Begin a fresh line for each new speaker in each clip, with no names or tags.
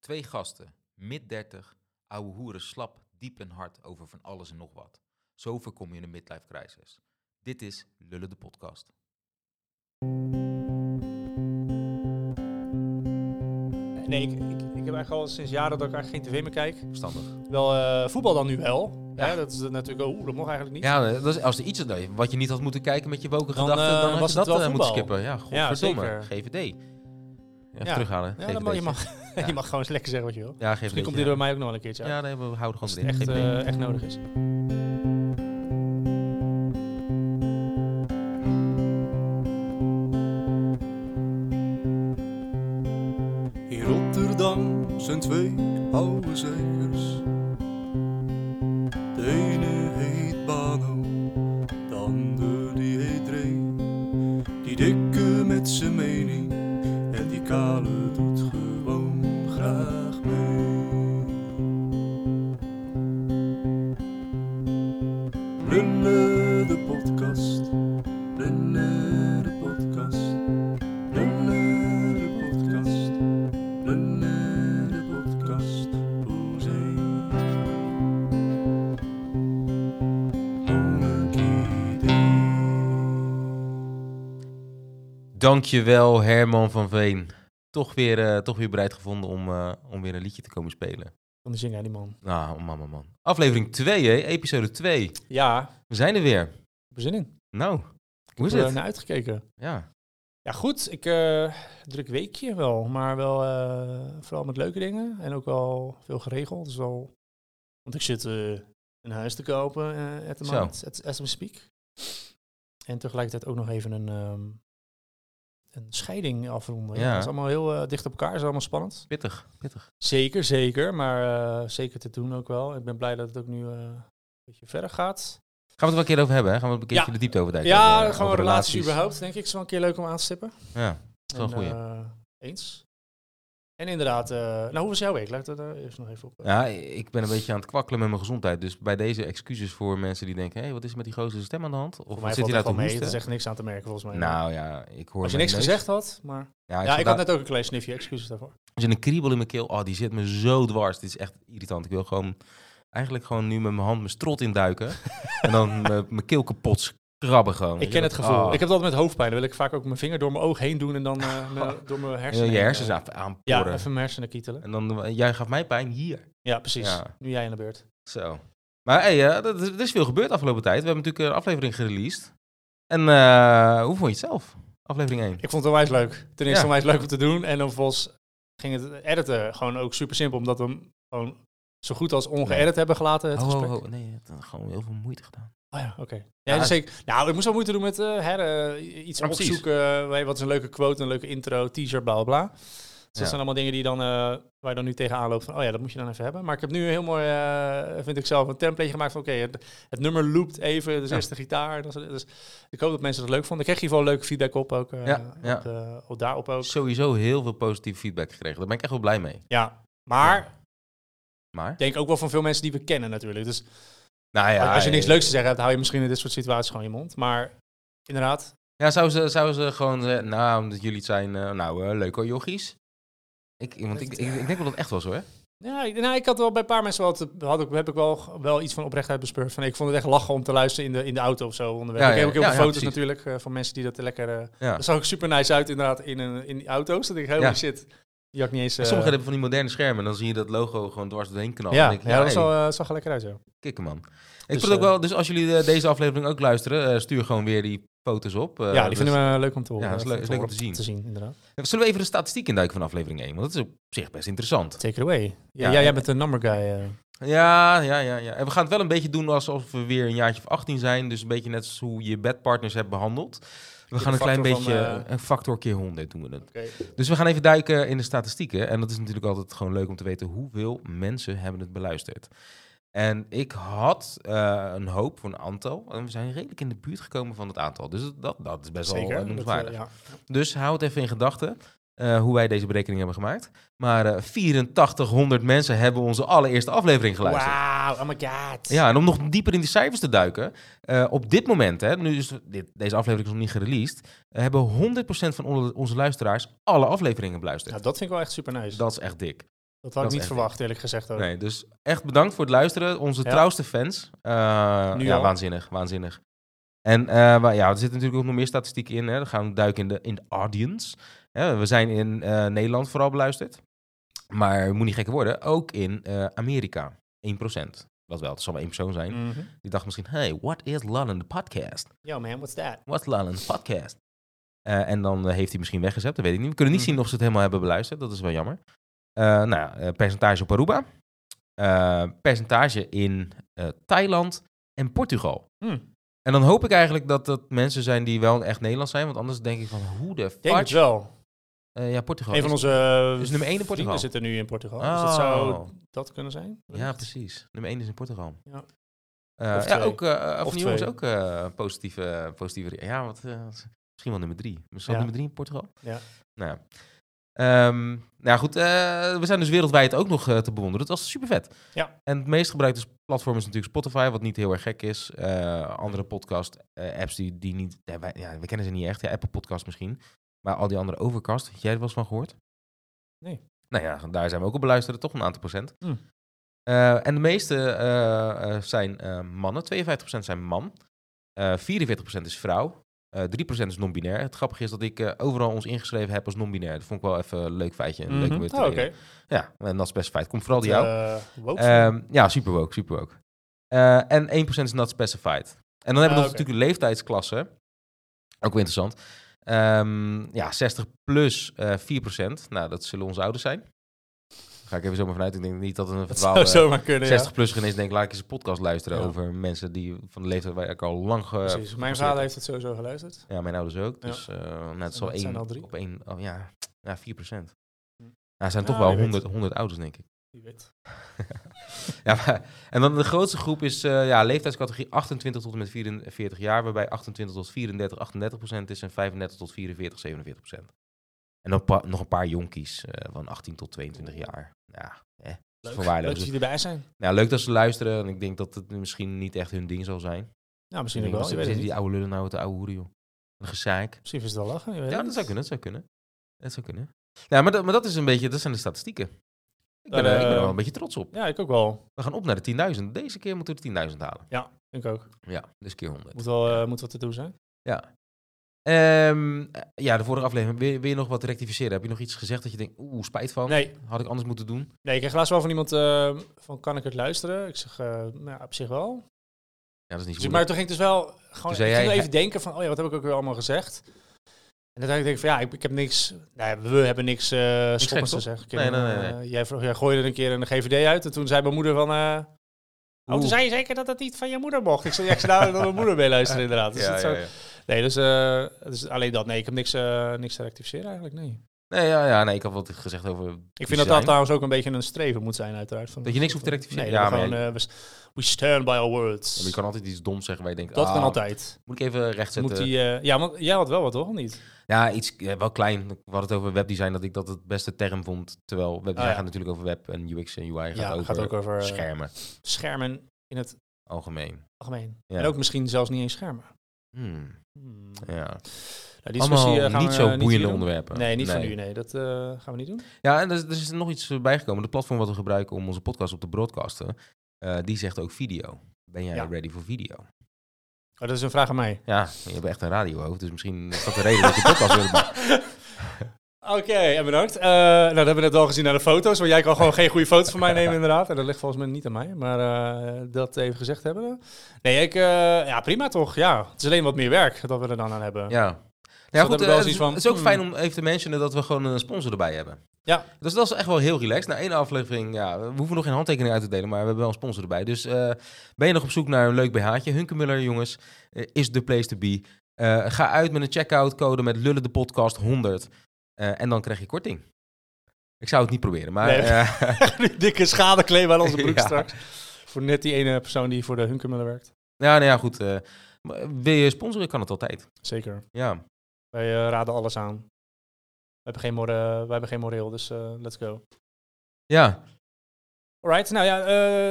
Twee gasten, mid 30, ouwe hoeren slap, diep en hard over van alles en nog wat. Zo voorkom je een midlife crisis. Dit is Lullen de podcast.
Nee, ik, ik, ik heb eigenlijk al sinds jaren dat ik eigenlijk geen tv meer kijk.
Verstandig.
Wel eh, voetbal dan nu wel.
Ja.
Ja. dat is natuurlijk, oh, dat mocht eigenlijk niet.
Ja, dat is, als er iets is wat je niet had moeten kijken met je woken
Dan,
gedachten,
eh,
dan had
was
je
het
dat
wel
eh, moeten
voetbal.
skippen. Ja,
Ja,
godverdomme.
zeker.
GVD. Even
Ja.
terughalen.
Ja, dan mag, je,
GVD'tje.
mag,
Ja.
je mag gewoon eens lekker zeggen wat je wil.
Ja, GVD.
Misschien komt dit door mij ook nog wel een keertje
Ja,
uit.
nee, we houden
als
gewoon
het
erin.
echt,
GVD.
eh, echt nodig is.
In Rotterdam zijn twee oude zeigers. De ene heet Bano, de ander die heet Ray. Die dikke met zijn mening en die kale doet gewoon graag mee. Lullen de podcast, lullen de podcast, lullen de podcast. Lullen de podcast, hoezee. Monarchie
Dankjewel Herman van Veen. Toch weer, eh, toch weer bereid gevonden om, eh, om weer een liedje te komen spelen.
Van de zingen, die man.
Nou, man, man, man. Aflevering 2, hè? Episode 2.
Ja, ik
We zijn er weer.
heb er zin in.
Nou, hoe is
Ik heb er,
het?
eh, naar uitgekeken.
Ja.
Ja, goed. Ik eh, druk weekje wel, maar wel eh, vooral met leuke dingen. En ook wel veel geregeld. Dus wel, want ik zit eh, een huis te kopen eh at the
Zo.
moment, at, as we speak. En tegelijkertijd ook nog even een, ehm, een scheiding afronden.
Ja.
Ja. Dat is allemaal heel eh, dicht op elkaar. is allemaal spannend.
Pittig, pittig.
Zeker, zeker. Maar eh, zeker te doen ook wel. Ik ben blij dat het ook nu eh, een beetje verder gaat.
Gaan we het wel een keer over hebben, hè? Gaan we het een keertje
Ja.
de diepte over duiken?
ja,
over, eh,
gewoon
over
relaties, überhaupt, denk ik. Is wel een keer leuk om aan te stippen.
Ja, dat is wel een
En,
goeie.
eh, eens. En inderdaad, eh, nou, hoe was jouw week? Laat ik dat daar eerst nog even op. eh,
Ja, ik ben een beetje aan het kwakkelen met mijn gezondheid. Dus bij deze excuses voor mensen die denken... hé, hey, wat is er met die gozer zijn stem aan de hand? Of
Voor
wat
mij
zit
valt
hij
het
daar
wel
te
mee. Er is
hoesten?
echt niks aan te merken, volgens mij.
Nou ja, ik hoor
Als je
mijn
niks
neus.
gezegd had, maar...
Ja, ik,
Ja,
zat
ik
daar-
had net ook een klein snifje, excuses daarvoor.
Er zit een kriebel in mijn keel. Oh, die zit me zo dwars. Dit is echt irritant. Ik wil gewoon eigenlijk gewoon nu met mijn hand mijn strot induiken. en dan mijn mijn keel kapot krabben gewoon.
Ik ken het gevoel.
Oh.
Ik heb dat met hoofdpijn. Dan wil ik vaak ook mijn vinger door mijn oog heen doen en dan eh, mijn- door mijn
En dan
hersenen.
je
heen,
hersens
eh,
aan-
Ja,
aanporen.
even mijn hersenen kietelen.
en dan, eh, jij gaf mij pijn hier.
Ja, precies.
Ja.
Nu jij aan de beurt.
Zo. Maar hey, eh, dat is- er is veel gebeurd afgelopen tijd. We hebben natuurlijk een aflevering gereleased. En eh, hoe vond je het zelf? Aflevering 1.
Ik vond het onwijs leuk. Ten
Ja.
eerste onwijs leuk om te doen. En dan vervolgens ging het editen gewoon ook super simpel. Omdat we hem gewoon zo goed als ongeëdit
Nee.
hebben gelaten, het
oh,
gesprek.
oh, oh, nee, het had gewoon heel veel moeite gedaan.
Oh ja, oké. Ja,
Ja,
dus
het-
ik, nou, ik moest wel moeite doen met eh, hè, eh, iets
Ja, precies.
opzoeken. eh, weet je, wat is een leuke quote, een leuke intro, teaser, bla bla bla. Dus
Ja.
dat zijn allemaal dingen die dan, eh, waar je dan nu tegenaan loopt van, oh ja, dat moet je dan even hebben. Maar ik heb nu een heel mooi, eh, vind ik zelf, een template gemaakt van, oké, het, het nummer loopt even, dus
Ja.
eerst de gitaar. Dus, dus ik hoop dat mensen dat leuk vonden. Ik kreeg hier wel leuke feedback op ook, eh,
Ja, ja.
Op, eh, op daarop ook.
Sowieso heel veel positieve feedback gekregen. Daar ben ik echt wel blij mee.
Ja, maar
Maar,
ik denk ook wel van veel mensen die we kennen natuurlijk. Dus
nou ja,
als je niks
eh,
leuks te zeggen hebt, hou je misschien in dit soort situaties gewoon je mond. Maar inderdaad,
Ja, zou ze, zou ze gewoon zeggen, nou, omdat jullie het zijn, eh, nou, eh, leuk hoor, jochies. Ik, want ik, ik, ik denk wel dat het echt was hoor.
Ja, ik, nou, ik had wel bij een paar mensen wel, te- had ik, heb ik wel, wel iets van oprechtheid bespeurd. Van, ik vond het echt lachen om te luisteren in de, in de auto of zo onderweg.
Ja,
ik heb
ja,
ook heel
ja,
veel
ja,
foto's
precies.
natuurlijk eh, van mensen die dat lekker... eh,
Ja.
Dat zag ook super nice uit inderdaad in, een, in die auto's. Dat ik helemaal
Ja.
shit, die had ik niet eens... eh,
Sommigen hebben van die moderne schermen, dan zie je dat logo gewoon dwars doorheen knallen.
ja,
Dan denk je,
ja, dat
hey,
zag, eh, zag er lekker uit, ja.
kikken man. Ik
Dus,
vond het ook
eh,
wel, dus als jullie eh, deze aflevering ook luisteren, eh, stuur gewoon weer die foto's op. eh,
ja,
dat
die
is-
vinden we leuk om te horen.
Ja, dat is leuk-
eh,
is leuk om te
horen,
zien.
inderdaad.
Zullen we even de statistiek induiken van aflevering 1? Want dat is op zich best interessant.
Take it away. Ja,
Ja,
jij-
en-
jij bent een number guy. eh.
Ja, ja, ja, ja. En we gaan het wel een beetje doen alsof we weer een jaartje of 18 zijn. Dus een beetje net als hoe je bedpartners hebt behandeld. We
de
gaan een klein
factor van,
beetje,
eh,
een factor keer 100 doen we het. Dus we gaan even duiken in de statistieken. En dat is natuurlijk altijd gewoon leuk om te weten hoeveel mensen hebben het beluisterd. En ik had eh, een hoop voor een aantal. En we zijn redelijk in de buurt gekomen van het aantal. Dus dat, dat is best wel eh,
Zeker. dat, eh,
noemenswaardig.
ja.
Dus hou het even in gedachten eh, hoe wij deze berekening hebben gemaakt. Maar eh 8400 mensen hebben onze allereerste aflevering geluisterd.
Wauw, oh my god.
Ja, en om nog dieper in die cijfers te duiken. eh, op dit moment, hè, nu is dit, deze aflevering is nog niet gereleased. eh, hebben 100% van on- onze luisteraars alle afleveringen beluisterd.
Nou, dat vind ik wel echt super nice.
Dat is echt dik.
Dat had
is
ik niet
echt
verwacht, eerlijk gezegd. Ook.
Nee, dus echt bedankt voor het luisteren. Onze
Eh. Ja.
trouwste fans. Eh,
Nu
ja,
al.
waanzinnig, waanzinnig. En eh, maar ja, er zitten natuurlijk ook nog meer statistieken in. Hè. Dan gaan we duiken in de, in de audience. Hè, we zijn in eh, Nederland vooral beluisterd. Maar het moet niet gekker worden, ook in eh, Amerika. 1%. Dat wel, het zal maar één persoon zijn.
Mhm.
Die dacht misschien, hey, what is London the podcast?
Yo man, what's that?
What's London the podcast? Eh, en dan eh, heeft hij misschien weggezet, dat weet ik niet. We kunnen niet
Hmm.
zien of ze het helemaal hebben beluisterd, dat is wel jammer. Eh, nou ja, eh, percentage op Aruba. Eh, percentage in eh, Thailand en Portugal.
Hmm.
En dan hoop ik eigenlijk dat dat mensen zijn die wel echt Nederlands zijn, want anders denk ik van, hoe de
Ik denk het
fuck?
wel.
Eh, ja, Portugal.
Een
is-
van onze eh,
is nummer één in Portugal.
vrienden zit er nu in Portugal. Dus dat zou
Oh.
dat kunnen zijn.
Ja, precies. Nummer 1 is in Portugal.
Ja.
Eh,
Of
ja,
twee.
ook eh of
Of
New York is
twee.
ook eh, positieve, positieve. Ja, wat, eh, misschien wel nummer 3. Misschien
Ja.
nummer 3 in Portugal.
Ja.
Nou, ja. Ehm, nou ja, goed, eh, we zijn dus wereldwijd ook nog eh, te bewonderen. Dat was super vet.
Ja.
En het meest gebruikte platform is natuurlijk Spotify, wat niet heel erg gek is. Eh, andere podcast eh, apps die, die niet. Ja, wij- ja, we kennen ze niet echt. Ja, Apple Podcast misschien. Maar al die andere overcast, jij er wel eens van gehoord?
Nee.
Nou ja, daar zijn we ook op beluisterd, toch een aantal procent.
Hmm.
Eh, en de meeste eh, eh, zijn eh, mannen. 52% zijn man. Eh 44% is vrouw. Eh 3% is non-binair. Het grappige is dat ik eh, overal ons ingeschreven heb als non-binair. Dat vond ik wel even een leuk feitje. Een leuke
Mhm.
weer te
Oh, oké.
leren. Ja, en dat is best een feit. Komt vooral door jou.
Eh, woke.
Ehm, ja, super woke, super woke. Eh, en 1% is not specified. En dan hebben we
Ah,
nog
oké.
natuurlijk de leeftijdsklasse. Ook weer interessant. Ehm, ja, 60 plus eh 4%. Nou, dat zullen onze ouders zijn. Daar ga ik even zomaar vanuit. Ik denk niet dat een
dat
verdwaalde
zou zomaar kunnen,
60 plus ineens denkt, laat ik eens een podcast luisteren
Ja.
over mensen die van de leeftijd waar ik al lang...
ja.
Ge...
Precies. Mijn
zeker.
vader heeft het sowieso geluisterd.
Ja, mijn ouders ook.
Ja.
Dus eh nou, het zal
dat zijn
één
al drie.
op één... Oh, ja, ja, 4%.
Hm.
Ja, er zijn toch
Ja,
wel
wie weet.
100, 100 ouders, denk ik.
Wie weet.
Ja, maar- en dan de grootste groep is eh, ja, leeftijdscategorie 28 tot en met 44 jaar, waarbij 28 tot 34 38 procent is en 35 tot 44 47 procent. En dan pa- nog een paar jonkies eh, van 18 tot 22 jaar. Ja, eh,
Leuk.
verwaarloosd.
Leuk dat jullie erbij zijn.
nou, leuk dat ze luisteren en ik denk dat het misschien niet echt hun ding zal zijn.
Nou, misschien
Misschien
ook wel. Je weet het
zitten die
niet.
oude lullen nou met de oude hoeren, joh. Een gezeik.
Misschien is het wel lachen. je weet
Ja,
het
dat
niet.
zou kunnen, dat zou kunnen. Dat zou kunnen. Ja, maar dat, maar dat is een beetje, dat zijn de statistieken. Ik ben,
Dan,
er- ik ben er
eh,
wel een beetje trots op.
Ja, ik ook wel.
We gaan op naar de 10.000. Deze keer moeten we de 10.000 halen.
Ik ook.
Ja, dus keer 100.
Moet wel eh, moet wat te doen zijn.
Ja. Ehm, ja, de vorige aflevering. Wil je, wil je nog wat rectificeren? Heb je nog iets gezegd dat je denkt, oeh, spijt van?
Nee,
Had ik anders moeten doen?
Nee, ik kreeg laatst wel van iemand eh, van kan ik het luisteren? Ik zeg, eh, nou, ja, op zich wel.
Ja, dat is niet
Dus,
zo
ik- maar toen ging ik dus wel
Toen
gewoon
zei
ik ging
jij,
wel even denken van, oh ja, wat heb ik ook weer allemaal gezegd? En uiteindelijk denk ik van, ja, ik, ik heb niks, nou ja, we hebben niks eh schokkends
geks,
gezegd.
Nee, nee, nee,
Eh, jij, vroeg, jij gooide een keer een GVD uit en toen zei mijn moeder van, eh oh,
Oeh.
toen zei je zeker dat dat niet van je moeder mocht. Ik zei, ja, ik zei nou, dat mijn moeder mee luisteren inderdaad. Dus dat zou- Nee, dus, eh, dus alleen dat. Nee, ik heb niks, eh, niks te rectificeren eigenlijk, nee.
Nee, ja, ja, nee, ik had wat gezegd over...
Ik vind dat dat trouwens ook een beetje een streven moet zijn, uiteraard. Van
Dat je niks hoeft te rectificeren.
Nee,
Ja,
ja,
maar
gewoon, eh, we, s- we stand by our words.
Ja, maar je kan altijd iets doms zeggen waar je denkt,
dat
ah,
kan altijd.
Moet ik even rechtzetten?
Moet die, eh, ja, want jij had wel wat, toch? Of niet?
Ja, iets eh, wel klein. We hadden het over webdesign, dat ik dat het beste term vond. Terwijl webdesign
Ah, ja.
gaat natuurlijk over web en UX en UI. Gaat
ja,
over
gaat ook over eh,
schermen,
schermen in het
algemeen.
algemeen.
Ja.
En ook misschien zelfs niet eens schermen.
Hmm,
Hmm.
ja.
Nou, die discussie eh,
Allemaal
gaan we,
niet
eh,
zo
hier
boeiende
doen.
onderwerpen.
Nee, niet van u. Nee, dat eh, gaan we niet doen.
Ja, en er is, er is nog iets eh, bijgekomen. De platform wat we gebruiken om onze podcast op te broadcasten, eh, die zegt ook video. Ben jij
Ja.
ready voor video?
Oh, dat is een vraag aan mij.
Ja, je hebt echt een radiohoofd, dus misschien is dat de reden dat je podcast wil maken.
Oké, en bedankt. Eh, nou, dat hebben we net al gezien naar de foto's. Want jij kan gewoon geen goede foto's van mij nemen, inderdaad. En dat ligt volgens mij niet aan mij. Maar eh, dat even gezegd hebben. Nee, ik, eh, ja, prima toch. Ja, het is alleen wat meer werk dat we er dan aan hebben.
Ja. Nou
Dus dat
Ja,
heb ik
goed,
wel
eh, het,
zoiets
is,
van,
het is ook
hmm.
fijn om even te mentionen dat we gewoon een sponsor erbij hebben.
Ja.
Dus dat is echt wel heel relaxed. Na één aflevering, ja, we hoeven nog geen handtekening uit te delen, maar we hebben wel een sponsor erbij. Dus eh, ben je nog op zoek naar een leuk BH'tje? Hunkemuller, jongens, eh, is de place to be. Eh, ga uit met een checkout code met Lullen de Podcast 100 eh, en dan krijg je korting. Ik zou het niet proberen, maar...
Nee.
eh,
Die dikke schadeclaim aan onze broek
Ja.
straks. Voor net die ene persoon die voor de Hunkermuller werkt.
Ja, nou ja, goed. eh, maar wil je sponsoren, kan het altijd.
Zeker.
Ja,
Wij eh, raden alles aan. We hebben geen, more, wij hebben geen moreel, dus eh, let's go.
ja,
Alright, nou ja,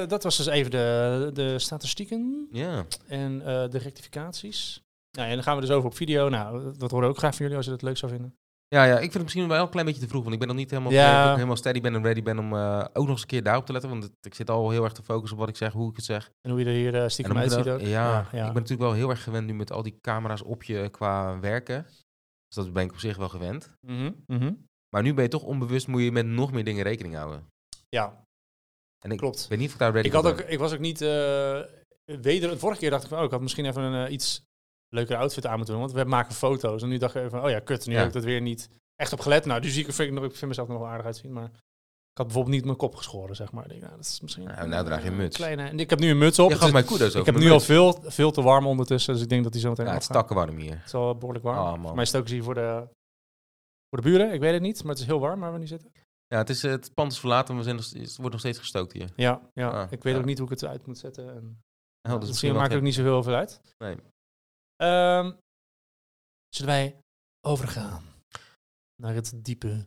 eh, dat was dus even de, de statistieken
ja.
en eh, de rectificaties. Nou, en dan gaan we dus over op video. Nou, dat horen we ook graag van jullie als je dat leuk zou vinden.
Ja, ja, ik vind het misschien wel een klein beetje te vroeg, want ik ben nog niet helemaal,
Ja.
dat ik helemaal steady ben en ready ben om eh, ook nog eens een keer daarop te letten. Want het- ik zit al heel erg te focussen op wat ik zeg, hoe ik het zeg.
En hoe je er hier eh, stiekem
dan moet je
uitziet
dat-
ook.
Ja,
ja.
ik ben natuurlijk wel heel erg gewend nu met al die camera's op je qua werken. Dus dat ben ik op zich wel gewend.
Mhm, mhm.
Maar nu ben je toch onbewust, moet je met nog meer dingen rekening houden.
Ja,
En ik
klopt.
weet niet of ik daar ready
Ik, had
voor
ook,
ben.
ik was ook niet... eh weder, vorige keer dacht ik van, oh, ik had misschien even een eh, iets leukere outfit aan moeten doen. Want we maken foto's. En nu dacht ik even van, oh ja, kut. Nu
Ja.
heb ik dat weer niet echt op gelet. Nou, nu zie ik, er- vind ik, nog- ik vind mezelf er nog wel aardig uitzien. Maar ik had bijvoorbeeld niet mijn kop geschoren, zeg maar. Ik Denk, nou, dat is misschien...
Nou, nou draag je een muts.
Kleine, en ik heb nu een muts op.
Je
Het
gaf
is-
mij kudos over
ik heb
mijn
nu al
muts.
veel, veel te warm ondertussen. Dus ik denk dat die zo meteen
Ja, het
afgaat.
is takkenwarm hier.
Het is al behoorlijk warm.
Oh, man.
Voor mij is het ook eens hier voor de, voor de buren. Ik weet het niet, maar het is heel warm waar we nu zitten.
Ja, het, is, eh, het pand is verlaten, we zijn nog, het wordt nog steeds gestookt hier.
Ja, ja.
Ah,
ik weet
ja.
ook niet hoe ik het uit moet zetten. En,
Oh, dat is
misschien
wel
maakt het ook
gek.
niet zoveel over uit.
Nee.
Ehm, zullen wij overgaan naar het diepe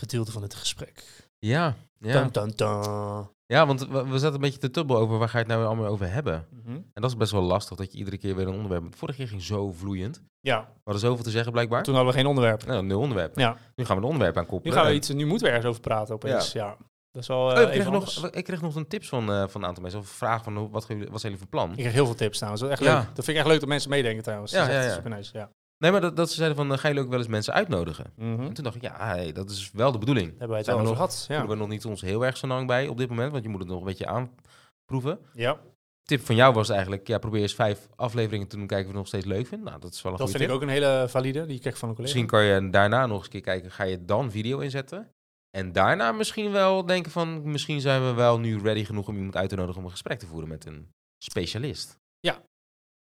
gedeelte van het gesprek?
Ja, ja.
Tan, tan, tan.
ja want we, we zaten een beetje te tubbel over waar ga je het nou weer allemaal over hebben.
Mhm.
En dat is best wel lastig, dat je iedere keer weer een onderwerp... want Vorige keer ging zo vloeiend. We
Ja,
hadden zoveel te zeggen blijkbaar.
toen hadden we geen onderwerp.
Nou, nul onderwerp.
Ja.
Nu gaan we een onderwerp aan
Nu,
koppelen.
gaan we
En-
iets, nu moeten we ergens over praten opeens. Ja. Dat is wel eh,
Oh, ik,
even
kreeg
anders.
nog, ik kreeg nog een tips van, eh, van een aantal mensen. Of een vraag van, hoe- wat, gaan jullie- wat zijn jullie van
Ik
plan?
krijg heel veel tips trouwens. Dat, is echt
Ja.
leuk. dat vind ik echt leuk dat mensen meedenken trouwens.
Ja,
dat is echt
ja, ja.
super nice. Ja.
Nee, maar dat, dat ze zeiden van, eh, gaan jullie ook wel eens mensen uitnodigen?
Hm?
En toen dacht ik, ja, hey, dat is wel de bedoeling.
Hebben wij het
Zijn
al
we
over gehad.
Daar
Ja.
hebben we nog niet ons heel erg zo lang bij op dit moment, want je moet het nog een beetje aanproeven.
ja,
Tip van jou was eigenlijk, ja, probeer eens vijf afleveringen te doen, kijken of je het nog steeds leuk vindt. Nou, dat is wel een
dat
goede
vind ik
tip.
ook een hele valide. Die krijg ik van een collega.
Misschien kan je daarna nog eens een keer kijken, ga je dan video inzetten? En daarna misschien wel denken van, misschien zijn we wel nu ready genoeg om iemand uit te nodigen om een gesprek te voeren met een specialist.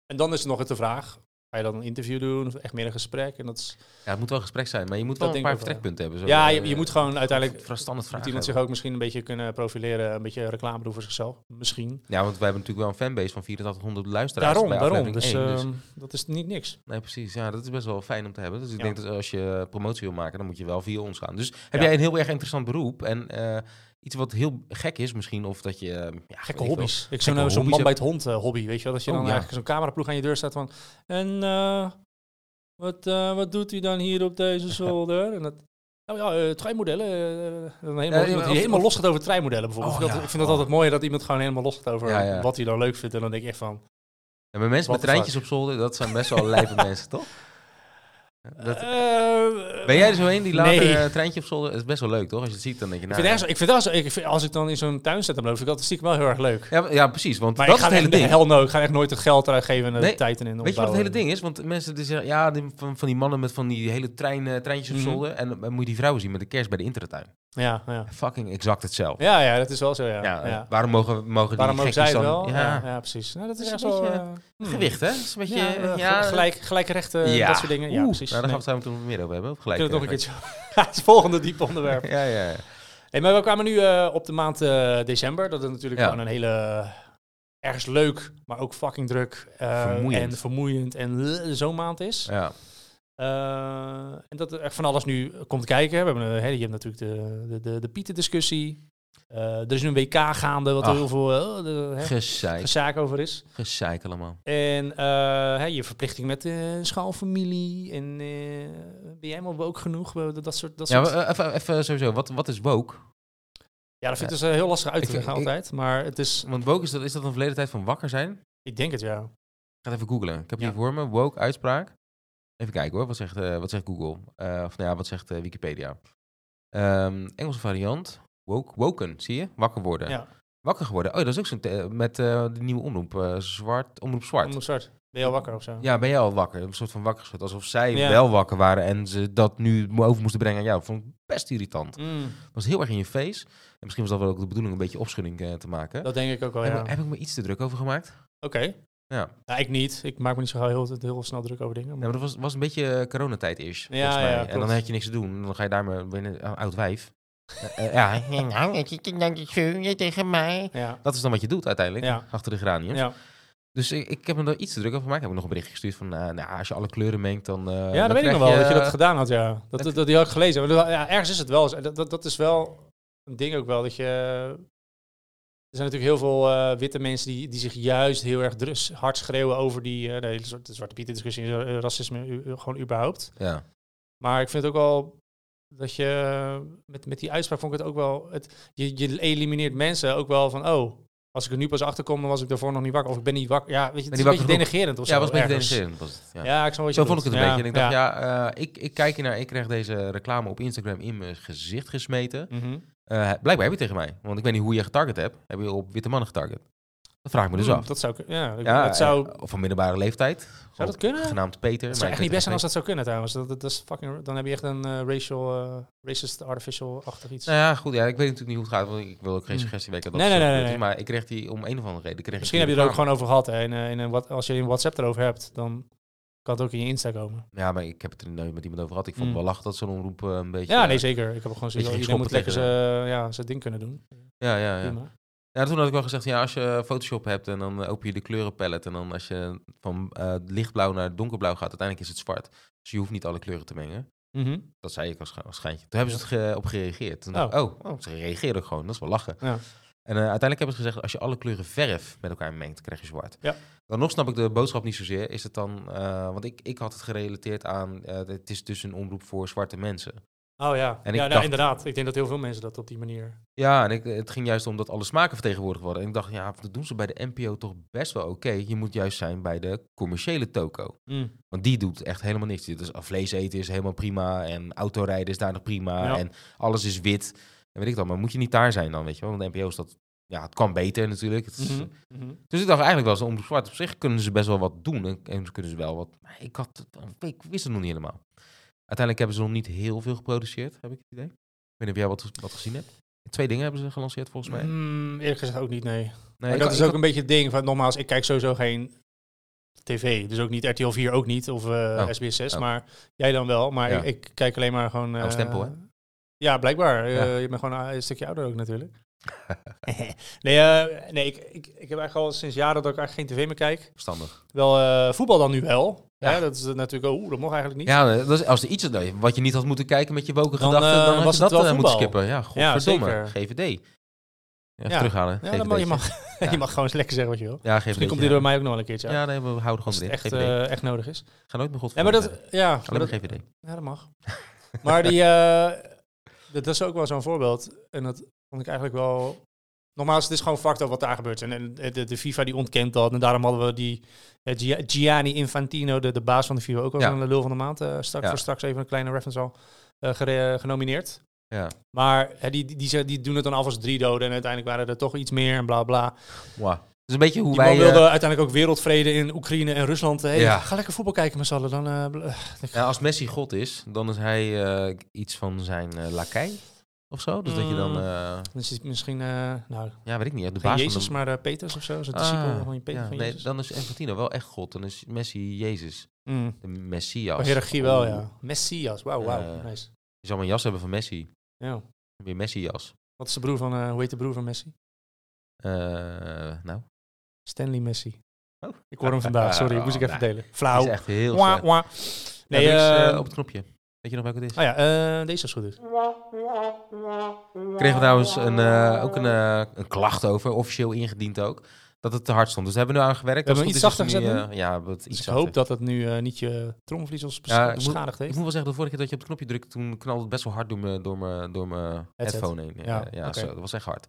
En dan is er nog het de vraag. Ga je dan een interview doen of echt meer een gesprek? En dat is,
Ja, het moet wel een gesprek zijn, maar je moet wel
Dat
een
denk
paar
ik ook wel,
vertrekpunten hebben. Zo,
ja,
eh,
je, je moet gewoon uiteindelijk...
Voor standaard
Moet
vragen.
iemand zich
hebben.
ook misschien een beetje kunnen profileren, een beetje reclame doen voor zichzelf. Misschien.
Ja, want wij hebben natuurlijk wel een fanbase van 8400 luisteraars.
Daarom,
bij
daarom.
aflevering
Dus,
één,
ehm, dat is niet niks.
Nee, precies. Ja, dat is best wel fijn om te hebben. Dus ik
Ja.
denk dat als je promotie wil maken, dan moet je wel via ons gaan. Dus heb
Ja.
jij een heel erg interessant beroep en eh, iets wat heel gek is misschien, of dat je... eh, ja, weet ik
Gekke
veel.
hobby's. Ik nou
Gekke
zo'n zo'n
hobby's
man bij het hond eh, hobby, weet je wel. Dat je
Oh,
dan
ja.
eigenlijk zo'n cameraploeg aan je deur staat van... En eh, wat, eh, wat doet u dan hier op deze zolder? en dat, nou ja, eh, treinmodellen. eh, dan helemaal,
Ja, ja,
dat hij
of-
helemaal
of-
los gaat over treinmodellen bijvoorbeeld.
Oh,
ik vind
ja.
dat, ik vind dat
Oh.
altijd mooi dat iemand gewoon helemaal los gaat over
Ja, ja.
wat hij dan leuk vindt. En dan denk ik echt van...
Ja, maar mensen met
What the
treintjes op zolder, dat zijn best wel lijpe mensen, toch? Dat-
eh,
ben jij er zo een die later
nee.
eh, treintje op zolder... Dat is best wel leuk, toch? Als je het ziet, dan denk je...
Ik
Nou,
vind, ergens, ik vind dat, zo- ik vind- als ik dan in zo'n tuin zet, dan vind ik dat stiekem wel heel erg leuk.
ja, ja, precies, want
Maar
dat
ik
is
ga
het hele
echt,
ding.
Hell no, ik ga echt nooit het geld uitgeven en de
Nee,
tijd en in
Weet je wat het hele
opbouwen.
ding is? Want mensen die zeggen, ja, die- van, van die mannen met van die hele trein, eh, treintjes op
Mhm.
zolder. En dan moet je die vrouwen zien met de kerst bij de intertuin.
Ja, ja.
Fucking exact hetzelfde.
Ja, ja, dat is wel zo, ja.
Ja, eh,
ja,
Waarom mogen, mogen
Waarom
die
ook zij
gekkies
het
dan...
wel? Ja,
ja.
ja, precies. Nou, dat is
Dat
echt
is een
zo...
beetje,
eh, hmm.
Gewicht, hè? Dat is een beetje...
Ja,
eh,
eh, gelijk, gelijke rechten, dat soort dingen. Ja,
Oeh,
precies.
Nou, daar
Nee,
gaan we het zo meteen meer over hebben. Of
we
gelijk,
kunnen het nog een
eh,
keertje... het volgende diep onderwerp.
Ja, ja. ja.
Nee, maar we kwamen nu eh, op de maand eh, december. Dat is natuurlijk
Ja.
gewoon een hele... eh, Ergens leuk, maar ook fucking druk. eh,
Vermoeiend.
En vermoeiend. En eh, zo'n maand is.
ja.
Eh, en dat er echt van alles nu komt kijken. We hebben, een hele- je hebt natuurlijk de, de, de, de Pieten-discussie. Eh, er is nu een WK gaande, wat er
Ach.
heel veel eh, de- hè,
Gezeik.
gezaak over is.
Gezeik allemaal.
En eh, hè, je verplichting met de schaalfamilie. En eh, ben jij maar ook genoeg? Eh, Dat, dat soort, dat
Ja,
soort...
maar, eh, even, even sowieso. Wat, wat is woke?
ja, dat vind ik dus eh, heel lastig uit
Ik-
te leggen
ik-
altijd. Maar het is,
Want woke, is dat, is dat een verleden tijd van wakker zijn? Ik
ik denk het ja.
ga het even googlen. Ik heb hier
Ja.
voor me. Woke, uitspraak. Even kijken hoor. Wat zegt, eh, wat zegt Google? Eh, of nou ja, wat zegt eh, Wikipedia? Ehm, Engelse variant. Woke, woken, zie je? Wakker worden.
Ja.
Wakker geworden. Oh, dat is ook zo'n... te- met eh, de nieuwe omroep. eh, zwart, omroep zwart.
Om het soort. Ben je al wakker of zo?
Ja, ben jij al wakker? Een soort van wakker geschud. Alsof zij
Ja.
wel wakker waren en ze dat nu mo- over moesten brengen aan jou. Vond ik best irritant.
Mm,
Was heel erg in je face. En misschien was dat wel ook de bedoeling om een beetje opschudding eh, te maken.
dat denk ik ook wel,
heb,
Oh, ja.
ik,
Oké.
heb ik me iets te druk over gemaakt? Ja.
Nou, ik niet. Ik maak me niet zo gauw heel, heel snel druk over dingen.
Nee, maar dat was, was een beetje eh, coronatijd is.
Ja,
volgens mij.
ja,
en dan
klopt.
had je niks te doen. Dan ga je daar maar weer een een oud wijf. Eh, eh, ja,
En nou, dat ik denk ik zo je tegen mij.
Ja.
dat is dan wat je doet uiteindelijk.
Ja.
Achter de geranium.
Ja.
Dus ik, ik heb me daar iets te druk over gemaakt. Ik heb nog een berichtje gestuurd van, eh, nou, als je alle kleuren mengt, dan. eh,
Ja, dat weet ik
krijg
nog wel, dat je dat
eh,
gedaan had, ja. Dat, dat, dat die had ik gelezen. Maar dat- ja, ergens is het wel. eens. En Dat, dat, dat is wel een ding ook wel, dat je... Er zijn natuurlijk heel veel eh, witte mensen die, die zich juist heel erg drus, hard schreeuwen over die eh, de hele soort de Zwarte Pieten discussie, eh, racisme, u- u- gewoon eh, überhaupt.
Ja.
Maar ik vind het ook wel dat je eh, met, met die uitspraak vond ik het ook wel. Het, je, je elimineert mensen ook wel van oh, als ik er nu pas achter kom, dan was ik daarvoor nog niet wakker. Of ik ben niet wakker. Ja, weet je, het
Ben
is
niet
een beetje
wakker genoeg.
denigerend of zo.
Ja, was een beetje
ergens.
denigrerend. was het, Ja.
Ja, ik snap wat je
Zo vond ik het
bedoelt.
een beetje. En ik dacht, ja, eh, ik, ik kijk hiernaar. Ik kreeg deze reclame op Instagram in mijn gezicht gesmeten.
Mhm.
Eh, blijkbaar heb je tegen mij. Want ik weet niet hoe je getarget hebt. Heb je op witte mannen getarget? Dat vraag ik me dus
Hmm,
af.
Dat zou, kun- ja, ik-
Ja,
dat zou,
eh, Of van middelbare leeftijd.
zou dat kunnen? Het
Genaamd Peter. maar
zou
ik
echt
weet
niet best zijn
het
als dat zou kunnen trouwens. Dat, dat, dat is fucking, dan heb je echt een eh, racial, eh, racist, artificial-achtig iets.
Nou ja, goed. Ja, ik weet natuurlijk niet hoe het gaat, want ik wil ook geen
Hm.
suggestie weken. Dat
Nee,
het
nee,
zo
nee,
gebeurd is,
nee.
Maar ik kreeg die om een of andere reden. Kreeg ik
Misschien
die
heb je er ook
reclame.
gewoon over gehad. Hè? In, eh, in een, wat, als je in WhatsApp erover hebt, dan kan het ook in je Insta komen.
Ja, maar ik heb het er nooit met iemand over gehad. Ik vond
Hm.
wel lach dat zo'n omroep eh, een beetje...
Ja, nee, zeker. Ik heb ook gewoon
Beetje
zoiets. van,
geen
Iedereen moet
schoppen
lekker zijn ja, zijn ding kunnen doen.
Ja, ja, ja.
Prima.
Ja, toen had ik wel gezegd, ja, als je Photoshop hebt en dan eh, open je de kleurenpalet en dan als je van eh, lichtblauw naar donkerblauw gaat, uiteindelijk is het zwart. Dus je hoeft niet alle kleuren te mengen.
Mhm.
Dat zei ik als, scha- als schijntje. Toen hebben ze het ge- op gereageerd. Toen dacht ik, oh. oh, ze reageerden ook gewoon. Dat is wel lachen.
Ja.
En eh, uiteindelijk hebben ze gezegd, als je alle kleuren verf met elkaar mengt, krijg je zwart.
Ja.
Dan nog snap ik de boodschap niet zozeer. Is het dan, eh, want ik, ik had het gerelateerd aan, eh, het is dus een omroep voor zwarte mensen.
Oh ja,
En ik
ja nou,
dacht-
inderdaad. Ik denk dat heel veel mensen dat op die manier...
Ja, en ik, het ging juist om dat alle smaken vertegenwoordigd worden. En ik dacht, ja, dat doen ze bij de NPO toch best wel oké. Je moet juist zijn bij de commerciële toko. Want die doet echt helemaal niks. Dus ah, vlees eten is helemaal prima en autorijden is daar nog prima.
Ja.
En alles is wit. En weet ik dan, maar moet je niet daar zijn dan, weet je wel? Want de NPO is dat, ja, het kan beter natuurlijk. Het is-
Mhm. Mhm.
Dus ik dacht eigenlijk wel, zo om zwart op zich kunnen ze best wel wat doen. En, en ze kunnen ze wel wat, maar ik, had, het- oh, ik wist het nog niet helemaal. Uiteindelijk hebben ze nog niet heel veel geproduceerd, heb ik het idee. Ik weet niet of jij wat, wat gezien hebt. Twee dingen hebben ze gelanceerd volgens mij.
Mm, eerlijk gezegd ook niet, nee.
Nee,
Maar
ik
dat
had-
is
ik
ook
had-
een beetje het ding. Van, nogmaals, ik kijk sowieso geen tv. Dus ook niet RTL 4, ook niet. Of eh,
Oh.
SBS 6.
Oh.
Maar jij dan wel. Maar
Ja.
ik, ik kijk alleen maar gewoon... eh,
Oude stempel, hè?
Ja, blijkbaar. Eh,
Ja.
je bent gewoon een stukje ouder ook natuurlijk. nee, eh, nee ik, ik, ik heb eigenlijk al sinds jaren dat ik eigenlijk geen tv meer kijk.
verstandig.
Wel eh, voetbal dan nu wel.
Ja.
Ja. dat is eh, natuurlijk... Oeh, dat mocht eigenlijk niet.
Ja, dat is, als er iets is wat je niet had moeten kijken met je woken
Dan,
gedachten,
eh,
dan had
was
je
het
dat
wel
eh, moeten
voetbal.
skippen. Ja,
Ja,
godverdomme.
zeker.
GVD. Even
Ja.
terughalen.
Ja, dan mag, je,
GVD'tje.
mag,
Ja.
je mag gewoon eens lekker zeggen wat je wil.
Ja, GVD.
Misschien komt die door mij ook nog wel een keertje
Ja,
uit.
nee, we houden
als
gewoon
het
erin.
echt,
GVD.
eh, echt nodig is.
Ga nooit meer god
Ja, maar dat, ja, maar
Alleen maar
dat,
GVD.
ja, dat mag. maar die, eh, dat, dat is ook wel zo'n voorbeeld. En dat vond ik eigenlijk wel... Nogmaals, het is gewoon fact over wat daar gebeurt. En, en de, de FIFA die ontkent dat. En daarom hadden we die eh, Gia- Gianni Infantino, de, de baas van de FIFA, ook wel
Ja.
van de lul van de maand. eh, straks,
Ja.
Voor straks even een kleine reference al eh, gere- genomineerd.
Ja.
Maar hè, die, die, die, ze- die doen het dan af als drie doden. En uiteindelijk waren er toch iets meer en bla bla.
Mwah. Dat is een beetje hoe
Die
wij...
man
eh,
wilde uiteindelijk ook wereldvrede in Oekraïne en Rusland. Hey,
Ja.
Ga lekker voetbal kijken met z'n allen. Dan, eh, bl-
Ja, als Messi God is, dan is hij eh, iets van zijn eh lakij of zo. Dus dat je dan,
Mm.
eh,
dan is het misschien, eh, nou,
ja, weet ik niet, de
geen
baas
Jezus,
van de...
maar eh, Peters of zo. Zijn
Ah,
discipel van je Peter
ja,
van
nee,
Jezus.
dan is Infantino wel echt God. Dan is Messi Jezus,
Mm.
de Messias.
Qua hiërarchie wel,
Oeh.
ja. Messias, wauw, wauw.
Eh.
nice.
Je zal maar een jas hebben van Messi. Dan
Ja.
heb je een Messi-jas.
Wat is de broer van, eh, hoe heet de broer van Messi?
Eh, nou,
Stanley Messi.
Oh.
Ik hoor hem vandaag, sorry.
Oh,
moest ik even
nou.
delen.
die
Flauw.
is echt heel
Wah,
slecht.
wah.
Nee,
Nee, eh,
op het knopje. Weet je nog welke het is?
oh ja, eh, deze is goed. dus.
Kregen we trouwens een, eh, ook een, eh, een klacht over, officieel ingediend ook, dat het te hard stond. Dus daar hebben we nu aan gewerkt.
We
Als
hebben
het
hem
goed
iets
is, is
zachter
het nu, eh, ja, wat
Dus
iets
ik hoop
zachter.
dat het nu eh, niet je trommelvlies ons bes-
Ja, ik moet-
beschadigd
Ik
heeft.
moet wel zeggen, de vorige keer dat je op het knopje drukt, toen knalde het best wel hard door mijn door mijn- door mijn
Headset.
headphone heen. Ja,
Ja,
ja
oké.
zo, dat was echt hard.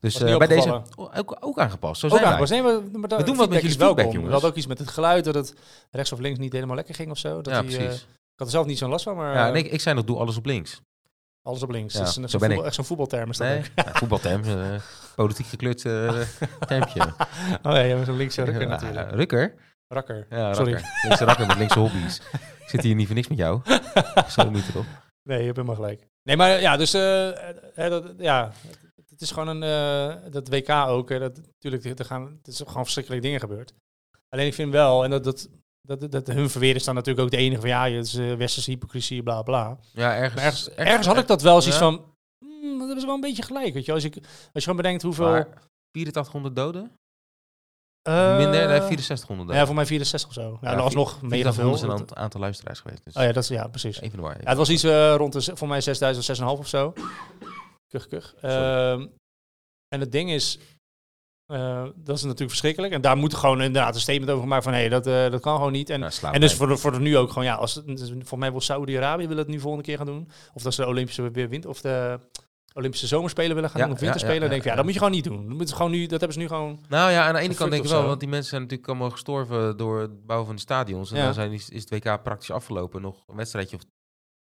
Dus
Was niet
eh, bij deze,
opgevallen.
oh, ook, ook aangepast. Zo
Ook
zijn wij.
aangepast. Nee, maar, maar
We doen wat met jullie
is
feedback,
welkom.
jongens.
We hadden ook iets met het geluid, dat het rechts of links niet helemaal lekker ging of zo. Dat
ja,
die, eh,
precies.
ik had er zelf niet zo'n last van, maar
ja,
eh,
en ik, ik zei nog, doe alles op links.
alles op links.
Ja,
dat is een,
zo
zo'n
ben
voetbal-
ik.
echt zo'n voetbalterm is dat
Nee,
ook.
ja, voetbalterm, eh, politiek gekleurd eh termpje.
Oh ja, jij bent zo'n linkse rukker
Ja,
natuurlijk.
Rukker?
Rakker.
Ja,
Sorry.
rakker. Linkse rakker met linkse hobby's. Ik zit hier niet voor niks met jou. Zo niet erop.
nee, je hebt helemaal gelijk. Nee, maar ja, dus eh, hè, dat, ja, het, het is gewoon een, eh, dat WK ook, hè, dat, natuurlijk, er gaan, het is gewoon verschrikkelijke dingen gebeurd. Alleen ik vind wel, en dat, dat, dat, dat, hun verweer is dan natuurlijk ook de enige van, ja, het is eh, westerse hypocrisie, bla bla.
Ja,
Maar
ergens,
ergens, ergens had ik dat wel zoiets
Ja.
van. "Hmm, dat is wel een beetje gelijk. Weet je, als, ik, als je gewoon bedenkt hoeveel.
maar 8400 doden?
eh,
Minder, nee, 6400 doden.
Ja, voor mij 64 of zo. Nou,
Ja,
dat was nog mega veel.
8400 is een
Dat-
aant- aantal luisteraars geweest. Dus
Oh ja, dat is ja, precies.
even door.
Ja, het was iets eh, rond de, z- voor mij 6000, Eh, 6,5 of zo. Kuch, kuch. Ehm, en het ding is, Eh, dat is natuurlijk verschrikkelijk. En daar moet gewoon inderdaad een statement over gemaakt van... hé, dat, eh, dat kan gewoon niet. En, en dus voor, voor het nu ook gewoon... ja, als, het- dus Volgens mij wil Saudi-Arabië wil het nu volgende keer gaan doen. Of dat ze de Olympische weer wint... of de Olympische Zomerspelen willen gaan
Ja,
doen of
ja, ja, ja,
winterspelen. dan denk ik, ja,
ja.
dat moet je gewoon niet doen. Dat, moet gewoon nu, dat hebben ze nu gewoon...
Nou ja, aan de ene
Of
kant denk ik
of
wel,
zo.
want die mensen zijn natuurlijk allemaal gestorven door het bouwen van die stadions. En
Ja.
dan zijn, is is het WK praktisch afgelopen. Nog een wedstrijdje of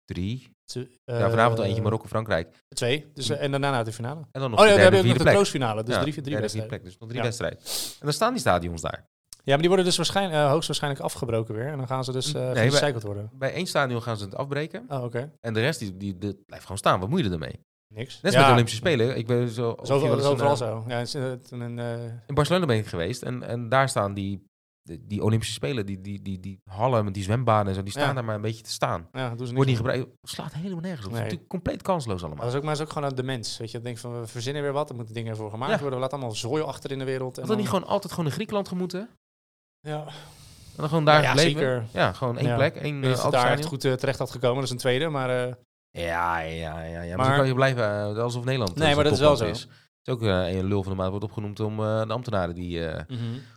drie.
ze-
ja, vanavond
eh,
eentje Marokko-Frankrijk.
Twee. Dus, eh, en daarna naar de finale.
En dan nog
Oh
de
ja, dan
derde,
heb je ook nog
vierde
de
plek.
troostfinale. Dus
Ja,
drie, drie
derde, vierde
wedstrijden.
plek. Dus nog drie
Ja.
wedstrijden. En dan staan die stadions daar.
Ja, maar die worden dus waarschijnlijk, hoogstwaarschijnlijk afgebroken weer. En dan gaan ze dus eh
Nee,
gerecycled worden.
Bij één stadion gaan ze het afbreken.
Oh, oké.
En de rest die, die, die blijft gewoon staan. Wat moet je ermee?
Niks.
Net als
ja.
met de Olympische Spelen. Ik ben zo, of
Zo,
je wel
dat
eens
is
een,
overal
eh,
zo. Ja, is, eh, toen een, eh,
In Barcelona ben ik geweest. En, en daar staan die, die, die Olympische Spelen. Die, die, die, die hallen met die zwembaden en zo. Die staan
Ja.
daar maar een beetje te staan.
ja, doen ze
Wordt niet
niks.
gebruikt. Slaat helemaal nergens op. Het
Nee.
is natuurlijk compleet kansloos allemaal.
Maar dat is ook, maar dat is ook gewoon aan de mens. Weet je, dat denk van we verzinnen weer wat, er moeten dingen voor gemaakt
Ja.
worden. We laten allemaal zooi achter in de wereld. En
Had dat niet gewoon altijd gewoon in Griekenland gemoeten? En
Ja,
dan gewoon daar
Ja, ja,
gebleven?
zeker.
Ja, gewoon één
Ja.
plek, één
ik weet niet
uh,
of het daar echt goed eh, terecht had gekomen, dat is een tweede. Maar eh,
Ja, ja, ja. ja. Maar,
Maar-
dan kan je blijven eh, alsof Nederland eh,
Nee,
zo'n
maar dat is wel
topland
zo.
Het is ook eh, een lul van de maand wordt opgenoemd om eh, de ambtenaren die... eh,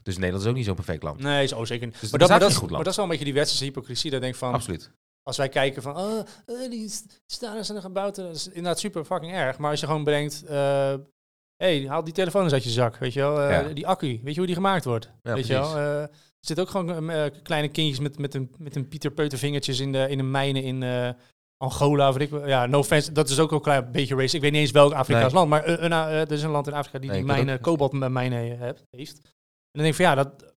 dus Nederland is ook niet zo'n perfect land.
nee, is ook zeker niet.
Dus
maar,
het is
dat, maar, dat,
eigenlijk
is-
een goed
maar
land.
dat is wel een beetje die westerse hypocrisie. Dat ik denk van,
Absoluut.
als wij kijken van, oh, eh, die st- staan en gebouwd. Dat is inderdaad super fucking erg. Maar als je gewoon bedenkt, eh hey, haal die telefoon eens uit je zak, weet je wel. Eh,
Ja.
Die accu, weet je hoe die gemaakt wordt?
Ja,
weet je
precies.
wel. Eh, er zitten ook gewoon eh, kleine kindjes met, met, een, met een Pieter Peuter vingertjes in de, in de mijnen in eh, Angola. Of weet ik, wel. ja, no offense, dat is ook een klein beetje race. Ik weet niet eens welk Afrikaans
Nee.
land, maar eh, een, eh, er is een land in Afrika die,
Nee,
die
ik weet
mijnen,
ook-
kobaltmijnen eh, hebt- heeft. En dan denk ik van, ja, dat,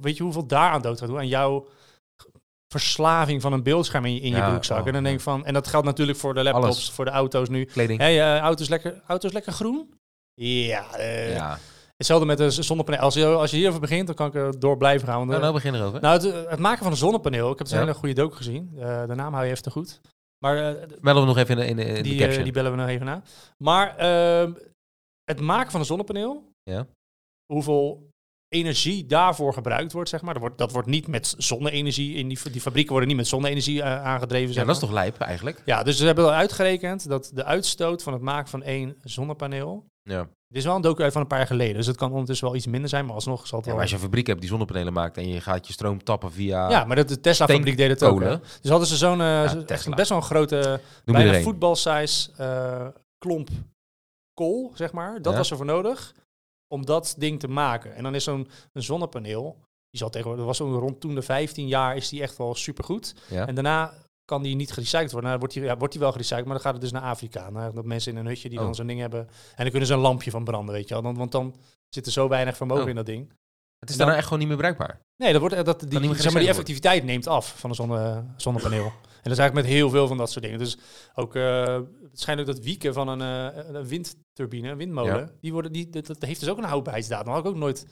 weet je hoeveel daar aan dood gaat doen? Aan jouw verslaving van een beeldscherm in je, in je
Ja,
broekzak.
oh,
en dan denk ik van, en dat geldt natuurlijk voor de laptops,
Alles.
voor de auto's nu.
Kleding.
Hé, hey, eh, auto's, lekker, auto's lekker groen? Ja, eh,
ja.
hetzelfde met een zonnepaneel. Als je, als je hierover begint, dan kan ik er door blijven gaan. Want,
Nou,
eh,
nou beginnen we erover.
nou, het, het maken van een zonnepaneel, ik heb het
Ja.
een hele goede docu gezien. Eh, de naam hou je even te goed. Maar eh,
Melden we nog even in de, in de, in de
die, eh,
caption.
die bellen we nog even na. Maar ehm, het maken van een zonnepaneel,
Ja.
hoeveel energie daarvoor gebruikt wordt, zeg maar. Dat wordt, dat wordt niet met zonne-energie, in die, fa- die fabrieken worden niet met zonne-energie eh, aangedreven, zeg
ja, dat is
maar.
toch lijp eigenlijk?
Ja, dus ze hebben al uitgerekend dat de uitstoot van het maken van één zonnepaneel...
Ja.
Dit is wel een docu uit van een paar jaar geleden, dus het kan ondertussen wel iets minder zijn, maar alsnog zal
Ja,
het wel...
maar als je een fabriek hebt die zonnepanelen maakt en je gaat je stroom tappen via...
Ja, maar dat de Tesla-fabriek deed het ook.
Kolen.
hè. Dus hadden ze zo'n eh, zo- echt
Tesla.
best wel een grote
Noem
bijna
iedereen.
voetbalsize eh, klomp kool, zeg maar. Dat
Ja.
was er voor nodig om dat ding te maken. En dan is zo'n een zonnepaneel, die zal tegenwoordig, dat was zo rond toen de 15 jaar, is die echt wel supergoed.
Ja.
En daarna kan die niet gerecycled worden. Nou, wordt die, ja, wordt die wel gerecycled, maar dan gaat het dus naar Afrika. Naar dat mensen in een hutje die
Oh.
dan zo'n ding hebben. En dan kunnen ze een lampje van branden, weet je wel. Dan, want dan zit er zo weinig vermogen
Oh.
in dat ding.
Het is daarna echt gewoon niet meer bruikbaar.
Nee, dat wordt, eh, dat, die,
niet meer
zeg maar, die
gerecycled
effectiviteit neemt af van een zonne, zonnepaneel. en dat is eigenlijk met heel veel van dat soort dingen. Dus ook eh het schijnt ook dat wieken van een, eh, een windturbine, een windmolen,
Ja.
die worden, die, dat, dat heeft dus ook een houdbaarheidsdatum. Dat had ik ook nooit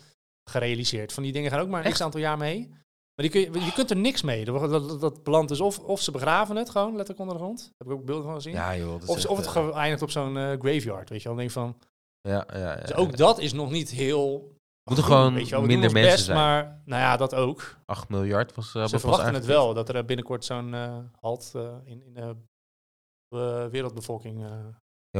gerealiseerd. Van die dingen gaan ook maar een
Echt?
x aantal jaar mee. Maar die kun je, je kunt er niks mee. Dat, dat, dat- dat plant dus of, of ze begraven het gewoon letterlijk onder de grond. Daar heb ik ook beelden van gezien.
Ja joh. dat is
of, ze-
echt,
of het
eh,
eindigt op zo'n eh, graveyard, weet je wel. Dan denk ik van,
Ja, ja, ja.
dus ook dat is nog niet heel...
Moeten
goed,
gewoon
weet je wel. We doen
minder
ons
mensen
best,
zijn.
Maar nou ja, dat ook.
8 miljard was... eh,
Ze
was
verwachten het
aangekondigd.
wel dat er eh, binnenkort zo'n eh, halt eh, in, in de eh, wereldbevolking eh
Ja,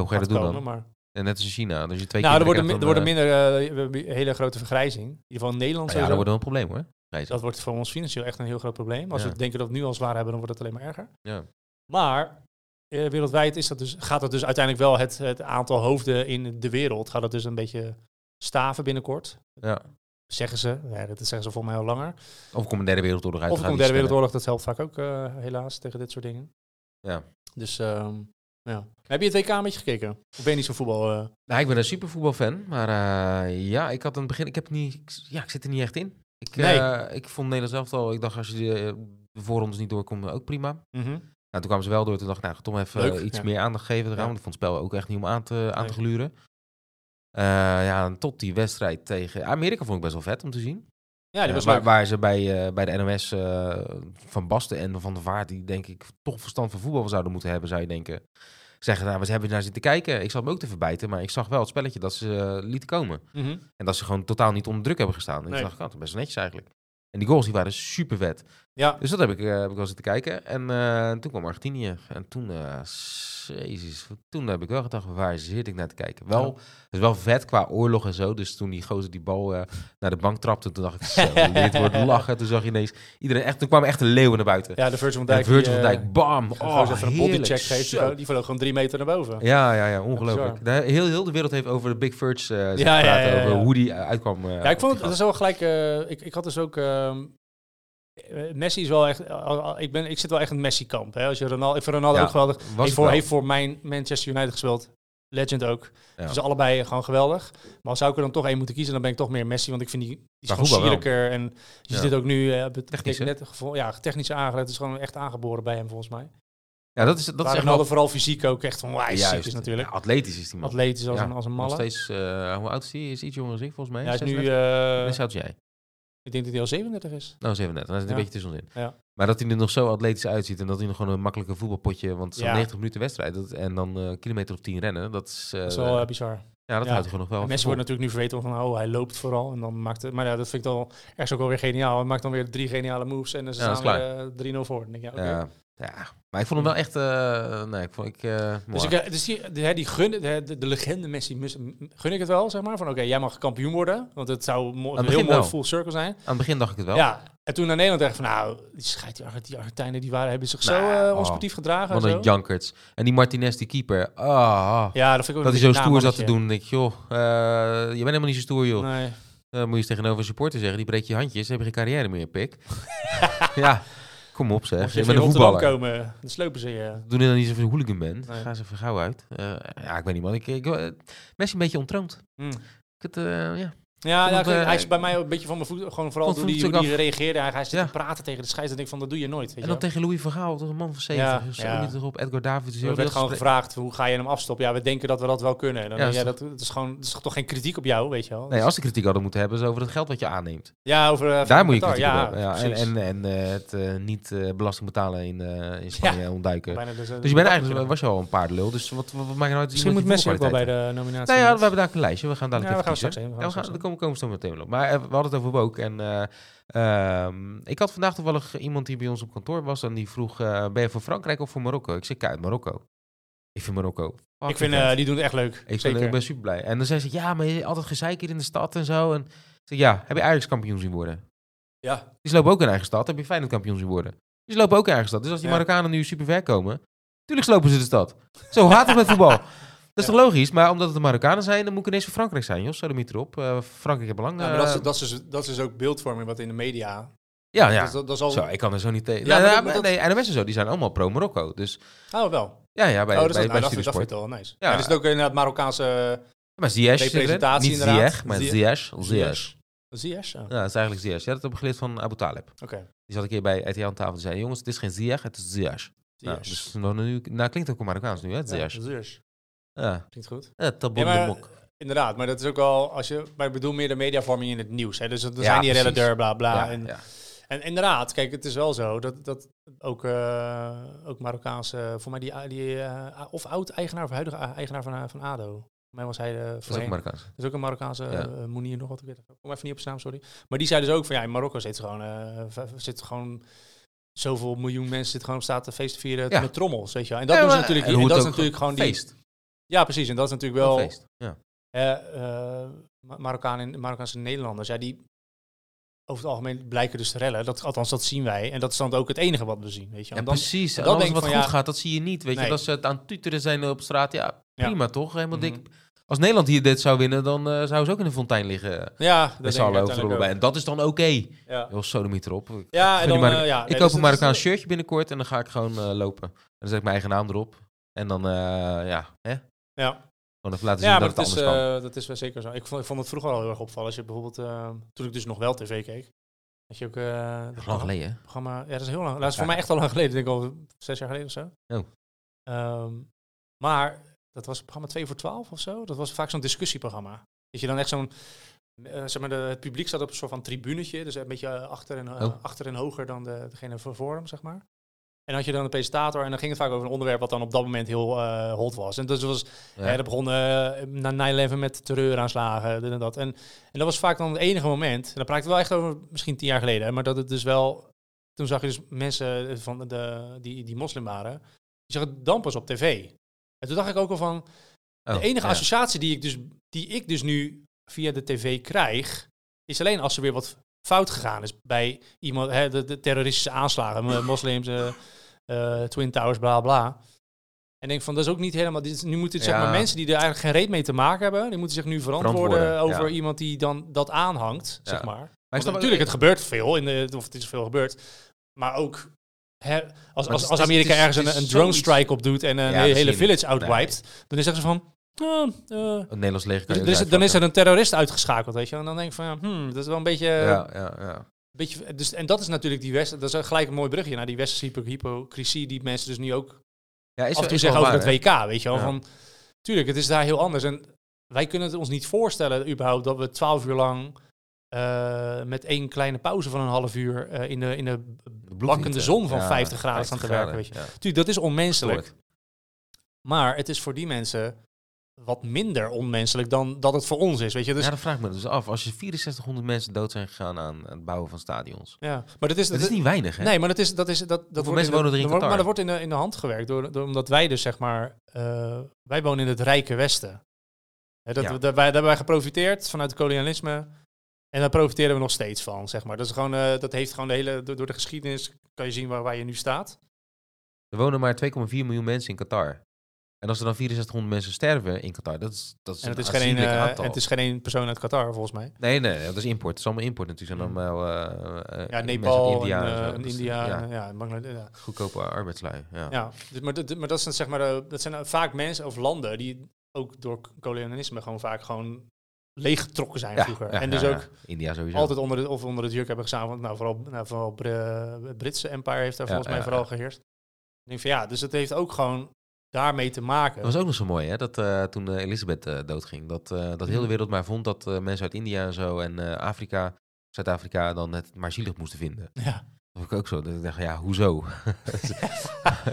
hoe ga je
gaat
dat doen
komen.
dan?
Maar,
En net als in China. Dus je twee
nou, er wordt
kinderen
een mi- er
krijgt,
worden
dan, eh,
minder eh, we hebben een hele grote vergrijzing. In ieder geval in Nederland.
ah, Ja, dat
sowieso.
wordt wel een probleem hoor. Reizen.
dat wordt voor ons financieel echt een heel groot probleem. Als
Ja.
we denken dat we het nu al zwaar hebben, dan wordt het alleen maar erger.
Ja.
Maar eh, wereldwijd is dat dus, gaat dat dus uiteindelijk wel het, het aantal hoofden in de wereld. Gaat dat dus een beetje staven binnenkort.
Ja.
Zeggen ze. Ja, dat zeggen ze voor mij al langer.
Of er komt een derde wereldoorlog uit.
Of er
gaat
komt
iets
derde
sneller.
wereldoorlog, dat helpt vaak ook eh, helaas tegen dit soort dingen.
Ja.
Dus ehm, ja. Heb je het WK een beetje gekeken? Of ben je niet zo'n voetbal? eh?
Nou, ik ben een supervoetbalfan, maar eh, ja, ik had aan het begin, ik heb niet, ik, ja, ik zit er niet echt in. Ik,
Nee.
eh, ik vond Nederland zelf al, ik dacht als je de, de voorrondes niet doorkomt, ook prima. Nou, toen kwamen ze wel door, toen dacht ik, nou, ga Tom even
Leuk,
eh, iets
ja.
meer aandacht geven eraan,
Ja.
want ik vond het spel ook echt niet om aan te, aan te
Nee.
gluren. Eh, ja, en tot die wedstrijd tegen Amerika vond ik best wel vet om te zien.
Ja, die
Eh,
was
waar,
leuk.
waar ze bij, eh, bij de NOS eh, van Basten en Van der Vaart, die denk ik toch verstand van voetbal zouden moeten hebben, zou je denken. Zeggen, nou, wat hebben we naar zitten kijken? Ik zat me ook te verbijten, maar ik zag wel het spelletje dat ze eh, lieten komen.
Mhm.
En dat ze gewoon totaal niet onder druk hebben gestaan. En
Nee.
ik dacht, oh, dat is best netjes eigenlijk. En die goals die waren super vet.
Ja.
Dus dat heb ik, eh, heb ik wel zitten kijken. En eh, toen kwam Argentinië. En toen, eh, jezus, toen heb ik wel gedacht, waar zit ik naar te kijken? Wel, het is wel vet qua oorlog en zo. Dus toen die gozer die bal eh, naar de bank trapte, toen dacht ik, zo, dit wordt lachen. Toen zag je ineens, iedereen echt, toen kwam echt een leeuw naar buiten.
Ja, de Virgil van
En
Dijk.
Virgil van
die, eh,
Dijk, bam!
gewoon
Oh,
even een
heerlijk,
bodycheck geeft. Die
zo.
vlo- Die vloog gewoon drie meter naar boven.
Ja, ja, ja, ongelooflijk.
bizar.
Daar- heel, heel de wereld heeft over de Big Furge eh ja,
Ja, ja,
praten,
ja, ja.
over hoe die eh, uitkwam. eh,
Ja, ik
op
vond
die
het dat
gast.
is wel gelijk. eh, ik, ik had dus ook. ehm, eh, Messi is wel echt. al- al- ik, ben, ik zit wel echt in het Messi-kamp. hè. Als je Ronaldo, ik vind Ronaldo
Ja,
ook geweldig.
Was
Heeft
het
voor,
wel.
heeft voor mijn Manchester United gespeeld. Legend ook.
Ja.
Dus allebei gewoon geweldig. Maar zou ik er dan toch één moeten kiezen, dan ben ik toch meer Messi. Want ik vind die, die is
Qua
gewoon
voetbal wel.
sierlijker. En
Ja.
je ziet dit ook nu. eh, be-
Technisch,
ik
hè?
net gevo- ja, technisch aangelegd. Het is gewoon echt aangeboren bij hem volgens mij.
Ja, dat is, dat is
maar
echt
Ronaldo
wel...
vooral fysiek ook echt van wijs ziek
Juist.
is natuurlijk.
Ja, atletisch is die man.
Atletisch als,
Ja,
een, als een
Nog
malle.
steeds, eh, hoe oud is hij? Is iets jonger dan ik, volgens mij.
Ja, hij is nu,
36?
eh,
Hoe oud is jij?
ik denk dat hij al 37 is.
Nou, 37. Dat is het
Ja.
een beetje tussenin.
Ja.
Maar dat hij er nog zo atletisch uitziet en dat hij nog gewoon een makkelijke voetbalpotje... Want zo'n
Ja.
90 minuten wedstrijd dat, en dan eh, kilometer of 10 rennen, dat is... eh,
Dat is wel eh, bizar.
ja, dat
ja.
houdt hij gewoon nog wel.
Mensen
vol.
worden natuurlijk nu verweten van, oh, hij loopt vooral. En dan maakt het, maar ja, dat vind ik dan echt ook wel weer geniaal. Hij maakt dan weer drie geniale moves en dan
Ja, dat
staan we 3-0 voor. Dan Denk, ik, ja, oké.
Ja, ja, maar ik vond hem wel echt... eh, nee, ik vond... Ik, eh,
Dus,
mooi.
ik, eh, dus die, de, hè, die gun, de, de- de legende Messi, mis- gun ik het wel, zeg maar. Van oké, jij mag kampioen worden, want het zou mo- een
het
heel
begin
mooi
wel.
full circle zijn.
Aan het begin dacht ik het wel.
Ja, en toen naar Nederland dacht ik van, nou, die schijt, die, Argent- die Argentijnen, die waren, hebben zich zo
Nou,
eh
oh,
onsportief gedragen.
Wat
en zo.
een jankerts. En die Martinez, die keeper. Ah, ah.
Ja, dat vind ik ook
dat
een
hij zo
beetje
stoer zat te Eh,
namannetje.
doen. Dan denk ik, joh, eh, je bent helemaal niet zo stoer, joh.
Nee.
Dan moet je eens tegenover een supporter zeggen, die breekt je handjes, dan heb je geen carrière meer, pik. ja, kom op
Mocht
zeg.
je
Je
even
bent een
in Rotterdam
voetballer.
komen, dan slopen ze je.
Doe je dan niet zoveel hooligan bent.
Nee.
Ga eens even gauw uit. Eh, ja, ik weet niet, man. Ik, ik, eh, Messi een beetje ontroond.
Hm.
Ik het, eh, ja.
Ja,
Vond
ja
ik,
ik-
eh,
hij is bij mij ook een beetje van mijn voet. Gewoon vooral
vond
hoe
het
die,
ook
hoe die reageerde. Hij, hij zit
Ja.
te praten tegen de scheids. En ik van, dat doe je nooit. Weet
En
je
dan
wel.
tegen Louis van Gaal, toch een man van 70.
Ja,
zo
ja.
niet erop. Edgar Davids. heel
Er werd
dat
gewoon
gesprek-
gevraagd, hoe ga je hem afstoppen? Ja, we denken dat we dat wel kunnen. En Dan,
Ja,
ja,
is
dat, dat is gewoon dat is toch geen kritiek op jou, weet je wel. Dus-
Nee, als ze kritiek hadden moeten hebben, is over het geld wat je aanneemt.
Ja, over... eh,
Daar moet je
Qatar,
kritiek op
ja,
hebben. Ja, en
precies.
en, en eh, het eh, niet eh, belasting betalen in, eh, in Spanje ontduiken.
Bijna dus, eh,
Dus je bent eigenlijk, was je al een paardenlul. Dus wat, wat, wat maakt nou uit?
Misschien moet
iemand die
Messi ook wel bij
voetbalkwaliteit
de
heeft?
nominatie.
Nou ja, we hebben daar ook een lijstje. We gaan dadelijk
Ja, we
even
gaan straks
kiezen. Ja, we gaan,
heen, we gaan straks heen.
daar komen we komen we zo meteen wel op. Maar eh, we hadden het over Wook. En eh, ehm, ik had vandaag toevallig iemand die bij ons op kantoor was. En die vroeg, eh, ben je voor Frankrijk of voor Marokko? Ik zeg, kijk, Marokko. Ik vind Marokko.
Ik vind,
fucking
eh,
vet.
die doen het echt leuk.
Ik, ben,
Zeker.
ik ben super blij. En dan zei ze, ja, maar je hebt altijd gezeik hier in de stad en zo. En ik zeg, ja, heb je Ajax kampioen zien worden?
ja.
Die lopen ook in eigen stad. Heb je Feyenoord kampioen zien worden. Die lopen ook in eigen stad. Dus als die
Ja.
Marokkanen nu super ver komen, tuurlijk slopen ze de stad. Zo haat het met voetbal. Dat is toch logisch? Maar omdat het de Marokkanen zijn, dan moet ik ineens voor Frankrijk zijn, joh. Sodomiet erop. Eh, Frankrijk heeft belang.
Ja, maar dat, is,
eh,
dat, is, dus- dat is dus ook beeldvorming wat in de media.
ja, ja.
Dat, dat is al...
Zo, ik kan er zo niet tegen.
Ja,
Ja,
maar
nou,
dat- maar
maar-
dat-
nee, NOS en zo, die zijn allemaal pro-Marokko. Dus
Oh, wel.
ja, ja, bij,
oh, dat, is,
bij,
nou,
bij
dat, vind, dat
Studiosport.
vind ik wel nice.
Ja.
Ja. er zit ook inderdaad Marokkaanse...
Maar Ziyech
Bij
zit erin.
presentatie
Niet
inderdaad.
Ziyech, maar
Ziyech.
Ziyech. Ziyech.
Zie je? Ja. Oké.
Ja, dat is eigenlijk Ziyech. Ja, dat heb ik geleerd van Abu Talib. Die zat een keer bij RTL aan tafel en zei, jongens, het is geen Ziyech, het is Ziyech. Nou,
Ziyech.
dus, nou, nu, nou, klinkt ook Marokkaans nu, hè, Ziyech.
Ja, Ziyech.
Ja.
Klinkt goed.
Ja, Tabon
Ja,
de
maar-
Mok.
Inderdaad, maar dat is ook wel als je. Maar ik bedoel meer de mediavorming in het nieuws. Hè? Dus er
Ja,
zijn die rellen
precies.
der, bla bla.
Ja,
en,
ja.
en inderdaad, kijk, het is wel zo dat, dat ook, eh, ook Marokkaanse. Voor mij die. die eh, of oud-eigenaar of huidige a- eigenaar van, van Ado. Voor mij was hij de.
Dat is ook
voorheen.
Marokkaans.
Dat is ook een Marokkaanse
Ja.
eh, Moenier nog wat ik weet. het ook. Kom even niet op zijn naam, sorry. Maar die zei dus ook van ja, in Marokko zit gewoon, eh, v- zit gewoon zoveel miljoen mensen zitten gewoon op straat te feest te vieren
Ja.
met trommels, weet je wel. En dat
Ja,
doen ze
maar-
natuurlijk.
en
En
hoe
dat
het
is
ook
natuurlijk gewoon die.
feest.
Ja, precies. En dat is natuurlijk
Een
wel.
feest. Ja.
eh, eh, Ma- Marokkanen, Marokkaanse Nederlanders, ja, die over het algemeen blijken dus te rellen. Dat, althans, dat zien wij. En dat is dan ook het enige wat we zien, weet je.
Ja,
En dan,
precies.
dan
En alles
denk ik
wat
van,
goed
ja-
gaat, dat zie je niet. Weet
Nee.
je, dat ze het aan het tuteren zijn eh, op straat, ja,
Ja.
prima toch? Helemaal
Mhm.
dik. Als Nederland hier dit zou winnen, dan eh, zouden ze ook in een fontein liggen. eh,
ja, dat
Met
denk
z'n
ik
allen
uiteindelijk
overal bij.
ook.
En dat is dan oké.
Ja.
Heel sodomiet erop. Ik,
Ja, en
gun die
dan,
Marok-
eh, ja, nee,
ik koop
dus
een
dat is-
Marokkaans shirtje binnenkort en dan ga ik gewoon eh, lopen. En dan zet ik mijn eigen naam erop. En dan, eh, ja, hè?
Ja.
Gewoon even laten zien
Ja, maar
dat het
dat is,
anders kan.
eh, dat is wel zeker zo. Ik vond, ik vond het vroeger al heel erg opvallen. Als je bijvoorbeeld, eh, toen ik dus nog wel tv keek, dat je ook... eh dat
Lang geleden, hè?
programma, ja, dat is heel lang. Dat is voor
Ja.
mij echt al lang geleden. Ik denk al zes jaar geleden of zo.
Oh.
Ehm, maar dat was programma 2 voor 12 of zo. Dat was vaak zo'n discussieprogramma. Dat je dan echt zo'n... eh, zeg maar, de, het publiek zat op een soort van tribunetje. Dus een beetje eh, achter, en, eh,
Oh.
achter en hoger dan de, degene voor, voor hem, zeg maar. En dan had je dan een presentator en dan ging het vaak over een onderwerp wat dan op dat moment heel eh, hot was. En dus was
Ja.
Hè, dat begon eh, na 9-11 met terreuraanslagen, dit en dat. En, en dat was vaak dan het enige moment. En dat praat ik wel echt over misschien tien jaar geleden. hè, Maar dat het dus wel... Toen toen zag je dus mensen van de, die, die moslim waren, die zag het dan pas op tv. En toen dacht ik ook al van, de
Oh,
enige
ja.
associatie die ik, dus, die ik dus nu via de tv krijg, is alleen als er weer wat fout gegaan is bij iemand, hè, de, de terroristische aanslagen, mo- moslims, eh, eh, Twin Towers, bla bla. En ik denk van, dat is ook niet helemaal, dit, is- nu moeten het, zeg
Ja.
maar, mensen die er eigenlijk geen reet mee te maken hebben, die moeten zich nu verantwoorden,
Verantwoorden,
over
ja.
iemand die dan dat aanhangt, zeg
Ja.
maar.
Maar ik
Want
snap-
natuurlijk, het gebeurt veel, in de, of het is veel gebeurd, maar ook... hè, als,
het
als,
is-
als
het is-
Amerika
het is-
ergens
het
een,
is
een drone
zoiets.
strike op doet en een
Ja,
hele-
dat zie
hele
je niet.
village outwiped, dan is zeggen ze van. "Ah, eh,
Het Nederlands leger kan
dus
je
dus
ook
dan is er
uitvakken.
een terrorist uitgeschakeld, weet je. En dan denk ik van, ja, hmm, dat is wel een beetje...
Ja, ja, ja.
beetje dus, en dat is natuurlijk die West, dat is gelijk een mooi brugje naar die westerse hypo- hypocrisie die mensen dus nu ook
ja is
af en toe
is
zeggen
wel
over
waar, hè?
het WK, weet je wel.
Ja.
Van, tuurlijk, het is daar heel anders. En wij kunnen het ons niet voorstellen überhaupt dat we twaalf uur lang eh, met één kleine pauze van een half uur eh, in, de, in de
De
blakkende zon van
eh, Ja,
50 graden staan te
50
werken, weet je.
graden,
Tuurlijk, dat is onmenselijk.
Tuurlijk.
Maar het is voor die mensen wat minder onmenselijk dan dat het voor ons is, weet je. Dus,
Ja,
ja.
dat vraag ik me dus af. Als je 6400 mensen dood zijn gegaan aan het bouwen van stadions.
Maar dat is,
Dat is niet weinig, hè?
Nee, maar dat is... Dat is dat, dat wordt
mensen
in de-
wonen er in
wordt-
Qatar?
Maar dat wordt in de, in de hand gewerkt, door, door- omdat wij dus zeg maar... eh, wij wonen in het rijke Westen. Hè, dat,
Ja.
daar, wij- daar hebben wij geprofiteerd vanuit het kolonialisme. En daar profiteren we nog steeds van, zeg maar. Dat, is gewoon, eh, dat heeft gewoon de hele... Door, door de geschiedenis kan je zien waar, waar je nu staat.
Er wonen maar 2,4 miljoen mensen in Qatar. En als er dan 6400 mensen sterven in Qatar, dat is, dat is
En
een
het is, geen, één,
aanzienlijk
eh,
aantal.
het is geen één persoon uit Qatar, volgens mij.
Nee, nee, dat is import. Het is allemaal import natuurlijk. Het zijn allemaal eh, eh,
Mm. Ja,
mensen uit
Nepal, en,
India en,
eh,
zo.
en
Dat is,
India,
ja,
en, ja, en Bangladesh. Ja.
goedkope arbeidslui. Ja.
Ja, dus, maar, dat- maar dat zijn zeg maar, eh, dat zijn eh, vaak mensen of landen die ook door k- kolonialisme gewoon vaak gewoon leeggetrokken zijn
Ja,
vroeger.
ja,
en dus
ja, ja.
ook
India sowieso.
altijd onder, de, of onder het jurk hebben gestaan. Want nou, vooral, nou, vooral Br- eh, het Britse empire heeft daar
Ja,
volgens mij
ja,
vooral
ja.
geheerst. Ik denk van ja, dus het heeft ook gewoon daarmee te maken.
Dat was ook nog zo mooi, hè? Dat eh, toen eh, Elisabeth eh, doodging, dat, eh, dat heel de wereld maar vond dat eh, mensen uit India en zo en eh, Afrika, Zuid-Afrika, dan het maar zielig moesten vinden.
Ja.
Dat vond ik ook zo. Dat ik dacht, ja, hoezo?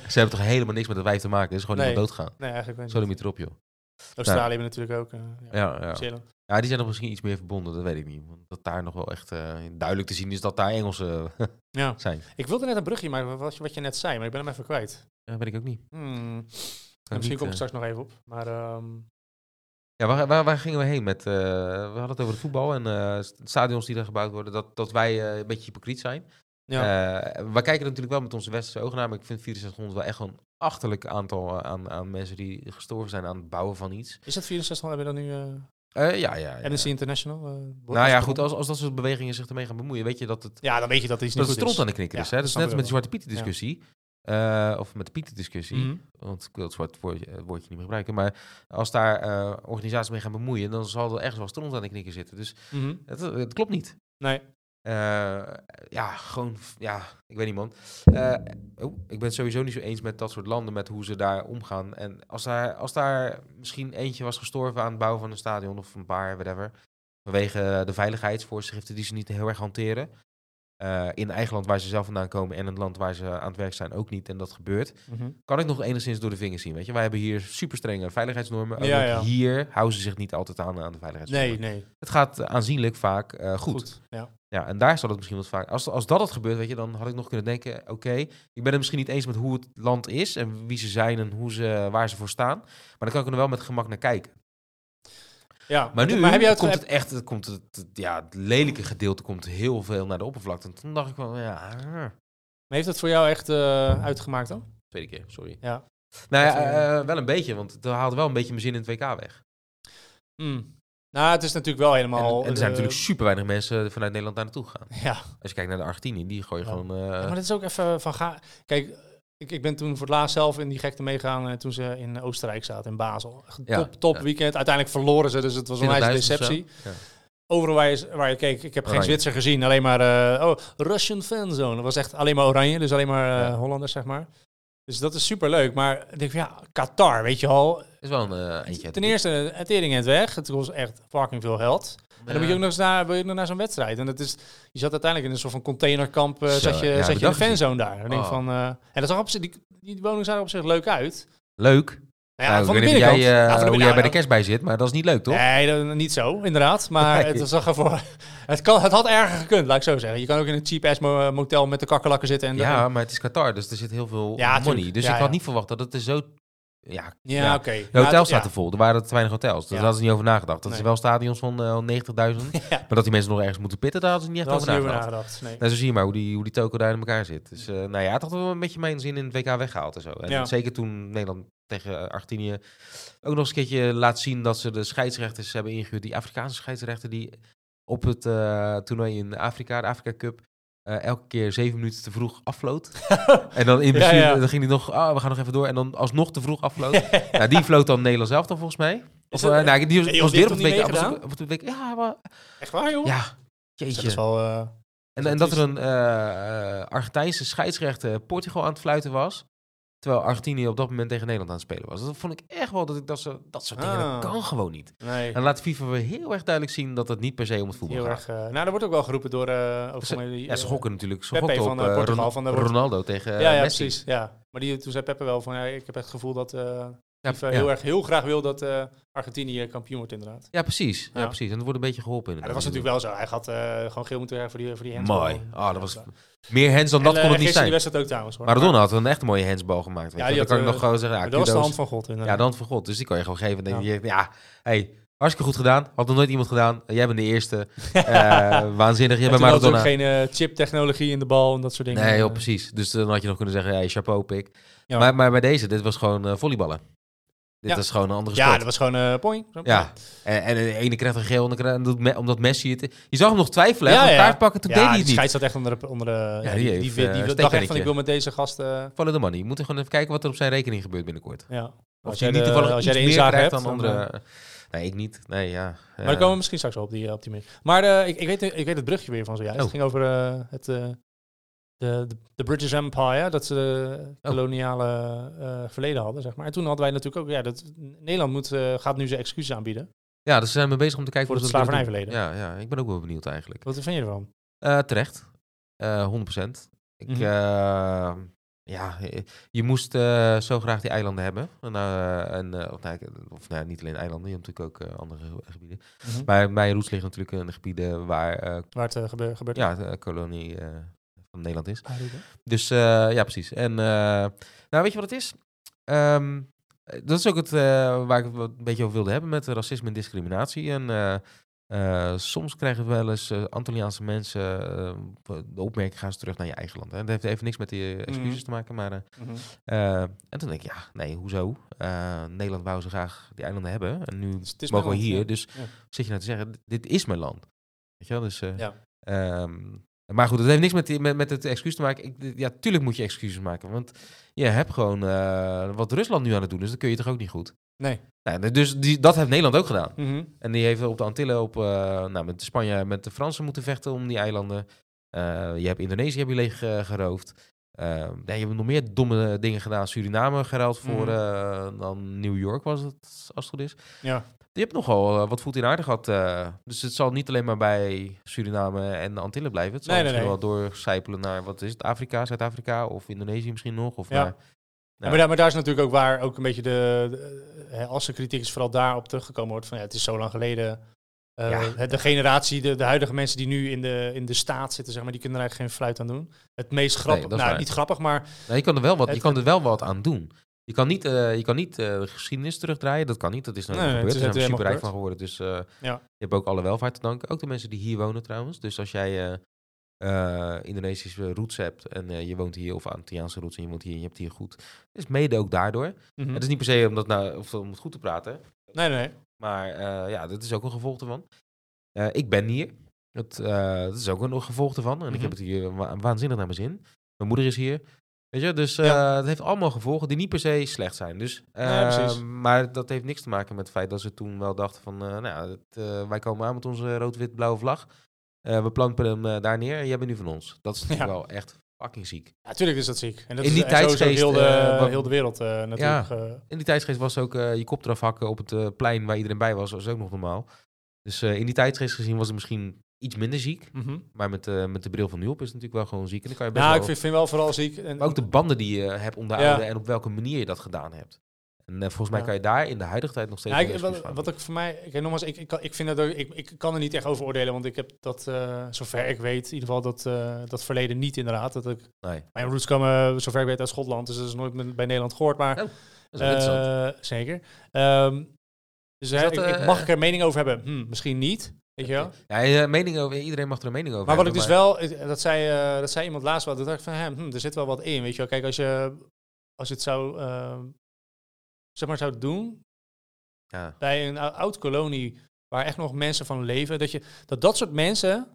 Ze hebben toch helemaal niks met het wijf te maken. Er is gewoon
Nee.
iemand doodgaan.
Nee, eigenlijk niet.
Zo niet erop, joh.
Australië hebben natuurlijk ook. eh, ja,
Ja, ja.
Zeeland.
ja, die zijn nog misschien iets meer verbonden, dat weet ik niet. Want dat daar nog wel echt eh, duidelijk te zien is dat daar Engelsen eh,
Ja.
zijn.
Ik wilde net een brugje maken wat, je- wat je net zei, maar ik ben hem even kwijt.
Ja, weet ik ook niet.
Hmm.
Kan
misschien
niet,
kom ik
eh,
straks nog even op. Maar ehm,
Ja, waar, waar, waar gingen we heen met... eh, we hadden het over het voetbal en eh, st- stadions die daar gebouwd worden. Dat, dat wij eh, een beetje hypocriet zijn.
ja.
Eh, we kijken er natuurlijk wel met onze westerse ogen naar, maar ik vind 6400 wel echt gewoon een achterlijk aantal eh, aan, aan mensen die gestorven zijn aan het bouwen van iets.
Is dat 64 hebben we dan nu eh
Eh, ja, ja. ja.
Amnesty International? eh,
Nou ja,
bron?
goed, als, als dat soort bewegingen zich ermee gaan bemoeien, weet je dat het,
Ja, dan weet je dat er iets
dat
niet
het
goed is.
stront aan de knikker
Ja,
is. Hè? Dat
dat
is net
snap ik
met de
wel.
Zwarte Pieten discussie, eh, of met de Pieten discussie,
Mhm.
want ik wil het zwart woordje, eh, woordje niet meer gebruiken, maar als daar eh, organisaties mee gaan bemoeien, dan zal er echt wel stront aan de knikker zitten. Dus
Mhm.
het, het klopt niet.
Nee.
Eh, ja, gewoon, f- ja, ik weet niet man. Eh, oh, ik ben het sowieso niet zo eens met dat soort landen, met hoe ze daar omgaan. En als daar, als daar misschien eentje was gestorven aan het bouwen van een stadion of een paar, whatever. Vanwege de veiligheidsvoorschriften die ze niet heel erg hanteren. eh, in eigen land waar ze zelf vandaan komen en het land waar ze aan het werk zijn ook niet. En dat gebeurt. Kan ik nog enigszins door de vingers zien, weet je. Wij hebben hier super strenge veiligheidsnormen.
Ja,
Ja,
ja.
Hier houden ze zich niet altijd aan aan de veiligheidsnormen.
Nee, nee.
Het gaat eh, aanzienlijk vaak eh,
Goed.
goed.
Ja.
Ja, en daar zal het misschien wat vaak. Als, als dat het gebeurt, weet je, dan had ik nog kunnen denken: oké, ik ben het misschien niet eens met hoe het land is en wie ze zijn en hoe ze, waar ze voor staan. Maar dan kan ik er wel met gemak naar kijken.
ja.
Maar nu
heb jij het,
komt
heb-
het echt, het, komt het, het- ja, het lelijke gedeelte komt heel veel naar de oppervlakte. En toen dacht ik wel, ja, ah,
maar heeft dat voor jou echt eh, uitgemaakt dan?
tweede keer, sorry.
Ja.
Nou ja,
Dat, eh,
eh, wel een beetje, want het haalde wel een beetje mijn zin in het WK weg.
Mm. Nou, het is natuurlijk wel
En,
helemaal...
en er
de-
zijn natuurlijk super weinig mensen vanuit Nederland daar naartoe gegaan.
Ja.
Als je kijkt naar de Argentinië, die gooi je
Ja.
gewoon. eh,
Ja, maar dat is ook even van ga. Kijk, ik, ik ben toen voor het laatst zelf in die gekte meegegaan eh, toen ze in Oostenrijk zaten, in Basel. Echt
Ja,
top, top
ja.
weekend. Uiteindelijk verloren ze, dus het was een wijze
20.000 of zo.
deceptie.
Ja.
Overal waar je, waar je keek, ik heb geen
Oranje.
Zwitser gezien, alleen maar eh, oh, Russian fanzone. Dat was echt alleen maar oranje, dus alleen maar eh,
Ja.
Hollanders, zeg maar. Dus dat is super leuk. Maar ik denk van ja, Qatar, weet je al.
is wel een eh, eentje. uit de
Ten eerste, het tering het weg. Het kost echt fucking veel geld. En dan moet je ook nog eens naar, wil je nog naar zo'n wedstrijd. En dat is, je zat uiteindelijk in een soort van containerkamp. eh,
Zo,
zat je,
ja,
zat je in de
bedacht is die.
fanzone daar. En, denk
Oh.
van, eh, en dat zag op zich, die, die woning zag er op zich leuk uit.
Leuk.
Nou ja,
Nou,
van
ik
de
weet niet of
binnenkant.
jij, eh,
Ja, van de
hoe jij bij
binnenkant.
de cash bij zit, maar dat is niet leuk, toch?
Nee, dat- niet zo, inderdaad. Maar
Nee.
het, zag ervoor, het, kan, het had erger gekund, laat ik zo zeggen. Je kan ook in een cheap-ass mo- motel met de kakkelakken zitten. En de-
ja, maar het is Qatar, dus er zit heel veel
Ja,
money.
tuurlijk.
Dus
Ja,
ik had
ja.
niet verwacht dat het er zo... Ja,
ja,
ja.
oké.
De hotels
Nou,
zaten vol. Er waren te weinig hotels. Dus
Ja.
daar hadden ze niet over nagedacht. Dat
Nee.
ze wel stadions van eh, 90.000. Maar dat die mensen nog ergens moeten pitten, daar hadden ze niet
ja,
echt
daar had
over
ik niet over
nagedacht.
nagedacht. Nee.
Nou, zo zie je maar hoe die, hoe die toko daar in elkaar zit. Dus eh, nou ja, het had wel een beetje mijn zin in het WK weggehaald en zo. En
Ja.
zeker toen Nederland tegen eh, Argentinië ook nog eens een keertje laat zien dat ze de scheidsrechters hebben ingehuurd. Die Afrikaanse scheidsrechter die op het eh, toernooi in Afrika, de Afrika Cup, eh, elke keer zeven minuten te vroeg afloot. en dan in principe
ja.
dan ging hij nog, ah, we gaan nog even door. En dan alsnog te vroeg afloot. nou, die floot dan Nederland zelf dan volgens mij. Of,
dat-
eh, nou, die was,
joh,
was
die
weer op
heeft
het
toch niet
WK. was
meegedaan?
op- Op het WK. Ja, maar,
Echt waar, joh?
ja.
dat
Jeetje.
is wel... eh,
En,
Dus
en
dat
dat er een eh, eh, Argentijnse scheidsrechter Portugal aan het fluiten was. Terwijl Argentinië op dat moment tegen Nederland aan het spelen was. Dat vond ik echt wel dat ik dat, zo, dat soort dingen.
Ah.
Dat kan gewoon niet.
nee,
En laat FIFA weer heel erg duidelijk zien dat het niet per se om het voetbal
heel
gaat.
erg... eh, nou, dat wordt ook wel geroepen door... eh ook
Ze-
van jullie,
Ja, ze
eh,
gokken natuurlijk. Ze
Pepe
gokken op
van, eh,
eh,
Portugal,
Ron-
van de-
Ronaldo tegen eh,
ja, ja,
Messi.
precies. Ja. Maar die, toen zei Peppe wel van... Ja, ik heb echt het gevoel dat... eh
Ja,
FIFA
ja.
heel erg heel graag wil dat eh, Argentinië kampioen wordt, inderdaad.
Ja, precies. Ja,
Ja.
precies. En dat wordt een beetje geholpen.
Ja, dat was natuurlijk wel zo. Hij had eh, gewoon geel moeten krijgen voor die, voor die handsbal.
Mooi. Ah, dat was
En,
meer hands dan dat
eh,
kon het niet
gisteren
zijn.
die wedstrijd ook trouwens. Hoor.
Maradona had een echt mooie handsbal gemaakt. Weet
Ja,
je.
die
Dan
had,
kan ik
eh,
nog gewoon zeggen, ja,
Maar dat was de
kudos.
hand van God.
Ja,
inderdaad.
de hand van God. Dus die kan je gewoon geven. En denk
Ja.
je, ja, hey, hartstikke goed gedaan. Had nog nooit iemand gedaan. Jij bent de eerste. Eh, waanzinnig. Jij
En
bent
toen hadden ze ook
Maradona.
geen eh, chip-technologie in de bal en dat soort dingen.
Nee, joh,
Eh,
precies. Dus dan had je nog kunnen zeggen, hey, chapeau, pik.
Ja.
Maar, maar bij deze, dit was gewoon eh, volleyballen. Dit
Ja.
was gewoon een andere
Ja,
sport.
dat was gewoon eh poing. Zo.
Ja. En, en de ene krijgt een geel, en de andere- en dat me- omdat Messi het... Je zag hem nog twijfelen,
Ja,
ja,
ja.
kaart pakken, toen
Ja,
deed hij het
die
niet.
scheids zat echt onder de... Onder de ja,
die
die, die,
heeft,
die- die
eh,
dacht echt
steekpennetje.
van, ik wil met deze gast... eh,
Follow the money. Je moet er gewoon even kijken wat er op zijn rekening gebeurt binnenkort.
ja. Als,
Of
jij
je
de-
niet toevallig
als
iets
jij de
meer
inzage
krijgt
hebt,
dan
dan, eh,
andere... Nee, ik niet. Nee, ja.
Maar daar komen we misschien straks wel op die, eh, op die manier. Maar eh, ik, ik, weet, ik weet het brugje weer van zojuist.
Oh.
Het ging over eh, het, eh, de, de, de British Empire, dat ze de
Oh.
koloniale eh, verleden hadden, zeg maar. En toen hadden wij natuurlijk ook, ja, dat Nederland moet, eh, gaat nu zijn excuses aanbieden.
Ja, dus ze zijn we bezig om te kijken
Voor
hoe
het
ze dat willen
slavernijverleden.
doen. Ja, ja, ik ben ook wel benieuwd eigenlijk.
Wat vind je ervan?
Eh, terecht. Eh 100%. Ik,
Mhm.
eh, ja, je- je moest eh, zo graag die eilanden hebben. En, eh, en, eh, of, nou, ik- of nou, niet alleen eilanden, je hebt natuurlijk ook eh, andere ge- gebieden. Maar mijn roots liggen natuurlijk in de gebieden waar eh,
Waar het eh, gebe- gebeurt.
ja, de kolonie eh, van Nederland is.
Ah, dit, hè?
Dus eh, ja, precies. En eh, nou, weet je wat het is? Ehm, dat is ook het eh, waar ik het wat een beetje over wilde hebben met racisme en discriminatie. En eh, eh, soms krijgen we wel eens eh, Antilliaanse mensen eh, de opmerking: gaan ze terug naar je eigen land. Hè? Dat heeft even niks met die eh, excuses
Mhm.
te maken. Maar, eh,
Mhm.
eh, en toen denk ik: ja, nee, hoezo? Eh, Nederland wou ze graag die eilanden hebben. En nu
Dus het is
mogen we
mijn land,
hier.
ja.
Dus
Ja.
zit je nou te zeggen: dit- dit is mijn land. Weet je wel? Dus, eh,
Ja.
Ehm, maar goed, dat heeft niks met, die- met, met het excuus te maken. Ik, ja, tuurlijk moet je excuses maken. Want je hebt gewoon eh, wat Rusland nu aan het doen is, dat kun je toch ook niet goed?
Nee.
Nou, dus die, dat heeft Nederland ook gedaan.
Mhm.
En die heeft op de Antillen op, eh, nou, met Spanje, met de Fransen moeten vechten om die eilanden. Eh, je hebt Indonesië heb je leeg eh, geroofd. Eh, nee, je hebt nog meer domme dingen gedaan. Suriname geruild voor
Mhm.
eh, dan New York was het, als het goed is.
Ja.
Je hebt nogal eh, wat voet in aarde gehad. eh. dus het zal niet alleen maar bij Suriname en de Antillen blijven. Het zal
Nee, nee,
misschien wel doorcijpelen naar, wat is het, Afrika, Zuid-Afrika of Indonesië misschien nog. Of
Ja.
naar-
Ja, Maar, daar, maar daar is natuurlijk ook waar ook een beetje de, de- hè, als er kritiek is, vooral daarop teruggekomen wordt van ja, het is zo lang geleden. Eh,
Ja.
het- De generatie, de, de huidige mensen die nu in de, in de staat zitten, zeg maar, die kunnen er eigenlijk geen fluit aan doen. Het meest grappig,
dat is
nou
waar.
niet grappig, maar
Nou, je, kan er wel wat, je
Het-
kan er wel wat aan doen. Je kan niet, eh, je kan niet eh, de geschiedenis terugdraaien. Dat kan niet. Dat is nou
Nee,
niet
nee,
gebeurd.
het
Daar
is
zijn we
helemaal
super rijk van
gebeurd.
geworden. Dus eh,
Ja.
je hebt ook alle welvaart te danken. Ook de mensen die hier wonen trouwens. Dus als jij eh, eh, Indonesische roots hebt en eh, je woont hier, of Antilliaanse roots en je woont hier en je hebt hier goed. Dus mede ook daardoor.
Mhm.
Het is niet per se om, dat nou, of om het goed te praten.
nee, nee, nee.
Maar eh, ja, dat is ook een gevolg ervan. Eh, ik ben hier. Het, eh, dat is ook een gevolg ervan. En ik
Mhm.
heb het hier wa- waanzinnig naar mijn zin. Mijn moeder is hier. Weet je, dus eh, het heeft allemaal gevolgen die niet per se slecht zijn. Dus,
Nee,
eh,
precies.
maar dat heeft niks te maken met het feit dat ze toen wel dachten van... eh, nou, ja, het, eh, wij komen aan met onze rood-wit-blauwe vlag. Eh, we planten hem eh, daar neer en jij bent nu van ons. Dat is natuurlijk
Ja.
wel echt fucking ziek.
Natuurlijk is dat ziek. En dat
In
is
die
en sowieso
tijdsgeest,
heel de,
eh, wat-
heel de wereld eh, natuurlijk. eh,
In die tijdsgeest was ook eh, je kop eraf hakken op het eh, plein waar iedereen bij was. was ook nog normaal. Dus eh, in die tijdsgeest gezien was het misschien iets minder ziek.
mhm.
Maar met, eh, met de bril van nu op is het natuurlijk wel gewoon ziek. En dan kan je best
Nou, ik
wel...
vind, vind wel vooral ziek. En,
Maar ook de banden die je eh, hebt om de
Ja.
oude en op welke manier je dat gedaan hebt. En eh, volgens mij
Ja.
kan je daar in de huidige tijd nog steeds...
Ja,
een
Nou, ik,
excuus
wat,
van
wat
doen.
ik voor mij, ik, nogmaals, ik, ik, kan- ik, vind dat ook, ik, ik kan er niet echt over oordelen, want ik heb dat, eh, zover ik weet, in ieder geval dat, eh, dat verleden niet inderdaad. Dat ik,
Nee,
mijn roots komen, eh, zover ik weet, uit Schotland, dus dat is nooit met- bij Nederland gehoord, maar
dat is wel interessant.
eh, zeker. Ehm, dus hè,
dat,
ik, ik-
eh,
mag ik er mening over hebben? Hm, misschien niet, weet je wel.
Ja, eh, mening over, iedereen mag er een mening over
Maar wat ik
hebben,
dus wel, eh, dat zei, eh, dat zei iemand laatst wel, dat dacht ik van, hè, hm, er zit wel wat in, weet je wel. Kijk, als je, als je het zou, eh, zeg maar, zou doen,
Ja,
bij een ou- oud kolonie waar echt nog mensen van leven, dat je, dat, dat soort mensen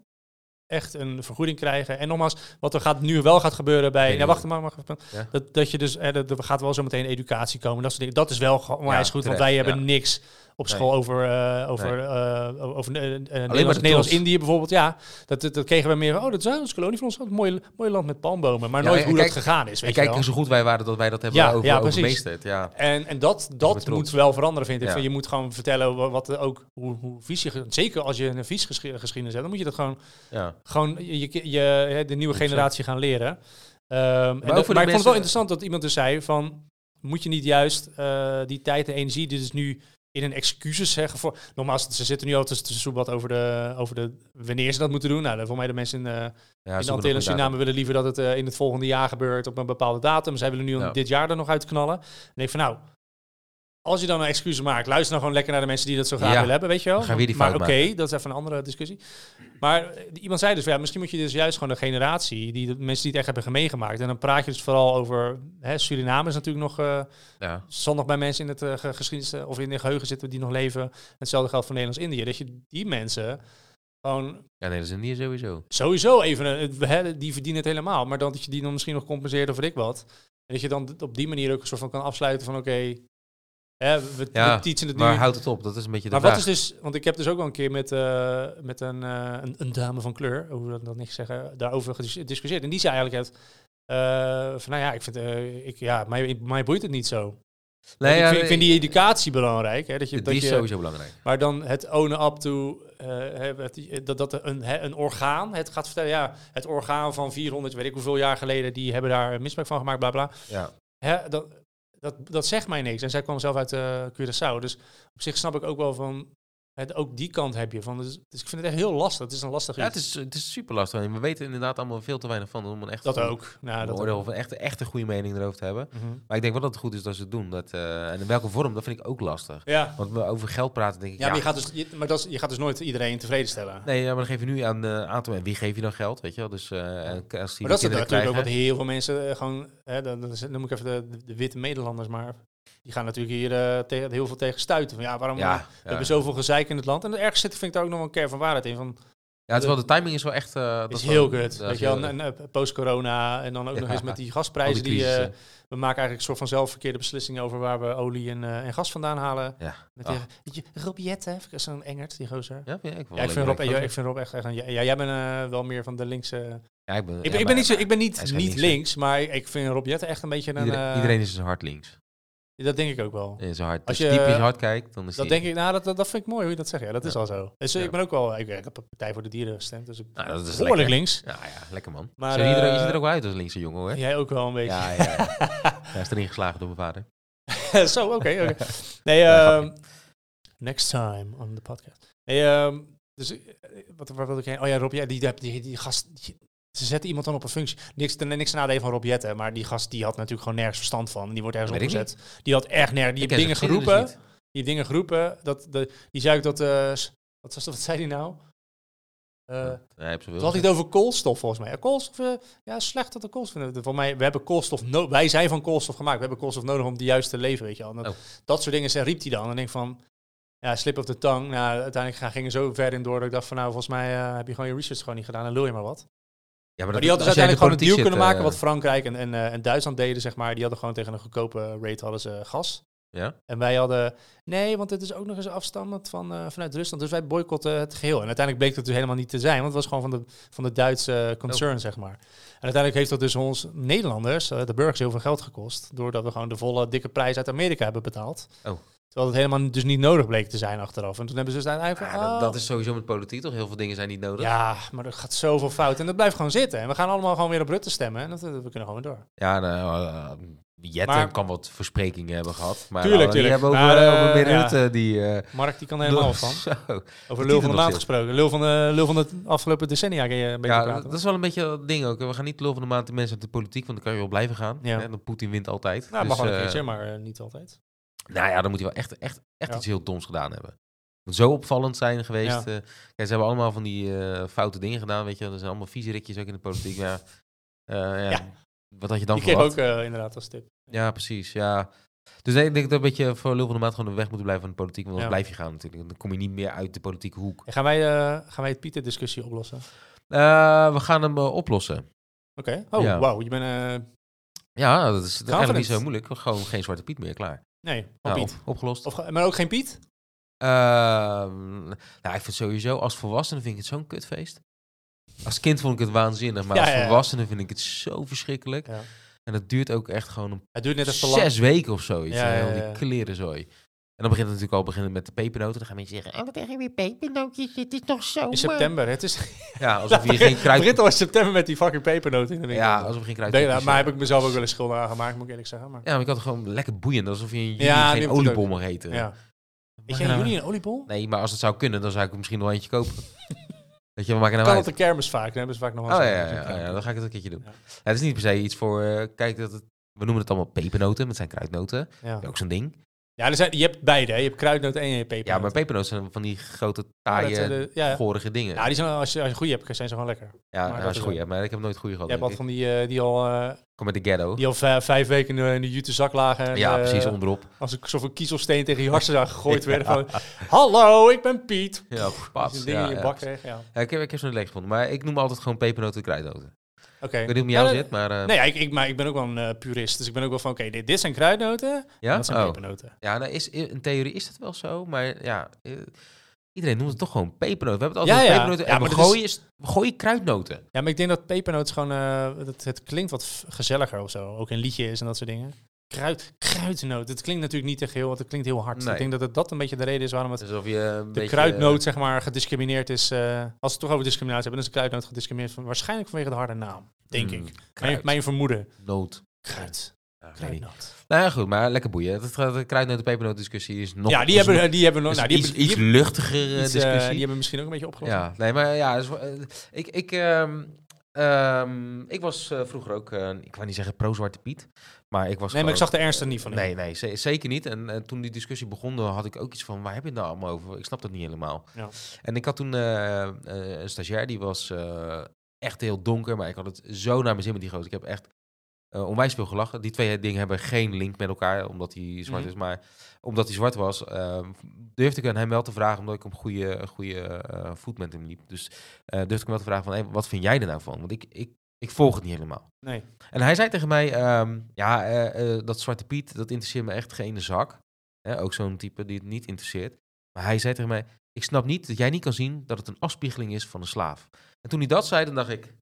echt een vergoeding krijgen. En nogmaals, wat er gaat, nu wel gaat gebeuren bij...
Nee,
nou, wacht maar, mag even.
Ja.
Dat, dat je dus... eh, dat- er gaat wel zo meteen educatie komen. Dat, soort dingen. dat is wel gewoon
Ja,
is goed,
terecht,
want wij hebben
ja.
niks op
Nee.
school over, eh, over,
Nee.
eh, o- over eh, eh,
maar
Nederlands-
de
Nederlands-Indië bijvoorbeeld. Ja, dat, dat, dat kregen we meer van, Oh, dat is een kolonie van ons. Wat een mooi, mooi land met palmbomen. Maar
Ja,
nooit
en
hoe
kijk-
dat gegaan is,
en
weet je wel.
kijk, zo goed wij waren dat wij dat hebben
Ja,
over,
ja, precies.
overmeesterd. Ja,
En, en dat,
ben
dat
trots.
moet wel veranderen, vind ik.
Ja.
Van, Je moet gewoon vertellen wa- wat er ook, hoe, hoe visie... ge- Zeker als je een vies gesche- geschiedenis hebt, dan moet je dat gewoon,
ja.
gewoon je, je, je- hè, de nieuwe
Exact.
generatie gaan leren. Ehm, en dat- maar
ook voor de
ik vond het wel
mensen-
interessant dat iemand dus zei van... Moet je niet juist eh, die tijd en energie, die dus nu in een excuses zeggen voor... Nogmaals, ze zitten nu al tussen tussen wat over de, over de... Wanneer ze dat moeten doen. Nou, voor mij de mensen in, eh,
ja
in de
zoeken
Antillen en
nog inderdaad.
Suriname willen liever dat het eh, in het volgende jaar gebeurt op een bepaalde datum. Zij willen nu
Ja.
dit jaar er nog uitknallen. En ik denk van nou, als je dan een excuus maakt, luister dan gewoon lekker naar de mensen die dat zo graag
Ja.
willen hebben, weet je wel.
Dan gaan we weer die
maar oké,
fout
dat is even een andere discussie. Maar eh, iemand zei dus, van, ja, misschien moet je dus juist gewoon een generatie, die de mensen die het echt hebben meegemaakt. En dan praat je dus vooral over, hè, Suriname is natuurlijk nog, eh
Ja.
zal nog bij mensen in het eh, ge- geschiedenis eh, of in de geheugen zitten die nog leven. Hetzelfde geldt voor Nederlands-Indië. Dat je die mensen gewoon
ja, nee, dat is een hier sowieso.
sowieso even, een- het- hè, die verdienen het helemaal. Maar dan dat je die dan misschien nog compenseert of weet ik wat. En dat je dan d- op die manier ook een soort van kan afsluiten van oké, hè, we,
Ja,
we teachen het nu.
Maar houdt het op, dat is een beetje de
maar
vraag.
wat is dus, want ik heb dus ook al een keer met, eh, met een, eh, een, een dame van kleur, hoe wil ik dat niet zeggen, daarover gedis- gediscussieerd. En die zei eigenlijk het, eh, van nou ja, ik vind, eh, ik, ja, mij, mij boeit het niet zo.
Nee,
ik,
ja,
vind, ik vind die educatie belangrijk. Hè, dat je,
die
dat
is
je,
sowieso belangrijk.
maar dan het ownen up to, eh, hè, het- dat, dat een, hè, een orgaan het gaat vertellen. Ja, het orgaan van 400, weet ik hoeveel jaar geleden, die hebben daar misbruik van gemaakt, bla bla.
Ja.
Hè, dat, dat, dat zegt mij niks. En zij kwam zelf uit eh Curaçao. Dus op zich snap ik ook wel van, het, ook die kant heb je. Van, dus, dus ik vind het echt heel lastig. Het is een lastig
Ja,
iets.
het is, het is super lastig. En we weten inderdaad allemaal veel te weinig van om een echt
dat ook. Nou, dat
oordeel
ook.
of een echte, echte goede mening erover te hebben.
Mhm.
Maar ik denk wel dat het goed is dat ze het doen. Dat, eh, en in welke vorm, dat vind ik ook lastig.
Ja,
Want we over geld praten, denk ik.
ja, maar, je gaat, dus, je, maar dat is, je gaat dus nooit iedereen tevreden stellen.
Nee, ja, maar dan geef je nu aan een aantal. En wie geef je dan geld? Weet je wel? Dus, eh, en k- als die
Maar dat is
kinderen
natuurlijk ook wat
krijgen-
heel veel mensen eh, gewoon, hè, dan, dan, dan noem ik even de, de, de witte Nederlanders maar. Die gaan natuurlijk hier eh, tegen, heel veel tegen stuiten. Van, ja, waarom
Ja,
eh,
ja.
we hebben zoveel gezeik in het land? En ergens zit, vind ik daar ook nog wel een kern van waarheid in. Van,
ja, het is wel, de timing is wel echt. eh, dat
is
wel-
heel
dat
kut.
is
Weet je
heel-
wel, en, en, eh, post-corona en dan ook nog
Ja.
eens met die
al
gasprijzen. Die, eh,
crisissen.
we maken eigenlijk een soort van zelf verkeerde beslissingen over waar we olie en, eh, en gas vandaan halen.
ja.
Met die,
Ah.
weet je, Rob Jette, vind ik zo'n engert, die gozer.
Ja, vind ik, wel
Ja, ik,
leuk,
vind Rob,
leuk.
ja, ik vind Rob echt... echt een, ja, ja, jij bent eh, wel meer van de linkse...
Ja, ik ben, ja,
Ik, ben- ik
maar
ben niet, zo, ik ben
hij
niet,
is
niet
geen
links,
linkse.
maar ik vind Rob Jetten echt een beetje een...
Iedereen,
eh,
iedereen is een hart links.
Dat denk ik ook wel.
In zijn hart.
Als
Als
je-
je diep in zijn hart kijkt, dan is
Dat
die-
denk ik, nou, dat, dat, dat vind ik mooi hoe je dat zegt. Ja, dat is
Ja.
al zo. Dus ik
Ja.
ben ook wel, ik, ik heb op Partij voor de Dieren gestemd, dus ik
Nou, dat is
behoorlijk
lekker.
links.
Ja, ja, lekker man.
Maar,
Maar, je, er,
eh,
je ziet er ook wel uit als een linkse jongen hoor.
Jij ook wel een beetje.
Ja, ja, ja. Hij is erin geslagen door mijn vader.
zo, oké. oké. Nee,
Ja,
ehm, next time on the podcast. Nee, ehm, dus eh, wat, wat wil ik heen? Oh ja, Rob Jette, die, die, die, die gast, die- ze zetten iemand dan op een functie. Niks, ten- niks nadeel van Rob Jette, maar die gast die had natuurlijk gewoon nergens verstand van. Die wordt ergens
Weet ik
opgezet. Die had echt nergens, die
Ik ken
heeft dingen
zijn geschiedenis niet.
geroepen. die heeft dingen geroepen. Dat, de, die zei ook dat, eh, s- wat, was, dat- wat zei die nou? Eh,
Hij heeft zoveel
toen had hij
gezegd.
het over koolstof volgens mij. Ja, koolstof, eh, ja, slecht dat de koolstof. Voor mij, we hebben koolstof no wij zijn van koolstof gemaakt. We hebben koolstof nodig om de juiste leven, weet je wel. En Dat,
Oh.
dat soort dingen zei- riep hij dan. En denk ik van, ja, slip of the tongue. Nou, uiteindelijk ga- ging er zo ver in door dat ik dacht van, nou, volgens mij eh, heb je gewoon je research gewoon niet gedaan en lul je maar wat.
Ja,
Maar
dat-
die hadden
als
dus
jij in de
uiteindelijk gewoon een deal
politiek
kunnen maken
zit,
wat Frankrijk en, en, eh, en Duitsland deden, zeg maar. Die hadden gewoon tegen een goedkope rate hadden ze eh, gas.
eh, Ja.
En wij hadden, nee, want het is ook nog eens afstammend van, eh, vanuit Rusland. Dus wij boycotten het geheel. En uiteindelijk bleek dat dus helemaal niet te zijn, want het was gewoon van de, van de Duitse eh,
Oh.
concern, zeg maar. En uiteindelijk heeft dat dus ons Nederlanders, eh, de burgers, heel veel geld gekost. Doordat we gewoon de volle dikke prijs uit Amerika hebben betaald.
Oh.
Terwijl het helemaal dus niet nodig bleek te zijn achteraf. En toen hebben ze dus
eh,
uiteindelijk...
ja,
van,
dat,
oh.
dat is sowieso met politiek toch? Heel veel dingen zijn niet nodig. Ja,
Ja, maar er gaat zoveel eh, fout. En dat blijft gewoon zitten. En we gaan allemaal gewoon weer op Rutte stemmen. En dat, dat- we kunnen gewoon weer door.
nou, eh, Jette
Maar-
kan wat versprekingen hebben gehad. Maar nou,
Tuurlijk,
die
tuurlijk.
hebben over,
Maar, eh,
over meer
ja.
Rutte die... eh,
Mark, die kan er helemaal van.
Zo.
Over
Die doet
lul van de
nog
maand
steeds.
gesproken. Lul van de, lul van de afgelopen decennia kan je een beetje
Ja,
praten.
dat is wel een beetje dat ding ook. hè. We gaan niet lul van de maand die mensen uit de politiek, want dan kan je wel blijven gaan.
Ja.
Hè, dan Poetin wint altijd.
nou,
Dus,
mag wel een
eh,
keertje, maar eh, niet altijd.
Nou ja, dan moet hij wel echt, echt, echt
Ja.
iets heel doms gedaan hebben. Moet zo opvallend zijn geweest.
Ja.
eh, kijk, ze hebben allemaal van die eh, foute dingen gedaan, weet je. wel. Er zijn allemaal vieze rikjes ook in de politiek. maar, eh, ja.
Ja.
Wat had je dan
Die kreeg
verwacht?
ook eh, inderdaad als tip.
Ja, precies, ja. Dus nee, ik denk dat een beetje voor lul van de maand gewoon weg moeten blijven van de politiek. Want dan
Ja.
blijf je gaan natuurlijk. Dan kom je niet meer uit de politieke hoek.
En gaan, wij, eh, gaan wij het Pieter-discussie oplossen? Oké.
Eh, we gaan hem eh, oplossen.
Oh,
Ja.
wauw. Je bent... eh,
Ja, dat is eigenlijk niet
Confident.
zo moeilijk. Gewoon geen Zwarte Piet meer, klaar.
nee, van
Nou,
Piet.
op- opgelost.
Of, ga- maar ook geen Piet?
Ehm, nou, ik vind het sowieso, als volwassene vind ik het zo'n kutfeest. Als kind vond ik het waanzinnig, maar
Ja,
als
ja, ja.
volwassene vind ik het zo verschrikkelijk.
Ja.
En dat duurt ook echt gewoon een
Het duurt net even te lang.
zes weken of zoiets.
Ja,
Ja,
ja, ja.
Die klerenzooi. En dan begint het natuurlijk al beginnen met de pepernoten. Dan gaan mensen zeggen,
Oh, wat erg weer pepernootjes. Het is nog zomer.
In september. Nou, Het is
ja, alsof je geen
Het
kruid...
begint al in september met die fucking pepernoot in de winkel.
Ja, alsof je geen kruid...
Nee, nou, maar heb ik mezelf ook wel eens schuldig aan gemaakt, moet ik eerlijk zeggen. Maar,
Ja, maar ik had het gewoon lekker boeiend. Alsof je in juli
Ja, nu
geen
heb ik het
oliebol mag eten.
ja. Is
Maar
jij
ja.
jullie een oliebol?
Nee, maar als het zou kunnen, dan zou ik er misschien nog eentje kopen. Weet je, we maken nou
kan
uit.
op de kermis vaak. Dan hebben ze vaak nog
Oh
wel
ja,
eens
ja,
een-
ja, ja, dan ga ik het een keertje doen.
Ja.
het is niet per se iets voor... eh, kijk, dat het, we noemen het allemaal pepernoten, maar het zijn kruidnoten.
ja.
Ook zo'n ding.
Ja, er zijn, je hebt beide. Hè. Je hebt kruidnoot en je hebt pepernoot.
Ja, maar pepernoten zijn van die grote,
Oh, dat
taaie,
zijn de- ja.
gorige dingen.
Nou, die zijn, als je, als je een goede hebt, zijn ze gewoon lekker.
ja,
maar
nou,
dat
is
is
goed. ja, Maar ik heb nooit goede
Je
gehad.
hebt
denk
altijd
ik.
van die, eh, die al, eh,
Kom met de ghetto.
die al vijf, vijf weken in de, in de jute zak lagen. En,
Ja,
eh,
precies, onderop.
Als ik zo'n kiezelsteen tegen je hartstikke gegooid werd. Van, hallo, ik ben Piet.
Ja,
Als
pats,
je een ding
ja,
in je
ja.
bak kreeg, ja.
Ja, ik heb, ik heb zo'n leeg gevonden. Maar ik noem altijd gewoon pepernoten en kruidnoten.
Oké.
Ik weet niet hoe het met jou
Ja,
zit, maar... eh,
Nee, ja, ik, ik, maar ik ben ook wel een eh, purist. Dus ik ben ook wel van, oké, dit, dit zijn kruidnoten. en
ja?
Dat zijn
Oh.
pepernoten.
Ja, nou is, in theorie is dat wel zo, maar ja, eh, iedereen noemt het toch gewoon pepernoten. We hebben het
Ja,
altijd over
ja.
pepernoten
Ja,
en
maar
we,
dat is-
gooien, is... we gooien kruidnoten.
Ja, maar ik denk dat pepernoten gewoon... eh, dat, het klinkt wat f- gezelliger of zo. Ook in liedjes en dat soort dingen. Kruid, kruidnoot. Het klinkt natuurlijk niet echt heel... Want het klinkt heel hard.
Nee.
Ik denk dat het, dat een beetje de reden is waarom het...
Alsof Dus je een
De
beetje, eh,
kruidnoot, zeg maar, gediscrimineerd is. eh, als we het toch over discriminatie hebben, dan is de kruidnoot gediscrimineerd. Van, waarschijnlijk vanwege de harde naam, denk
Mm,
ik. Mijn,
kruid.
mijn vermoeden.
Noot.
Kruid.
Ja, weet niet.
Kruidnoot.
Nou ja, goed, maar lekker boeien. Dat gaat- De kruidnoten-pepernoten discussie is nog...
Ja, die
is
hebben,
nog-
eh, die hebben, nog-
is
nou, die
iets,
hebben, die
iets
hebben
luchtigere
iets, eh,
discussie.
die hebben misschien ook een beetje opgelost.
Ja, nee, maar ja, dus, eh, ik, ik, ehm, ehm, ik was eh, vroeger ook, eh, ik wou niet zeggen pro-Zwarte Piet, maar ik was
Nee, maar
gewoon-
ik zag de ernst er niet van. in.
Nee, nee, ze- zeker niet. En eh, toen die discussie begon, dan had ik ook iets van, waar heb je het nou allemaal over? Ik snap dat niet helemaal.
Ja.
En ik had toen eh, eh, een stagiair, die was eh, echt heel donker, maar ik had het zo naar mijn zin met die gozer. Ik heb echt eh, onwijs veel gelachen. Die twee dingen hebben geen link met elkaar, omdat hij zwart
Mhm.
is. Maar omdat hij zwart was, eh, durfde ik aan hem wel te vragen, omdat ik op goede, een goede eh, voet met hem liep. Dus eh, durfde ik hem wel te vragen van, hey, wat vind jij er nou van? Want ik, ik, ik volg het niet helemaal.
Nee.
En hij zei tegen mij, ehm, ja, eh, eh, dat Zwarte Piet, dat interesseert me echt geen zak. Hè, ook zo'n type die het niet interesseert. Maar hij zei tegen mij, ik snap niet dat jij niet kan zien dat het een afspiegeling is van een slaaf. En toen hij dat zei, dan dacht ik,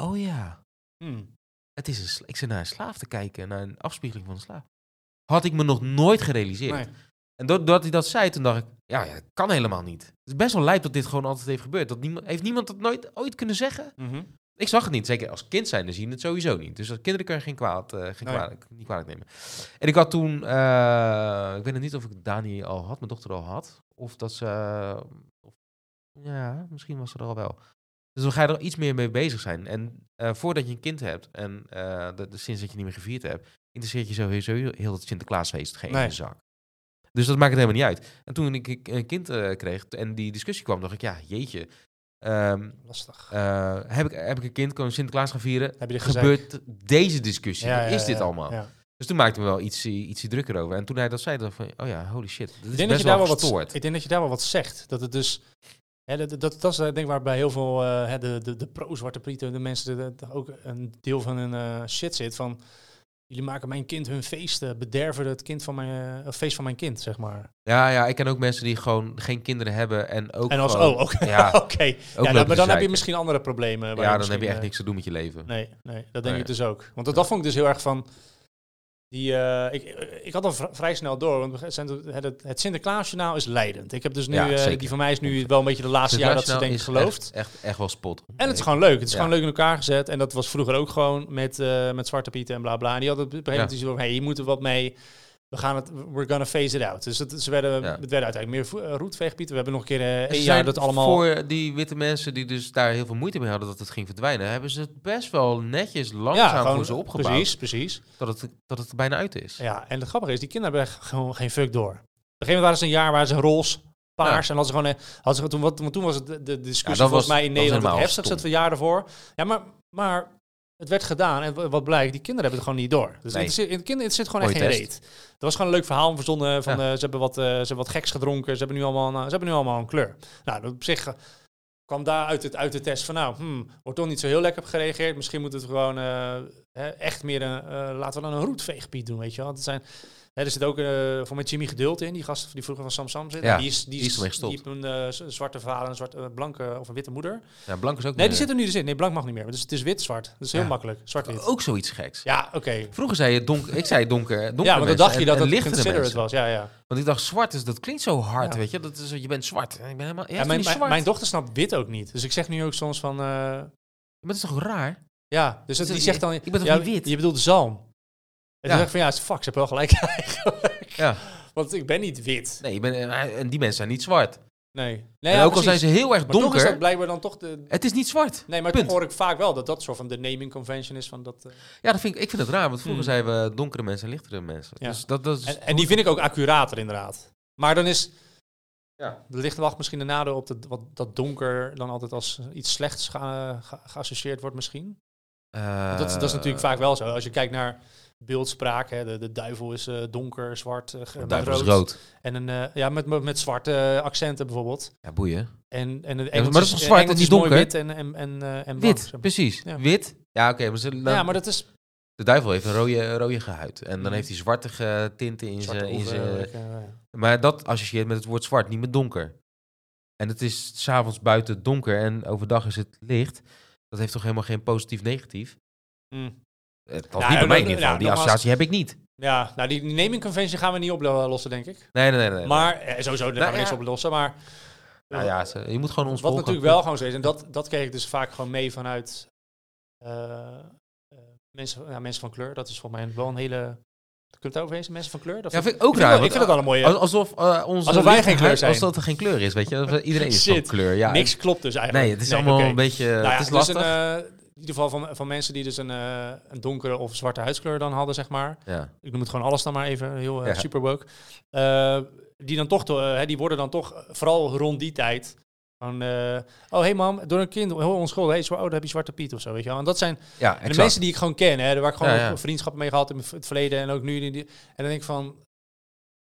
oh ja,
Hmm.
het is een sla- ik zit naar een slaaf te kijken, naar een afspiegeling van een slaaf. Had ik me nog nooit gerealiseerd.
Nee.
En doordat hij dat zei, toen dacht ik, ja, ja, dat kan helemaal niet. Het is best wel lijp dat dit gewoon altijd heeft gebeurd. Dat niemand, heeft niemand dat nooit ooit kunnen zeggen?
Mhm.
Ik zag het niet. Zeker als kind zijn, dan zie je het sowieso niet. Dus als kinderen kun je geen kwaad, eh, geen
Nee.
kwalijk, niet kwalijk nemen. En ik had toen, eh, ik weet nog niet of ik Dani al had, mijn dochter al had. Of dat ze, eh, of- ja, misschien was ze er al wel. Dus dan ga je er iets meer mee bezig zijn. En eh, voordat je een kind hebt en eh, dat- sinds dat je niet meer gevierd hebt, interesseert je sowieso heel dat Sinterklaasfeest geen
Nee.
ene zak. Dus dat maakt het helemaal niet uit. En toen ik ik een kind eh, kreeg en die discussie kwam, dacht ik, ja, jeetje. ehm,
Lastig.
eh, heb, ik, heb ik een kind, kan ik Sinterklaas gaan vieren?
Heb je dit gezegd?
Gebeurt deze discussie?
Ja, ja,
is dit
ja,
allemaal?
ja.
Dus toen maakte ik me wel iets, iets drukker over. En toen hij dat zei, dacht ik van, oh ja, holy shit. Dit
Ik
is
denk, dat
best
je daar
wel
wel wat,
gestoord.
ik denk dat je daar wel wat zegt. Dat het dus. Hè, dat, dat, dat is eh, denk ik waar bij heel veel eh, hè, de, de, de pro-zwarte prieten, de mensen, de, de- ook een deel van hun eh, shit zit. Van jullie maken mijn kind hun feesten, bederven het kind van mijn, eh, feest van mijn kind, zeg maar.
Ja, ja, ik ken ook mensen die gewoon geen kinderen hebben en ook
en als,
gewoon-
oh, oké.
Ja,
oké.
ook
Ja,
lopen te
dan- maar dan heb je
zeiken.
misschien andere problemen. waar
Ja, dan heb je
misschien,
echt
eh,
niks te doen met je leven.
Nee, nee, dat denk
Nee.
ik dus ook. Want dat, dat vond ik dus heel erg van. Die, eh, ik, ik had al vri- vrij snel door, want we zijn toen- het, het Sinterklaasjournaal is leidend. Ik heb dus nu,
Ja,
eh,
zeker.
die van mij is nu wel een beetje de laatste jaar dat ze
Internationaal
denk ik
is nou
gelooft.
Echt, echt, echt wel spot.
En het is gewoon leuk. Het is
Ja.
gewoon leuk in elkaar gezet. En dat was vroeger ook gewoon met, eh, met Zwarte Pieten en bla bla. En die hadden op een gegeven moment
Ja.
iets van, hey, hier moeten we wat mee. We gaan het, we're gonna phase it out. Dus het, ze werden,
Ja.
het werden uiteindelijk meer vo- eh, roetveegpieten. We hebben nog een keer
En
eh één
ze
jaar
zijn
dat allemaal...
Voor die witte mensen die dus daar heel veel moeite mee hadden dat het ging verdwijnen, hebben ze het best wel netjes langzaam voor ze opgebouwd.
Precies, precies.
Dat, het, dat het er bijna uit is.
Ja, en het grappige is, die kinderen hebben echt gewoon geen fuck door. Op een gegeven moment waren ze een jaar waar ze roze, paars en hadden ze gewoon... eh, Hadden ze, toen, wat, want toen was het de, de discussie
Ja, dat
volgens
was-
mij in
dat was
Nederland het
helemaal
heftigste het
stom.
jaar ervoor. Ja, maar, maar het werd gedaan en wa- wat blijkt, die kinderen hebben het gewoon niet door. Dus
Nee.
het, zit, het, kind, het zit gewoon echt geen
Mooie
reet. Dat was gewoon een leuk verhaal om verzonnen van
Ja.
eh, ze, hebben wat, eh, ze hebben wat geks gedronken, ze hebben nu allemaal, een- ze hebben nu allemaal een kleur. Nou, op zich eh, kwam daar uit, het, uit de test van, nou, hmm, wordt toch niet zo heel lekker op gereageerd. Misschien moeten we het gewoon eh, hè, echt meer een, eh, laten we dan een roetveegpiet doen, weet je wel. Dat zijn, hè, er zit ook eh voor met Jimmy Geduld in, die gast die vroeger van Sam Sam zit.
Ja,
die is, die
die is ermee gestopt.
Die heeft een eh, z- een zwarte vader, en een zwarte, eh, blanke of een witte moeder.
Ja, blank is ook
Nee,
niet-
die zit er nu dus in. Nee, blank mag niet meer. Dus het is wit-zwart. Dat is heel
Ja. Oh.
makkelijk. Zwart-wit.
ook zoiets geks.
Ja, oké.
Vroeger zei je donker, ik zei donker, donker
Ja, want dan dacht je dat
het
dat
lichtere
considerate
mensen.
was. Ja, ja.
Want ik dacht zwart is dat klinkt zo hard,
Ja.
weet je? Dat is je bent zwart. Ik ben helemaal ja,
ja mijn,
mijn, zwart.
mijn, mijn dochter snapt wit ook niet. Dus ik zeg nu ook soms van... eh,
maar dat is toch raar?
ja, dus
Dus
dat, die
ik-
zegt dan...
ik ben toch
ja,
niet wit?
Je bedoelt zalm. En
Ja.
dan zeg ik van, ja, fuck, ze hebben wel gelijk eigenlijk.
Ja.
Want ik ben niet wit.
Nee, je bent- en- en die mensen zijn niet zwart.
Nee. nee
en
ja,
ook al
precies.
zijn ze heel erg
Maar toch is
donker,
dat blijkbaar dan toch de...
het is niet zwart.
Nee, maar
Punt.
toch hoor ik vaak wel dat dat soort van de naming convention is van dat... eh,
Ja, dat vind ik, ik vind het raar, want vroeger
Hmm.
zeiden we eh, donkere mensen en lichtere mensen.
Ja.
Dus dat, dat is,
En, en die vind ik ook accurater, inderdaad. Maar dan is.
Ja.
Er ligt wel misschien de nadeel op dat, wat, dat donker dan altijd als iets slechts ge- ge- geassocieerd wordt, misschien.
Eh,
Want Dat, dat is natuurlijk vaak wel zo. Als je kijkt naar beeldspraak, hè, de, de duivel is eh, donker, zwart, eh, ge-
de
met
Duivel is
rood.
rood.
En een, eh, ja, met, met, met zwarte accenten bijvoorbeeld.
Ja, boeien.
En, en
maar
het Engels eh,
dat is toch zwart en
Engels
niet
mooi
donker?
wit en, en, en, eh, en blank,
Wit,
zeg maar.
precies.
Ja.
Wit. Ja, oké. maar ze-
Ja,
dan-
maar dat is...
De duivel heeft een rode, rode huid. En dan
Mhm.
heeft hij zwarte tinten in
zwarte
zijn... in
oever,
zijn-
eh, ja.
Maar dat associeert met het woord zwart, niet met donker. En het is s'avonds buiten donker en overdag is het licht. Dat heeft toch helemaal geen positief-negatief?
Mm.
Het was Eh, niet
Ja,
bij
en
mij in
dan-
ieder geval.
ja,
Die
nogmaals-
associatie heb ik niet.
Ja, nou die, die naming convention gaan we niet oplossen, denk ik.
Nee, nee, nee. nee.
Maar eh, sowieso, daar gaan we
ja.
niks op lossen. Maar
Nou ja, ze- je moet gewoon ons
wat
volgen.
natuurlijk wel gewoon zo is, en dat, dat kreeg ik dus vaak gewoon mee vanuit eh, eh, mensen, ja, mensen van kleur. Dat is volgens mij wel een hele... Kunnen we het daarover eens? Mensen van kleur? Dat
Ja,
vind
vind ik ook raar.
ik, wel-
want
ik vind het wel een mooie...
als- Alsof, eh, onze
Alsof wij
lichte
geen kleur
huid-
zijn.
Alsof dat er geen kleur is, weet je. Dat- Iedereen is van
Shit.
kleur. Ja,
niks klopt dus eigenlijk.
Nee, het is
Nee,
allemaal
oké.
een beetje...
Nou ja,
het is
dus een,
lastig.
eh, in ieder geval van, van mensen die dus een, eh, een donkere of zwarte huidskleur dan hadden, zeg maar.
ja.
ik noem het gewoon alles dan maar even, heel eh,
Ja.
super woke. Eh, die dan toch, eh, hè, die worden dan toch, eh, vooral rond die tijd, van, eh, oh hey mam, door een kind, heel onschuldig, hey, zwa- oh, daar heb je Zwarte Piet of zo, weet je wel. En dat zijn
ja,
de
exact.
mensen die ik gewoon ken, hè, waar ik gewoon
Ja, ja.
ook vriendschappen mee gehad heb in het verleden en ook nu. die- die- En dan denk ik van,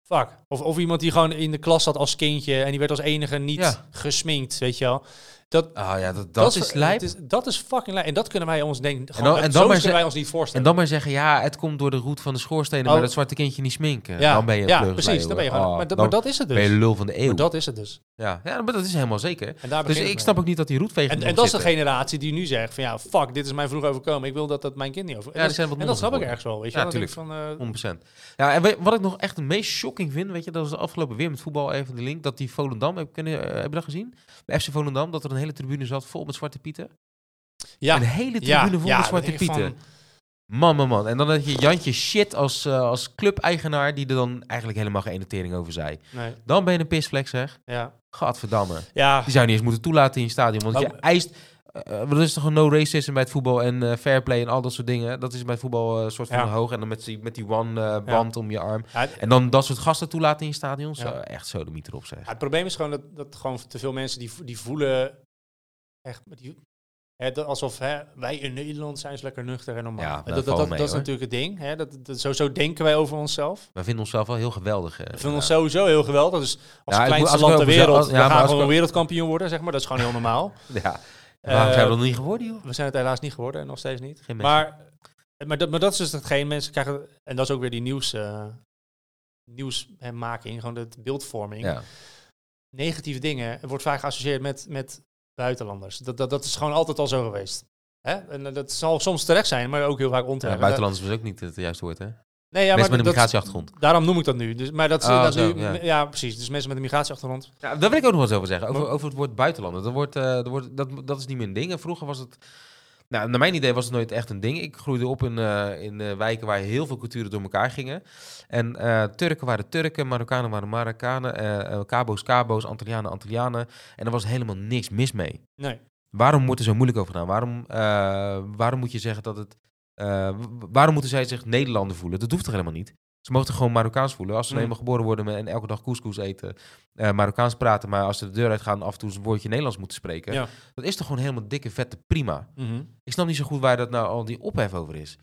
fuck. Of, of iemand die gewoon in de klas zat als kindje en die werd als enige niet
Ja.
gesminkt, weet je wel. Dat,
Ah ja, dat, dat is lijp.
het Dat is fucking lijp. En dat kunnen wij ons denk gewoon,
dan- en dan
zo
maar
kunnen
ze-
wij ons niet voorstellen.
En dan maar zeggen, ja, het komt door de roet van de schoorstenen,
Oh.
maar dat zwarte kindje niet sminken.
ja,
dan ben je een
ja,
pleugelaar,
precies. Dan ben je
hoor.
gewoon,
Oh,
maar, dat-
dan
maar dat is het dus.
ben je lul van de eeuw.
Maar dat is het dus.
Ja. ja, maar dat is helemaal zeker.
En daar
Dus
begint het
ik
mee.
snap ook niet dat die roetveger
En, en dat is de generatie die nu zegt van ja, fuck, dit is mij vroeg overkomen. Ik wil dat dat mijn kind niet over. En,
Ja, die
dat,
zijn wat
en dat snap ik
mondiger
ergens wel, weet je.
Ja,
wel. Dan denk ik van, eh,
100%. Ja, en weet- wat ik nog echt het meest shocking vind, weet je, dat was de afgelopen weer met voetbal even de link, dat die Volendam, heb, kunnen, eh, heb je dat gezien? Bij FC Volendam, dat er een hele tribune zat vol met zwarte pieten.
ja,
Een hele
eh, ja,
tribune vol
ja,
met
dan
zwarte
denk ik van,
pieten. Man, man, man. En dan had je Jantje shit als, eh, als club-eigenaar, die er dan eigenlijk helemaal geen ene tering over zei.
nee,
Dan ben je een pisvlek, zeg.
ja,
Gadverdamme.
ja,
Die zou je niet eens moeten toelaten in je stadion. Want
Maar-
je eist. eh, eh, er is toch een no-racism bij het voetbal en eh, fair play en al dat soort dingen. Dat is bij het voetbal eh, een soort van
Ja.
hoog. En dan met die, met die one-band om je arm.
Ja, het-
En dan dat soort gasten toelaten in je stadion. Zo,
Ja.
Echt zo de mieter op zeg.
ja, het probleem is gewoon dat, dat gewoon te veel mensen die, vo- die voelen echt die, hè, dat- alsof hè, wij in Nederland zijn is lekker nuchter en normaal.
Ja,
dat
dat
dat,
valt
dat,
mee,
dat is
hoor.
natuurlijk het ding. Hè? Dat, dat, zo, zo denken wij over onszelf.
We vinden onszelf wel heel geweldig. eh,
Ik vind ons
ja.
sowieso heel geweldig. Dus als
Ja, ik moet-
kleinste
als ik
land ter
ook mezelf-
wereld,
als- ja,
we
maar
gaan
als
gewoon
ik ook-
wereldkampioen worden, zeg maar. Dat is gewoon heel normaal.
Ja. En Waarom zijn
Eh,
we dat nog niet geworden, joh?
We zijn het helaas niet geworden en nog steeds niet.
Geen mensen.
Maar, maar, dat, maar dat is dus hetgeen mensen krijgen. En dat is ook weer die nieuws, eh nieuwsmaking, gewoon de beeldvorming.
Ja.
Negatieve dingen wordt vaak geassocieerd met, met buitenlanders. Dat, dat, dat is gewoon altijd al zo geweest. Hè? En eh, dat zal soms terecht zijn, maar ook heel vaak
Ja,
onterecht. En dat-
buitenlanders was ook niet het juiste woord, hè?
Nee, ja,
Mensen met een
dat-
migratieachtergrond.
Daarom noem ik dat nu. Dus, maar dat, ze
Oh,
dat
zo,
nu,
ja.
ja. precies. Dus mensen met een migratieachtergrond.
Ja, daar wil ik ook nog wat over zeggen. Over,
Maar-
over het woord buitenlander. Dat, wordt, eh, dat, wordt, dat, dat is niet meer een ding. En vroeger was het... Nou, naar mijn idee was het nooit echt een ding. Ik groeide op in, eh, in eh, wijken waar heel veel culturen door elkaar gingen. En eh, Turken waren Turken, Marokkanen waren Marokkanen, eh, eh, Cabo's Cabo's, Antillianen Antillianen. En er was helemaal niks mis mee.
Nee.
Waarom wordt er zo moeilijk over gedaan? Waarom, eh, waarom moet je zeggen dat het. eh, w- waarom moeten zij zich Nederlander voelen? Dat hoeft toch helemaal niet? Ze mogen toch gewoon Marokkaans voelen. Als ze
Mm.
eenmaal geboren worden met- en elke dag couscous eten, eh, Marokkaans praten, maar als ze de deur uitgaan, af en toe een woordje Nederlands moeten spreken.
Ja. Mhm.
Dat is toch gewoon helemaal dikke, vette prima. Ik snap niet zo goed waar dat nou al die ophef over is.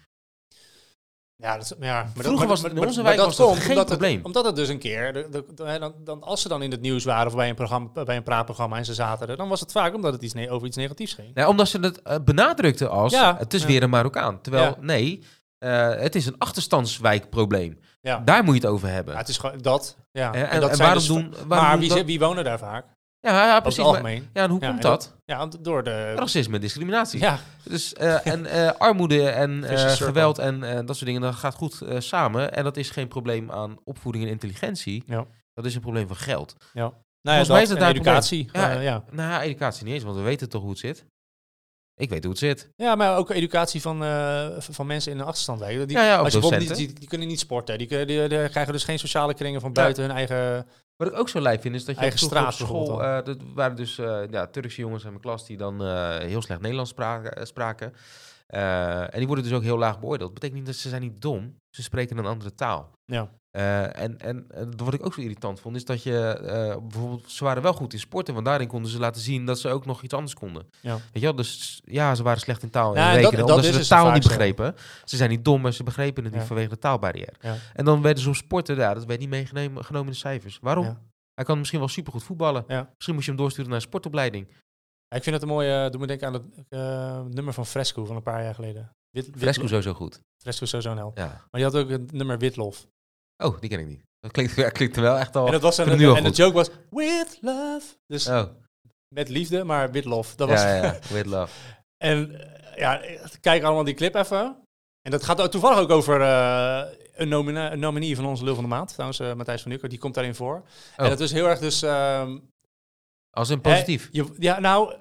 Ja, dat, is- ja,
Vroeger
maar dat, maar-
was het-
maar-
in onze
maar
wijk was dat
komt
geen
omdat
probleem.
Het, omdat het dus een keer, de- de- de- hè, dan, dan, als ze dan in het nieuws waren of bij een, programma, bij een praatprogramma en ze zaten er, dan was het vaak omdat het iets ne- over iets negatiefs ging.
Nou, omdat ze het eh, benadrukten als
Ja,
het is
ja.
weer een Marokkaan. Terwijl
Ja.
nee, eh, het is een achterstandswijkprobleem.
Ja.
Daar moet je het over hebben.
Ja, het is gewoon dat. Ja.
Eh, en,
dat
en
zijn
waarom
dus-
doen. Waarom
maar
doen
wie,
dat-
zi- wie wonen daar vaak?
Ja, ja,
Over
precies.
het
maar-
algemeen.
Ja, en hoe
Ja,
komt
en
dat?
Ja, want door de...
Racisme en discriminatie.
Ja,
Dus, eh, en eh, armoede en eh,
Vicious circle.
geweld en eh, dat soort dingen, dat gaat goed eh, samen. En dat is geen probleem aan opvoeding en intelligentie.
Ja.
Dat is een probleem van geld.
nou ja,
Volgens mij is
dat
het
en
daar het
educatie.
probleem. Ja,
eh, ja.
Nou, ja, educatie niet eens, want we weten toch hoe het zit. Ik weet hoe het zit.
Ja, maar ook educatie van, eh, v- van mensen in een achterstandwijk. Die,
Ja, ja, ook
als je bijvoorbeeld niet,
docenten.
die, die kunnen niet sporten. Die, kunnen- die, die krijgen dus geen sociale kringen van
Ja.
buiten hun eigen...
Wat ik ook zo lijp vind, is dat je
Eigen
vroeger op
straat
school...
bijvoorbeeld
eh, dat waren dus eh, ja, Turkse jongens in mijn klas die dan eh, heel slecht Nederlands spraken. eh, spraken. Eh, en die worden dus ook heel laag beoordeeld. Betekent niet dat ze zijn niet dom. Ze spreken een andere taal.
Ja.
Eh, en, en eh, wat ik ook zo irritant vond, is dat je eh, bijvoorbeeld, ze waren wel goed in sporten, want daarin konden ze laten zien dat ze ook nog iets anders konden.
Ja.
Weet je wel, dus ja, ze waren slecht in taal en
Ja, en dat-
rekenen,
dat
omdat
is
ze de
dus vaak
taal niet
zo.
begrepen. Ze zijn niet dom, maar ze begrepen het niet
Ja.
vanwege de taalbarrière.
Ja.
En dan werden ze op sporten, ja, dat werd niet meegenomen genomen in de cijfers. Waarom?
Ja.
Hij kan misschien wel supergoed voetballen.
Ja.
Misschien moest je hem doorsturen naar een sportopleiding.
Ja, ik vind het een mooie... Doe me denken aan het eh, nummer van Fresco van een paar jaar geleden. Wit, Wit-
Fresco sowieso goed.
Fresco sowieso een held.
Ja.
Maar die had ook het nummer Witlof.
Oh, die ken ik niet. Dat klinkt, ja, klinkt wel echt al...
En, dat was een,
Oh, vind ik nu al
en de
goed.
joke was... With love. Dus
Oh,
met liefde, maar Witlof. Dat
ja,
was...
ja, ja. With love.
En eh, ja, kijk allemaal die clip even. En dat gaat ook toevallig ook over eh, een, nomina- een nominee van onze Lul van de Maand. Trouwens, eh, Matthijs van Nukker, die komt daarin voor.
Oh.
En dat is heel erg dus... ehm,
Als een positief.
hè, je- ja, nou...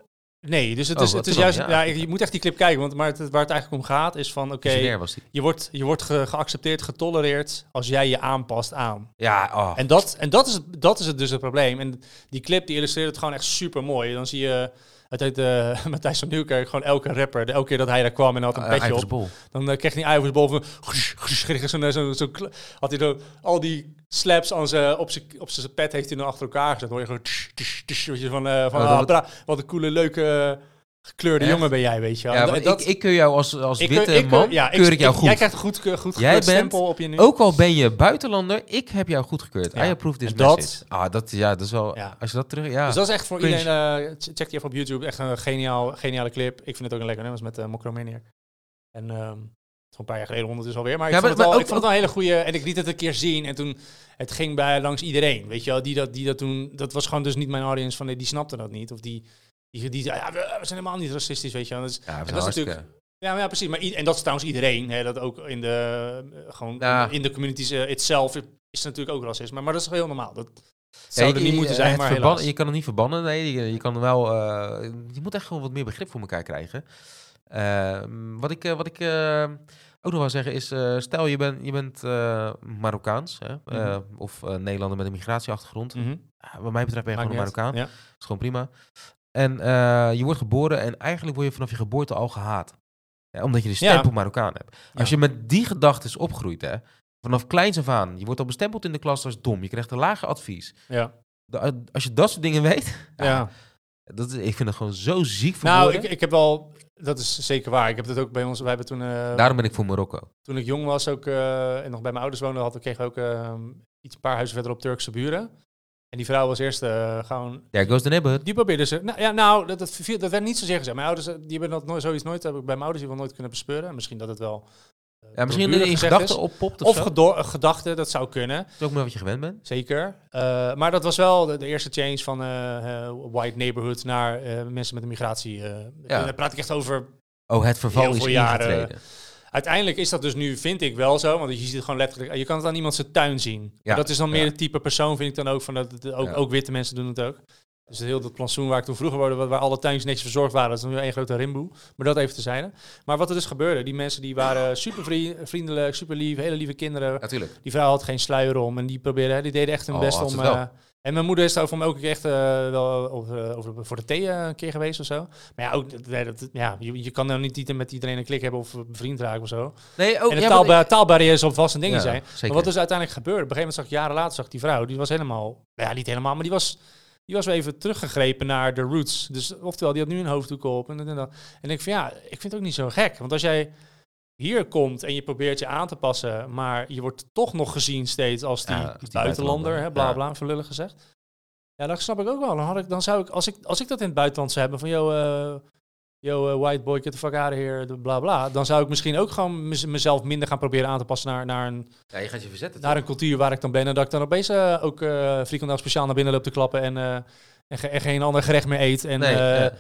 Nee, dus het
Oh,
is,
wat
het is
dan?
juist...
Ja.
Ja, je, je moet echt die clip kijken, want maar het, waar het eigenlijk om gaat is van... Oké,
Visionair was die.
je wordt, je wordt ge- geaccepteerd, getolereerd als jij je aanpast aan.
Ja, oh.
En, dat, en dat, is, het- dat is het dus het probleem. En die clip die illustreert het gewoon echt super mooi. Dan zie je... Het heet eh, Matthijs van Nieuwkerk, gewoon elke rapper. de- Elke keer dat hij daar kwam en had een
Eh,
petje
Ivers
op.
Bol.
Dan eh, kreeg hij een Ivers bol van... gush, gush, kreeg hij zo'n- eh, zo'n- zo'n kle- had hij zo, al die slaps aan zijn- op zijn op zijn pet heeft hij dan achter elkaar gezet. Dan hoor je gewoon... tsch, tsch, tsch, weet je, van, eh, van
Oh,
ah,
dat-
bra- wat een coole, leuke, eh, gekleurde
Echt?
jongen ben jij, weet je wel.
Ja,
En
want
dat- dat-
ik, ik keur jou als, als
ik- eh,
witte
ik-
man,
ja,
keur ik jou goed.
Jij krijgt een goed, ge- goed
Jij bent
gekleurd stempel op je nu.
Ook al ben je buitenlander, ik heb jou goed gekeurd.
Ja.
I approve this
En dat-
message. Ah, dat, ja, dat is wel...
Ja.
Als je dat terug... Ja.
Dus dat is echt voor
Cringe.
iedereen... eh, ch- check die even op YouTube. Echt een geniaal, geniale clip. Ik vind het ook een lekker nummer. Dat is met uh, Mocromaniac. En ehm, het is al een paar jaar geleden ondertussen alweer. Maar,
Ja,
ik,
maar-
vond het wel,
maar
ik vond het wel een hele goede... En ik liet het een keer zien. En toen... Het ging bij langs iedereen. Weet je wel? Die dat, die dat toen... Dat was gewoon dus niet mijn audience. Van, nee, die snapte dat niet. Of die... Die, die zei, ja, we, we zijn helemaal niet racistisch, weet je wel. Dat is-
Ja, dat
en dat is
hartstikke-
ja, maar ja, precies. Maar, i- en dat is trouwens iedereen. Hè, dat ook in de, eh, gewoon
Ja.
in de communities eh, itself is het natuurlijk ook racisme. Maar, dat is heel normaal. Dat
Ja,
zou
je-
er niet
je-
moeten
het
zijn, maar
verbannen-
helaas.
Je kan het niet verbannen, nee. Je, je kan wel... eh, je moet echt gewoon wat meer begrip voor elkaar krijgen. Eh, wat ik, eh, wat ik eh, ook nog wil zeggen is... eh, stel, je, bent je bent eh, Marokkaans, hè, eh, of eh, Nederlander met een migratieachtergrond.
Mhm.
Ah, Wat mij betreft ben je
Maakt
gewoon een
niet uit.
Marokkaan.
Ja.
is gewoon prima. En eh, je wordt geboren en eigenlijk word je vanaf je geboorte al gehaat. Ja, omdat je de stempel
Ja.
Marokkaan hebt.
Ja.
Als je met die gedachten is opgegroeid, hè, vanaf kleins af aan, je wordt al bestempeld in de klas als dom. Je krijgt een lager advies.
Ja.
De- eh, als je dat soort dingen weet,
Ja.
dat is, ik vind dat gewoon zo ziek voor
Nou, ik,
woorden.
ik heb wel... Dat is zeker waar. Ik heb dat ook bij ons... Wij hebben toen... eh,
Daarom ben ik voor Marokko.
toen ik jong was ook, eh, en nog bij mijn ouders woonde, had, kregen we ook eh, iets een paar huizen verderop Turkse buren. En die vrouw was eerst eh, gewoon...
There goes the neighborhood.
Die probeerden ze... Nou, ja, nou dat, dat, viel- dat werd niet zozeer gezegd. Mijn ouders, eh, die hebben dat nooit, zoiets nooit... Heb ik bij mijn ouders die wel nooit kunnen bespeuren. Misschien dat het wel... eh,
Ja,
door
misschien
buren
in je
gezegd
gedachten
is.
oppopt of,
Of
zo.
gedo- eh, gedachten, dat zou kunnen.
Dat is ook maar wat je gewend bent.
Zeker. Eh, maar dat was wel de, de eerste change van eh, eh, white neighborhood naar eh, mensen met een migratie. eh.
Ja.
Daar praat ik echt over
Oh, het verval
Heel
is
veel jaren, eh,
ingetreden.
uiteindelijk is dat dus nu, vind ik wel zo, want je ziet het gewoon letterlijk. Je kan het aan iemand zijn tuin zien.
Ja,
Dat is dan meer
ja.
het type persoon, vind ik dan ook. Van dat, dat- ook,
Ja.
ook witte mensen doen het ook. Dus heel dat plantsoen waar ik toen vroeger woonde, waar- waar alle tuintjes netjes verzorgd waren, dat is nu één grote rimboe. Maar dat even te zijn. Maar wat er dus gebeurde, die mensen die waren super vriendelijk, super lief, hele lieve kinderen.
Natuurlijk.
Die vrouw had geen sluier om en die probeerde, hè, die deden echt hun
Oh,
best
had
om.
ze het wel.
eh, en mijn moeder is daar voor me ook echt eh, wel over, over, voor de thee eh, een keer geweest of zo. Maar ja, ook, dat- nee, dat, ja je, je kan nou niet ieder- met iedereen een klik hebben of bevriend raken of zo.
Nee, oh, ook,
en de taalba taalbarrières op vast een ding
Ja,
zijn.
zeker.
Maar wat dus uiteindelijk gebeurde, op een gegeven moment zag ik jaren later, zag ik die vrouw, die was helemaal, nou ja, niet helemaal, maar die was, die was weer even teruggegrepen naar de roots. Dus oftewel, die had nu een hoofddoek op en, dit en, dat. en ik denk van ja, ik vind het ook niet zo gek. Want als jij hier komt en je probeert je aan te passen, maar je wordt toch nog gezien steeds als die
Ja, als die
buitenlander,
buitenlander,
hè, bla
ja.
bla, verlullig gezegd. Ja, dat snap ik ook wel. Dan, had ik, dan zou ik als, ik, als ik dat in het buitenland zou hebben van, yo, eh, yo eh, white boy, get the fuck out of here, de bla bla, dan zou ik misschien ook gewoon mez- mezelf minder gaan proberen aan te passen naar, naar een
Ja, je gaat je verzetten.
naar een cultuur waar ik dan ben en dat ik dan opeens eh, ook eh frikandel speciaal naar binnen loop te klappen en, eh, en, ge- en geen ander gerecht meer eet. En,
Nee,
eh,
ja.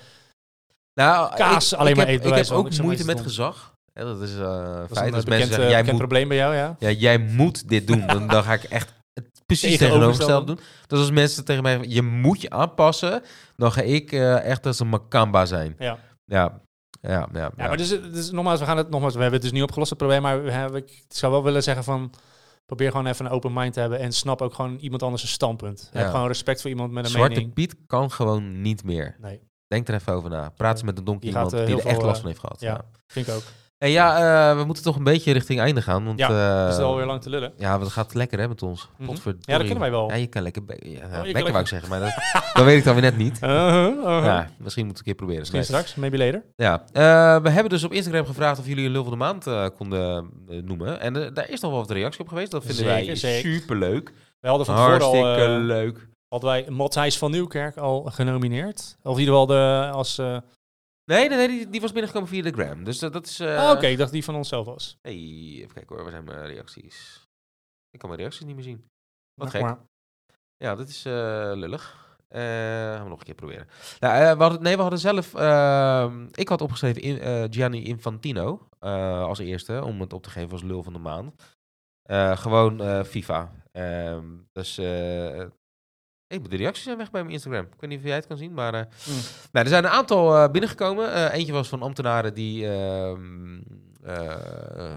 nou,
kaas alleen maar
heb-
eten, bij
Ik
wijze van,
heb ook
ik zeg maar
moeite
iets
met
dom.
gezag. Ja, dat is eh
dat is een
feit.
eh,
Als
bekend,
mensen
eh,
zeggen, jij
bekend
moet,
probleem bij jou, ja.
ja, jij moet dit doen. Dan, dan ga ik echt het precies
Tegenovergestelde.
tegenovergesteld doen. Dus als mensen tegen mij zeggen, je moet je aanpassen, dan ga ik eh, echt als een makamba zijn.
Ja.
Ja, ja, ja. ja.
Ja, maar dus, eh, dus nogmaals, we gaan het nogmaals, we hebben het dus niet opgelost het probleem, maar we hebben- ik zou wel willen zeggen van probeer gewoon even een open mind te hebben en snap ook gewoon iemand anders zijn standpunt.
Ja.
Heb gewoon respect voor iemand met een
Zwarte
mening.
Piet kan gewoon niet meer.
Nee,
Denk er even over na. Praat eens met een donker
Die gaat,
iemand
eh,
die
heel
er echt
veel,
last
eh,
van heeft gehad.
ja.
Ja.
vind ik ook.
En ja, eh, we moeten toch een beetje richting einde gaan. Want,
Ja,
eh,
is het alweer lang te lullen?
Ja, want het gaat lekker hè met ons.
Mhm.
Potverdorie.
Ja, dat kunnen wij wel.
Ja, je kan lekker... be- ja,
Oh. kan
lekker
lekker-
wou ik zeggen, maar dat, dat weet ik dan weer net niet.
Uh-huh, uh-huh.
Ja, misschien moet ik een keer proberen.
Misschien
Nee.
straks, maybe later.
Ja. Eh, we hebben dus op Instagram gevraagd of jullie een lul van de maand eh, konden eh, noemen. En eh, daar is nog wel wat reactie op geweest. Dat vinden wij
Zeker, zeker.
superleuk.
We hadden van tevoren al...
Hartstikke
eh,
leuk.
Hadden wij Matthijs van Nieuwkerk al genomineerd? Of in ieder geval de, als... eh,
Nee, nee, nee die, die was binnengekomen via de gram. Dus dat, dat is... eh,
ah, Oké, ik dacht die van onszelf was.
Hey, even kijken hoor, waar zijn mijn reacties? Ik kan mijn reacties niet meer zien. Wat
Maar-
gek. Ja, dat is eh, lullig. Eh, gaan we nog een keer proberen. Nou, eh, we hadden, nee, we hadden zelf... eh, ik had opgeschreven in, eh, Gianni Infantino eh, als eerste, om het op te geven als lul van de maand. Eh, gewoon eh, FIFA. Ehm, dus... eh, ik moet de reacties zijn weg bij mijn Instagram. Ik weet niet of jij het kan zien, maar... eh,
Mm.
nou, er zijn een aantal eh, binnengekomen. Eh, eentje was van ambtenaren die... ehm, eh,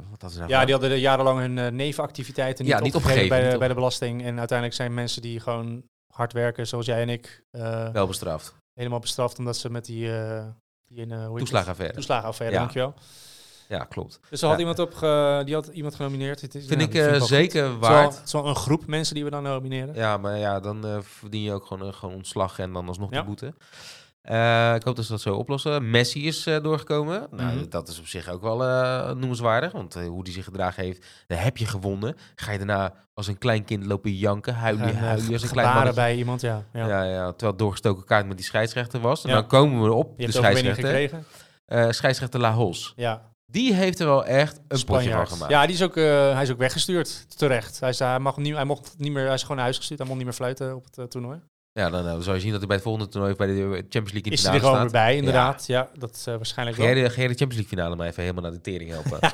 wat hadden ze nou
Ja,
gedaan?
die hadden jarenlang hun eh, nevenactiviteiten niet,
Ja, niet
opgegeven,
opgegeven,
bij, de,
niet op-
bij de belasting. En uiteindelijk zijn mensen die gewoon hard werken, zoals jij en ik, eh,
Wel bestraft.
helemaal bestraft omdat ze met die... eh die in, eh, hoe heet het?
Toeslagenaffaire.
Toeslagenaffaire,
Ja.
dankjewel.
Ja, klopt.
Dus er had
Ja.
iemand op, ge- die had iemand genomineerd. Het is,
Vind
nou,
ik
die
eh,
wel goed.
zeker
Het is wel-
waard.
Het is wel een groep mensen die we dan nomineren.
Ja, maar ja, dan eh, verdien je ook gewoon, eh, gewoon ontslag en dan alsnog
Ja.
de boete. Eh, ik hoop dat ze dat zo oplossen. Messi is eh, doorgekomen.
Mhm.
Nou, dat is op zich ook wel eh, noemenswaardig. Want eh, hoe die zich gedragen heeft, daar heb je gewonnen. Ga je daarna als een klein kind lopen janken, huilen,
En, eh,
huilen als een klein
gebaren
mannetje.
bij iemand, ja. ja.
Ja.
Je
Ja, terwijl het doorgestoken kaart met die scheidsrechter was. En
Ja.
dan komen we op de
hebt de overwinning
scheidsrechter.
gekregen.
Eh, scheidsrechter La Hos.
Ja,
Die heeft er wel echt een potje van
Spanjaard.
gemaakt.
Ja, die is ook, eh, hij is ook weggestuurd, terecht. Hij, is, hij, mag niet, hij, mocht niet meer, hij is gewoon naar huis gestuurd, hij mocht niet meer fluiten op het eh, toernooi.
Ja, dan eh, zal je zien dat hij bij het volgende toernooi of bij de Champions League in de
Is hij
finale
er gewoon
staat.
weer bij, inderdaad. Ja, dat is eh, waarschijnlijk
Ga
wel.
jij, de, ga jij de Champions League finale maar even helemaal naar de tering helpen?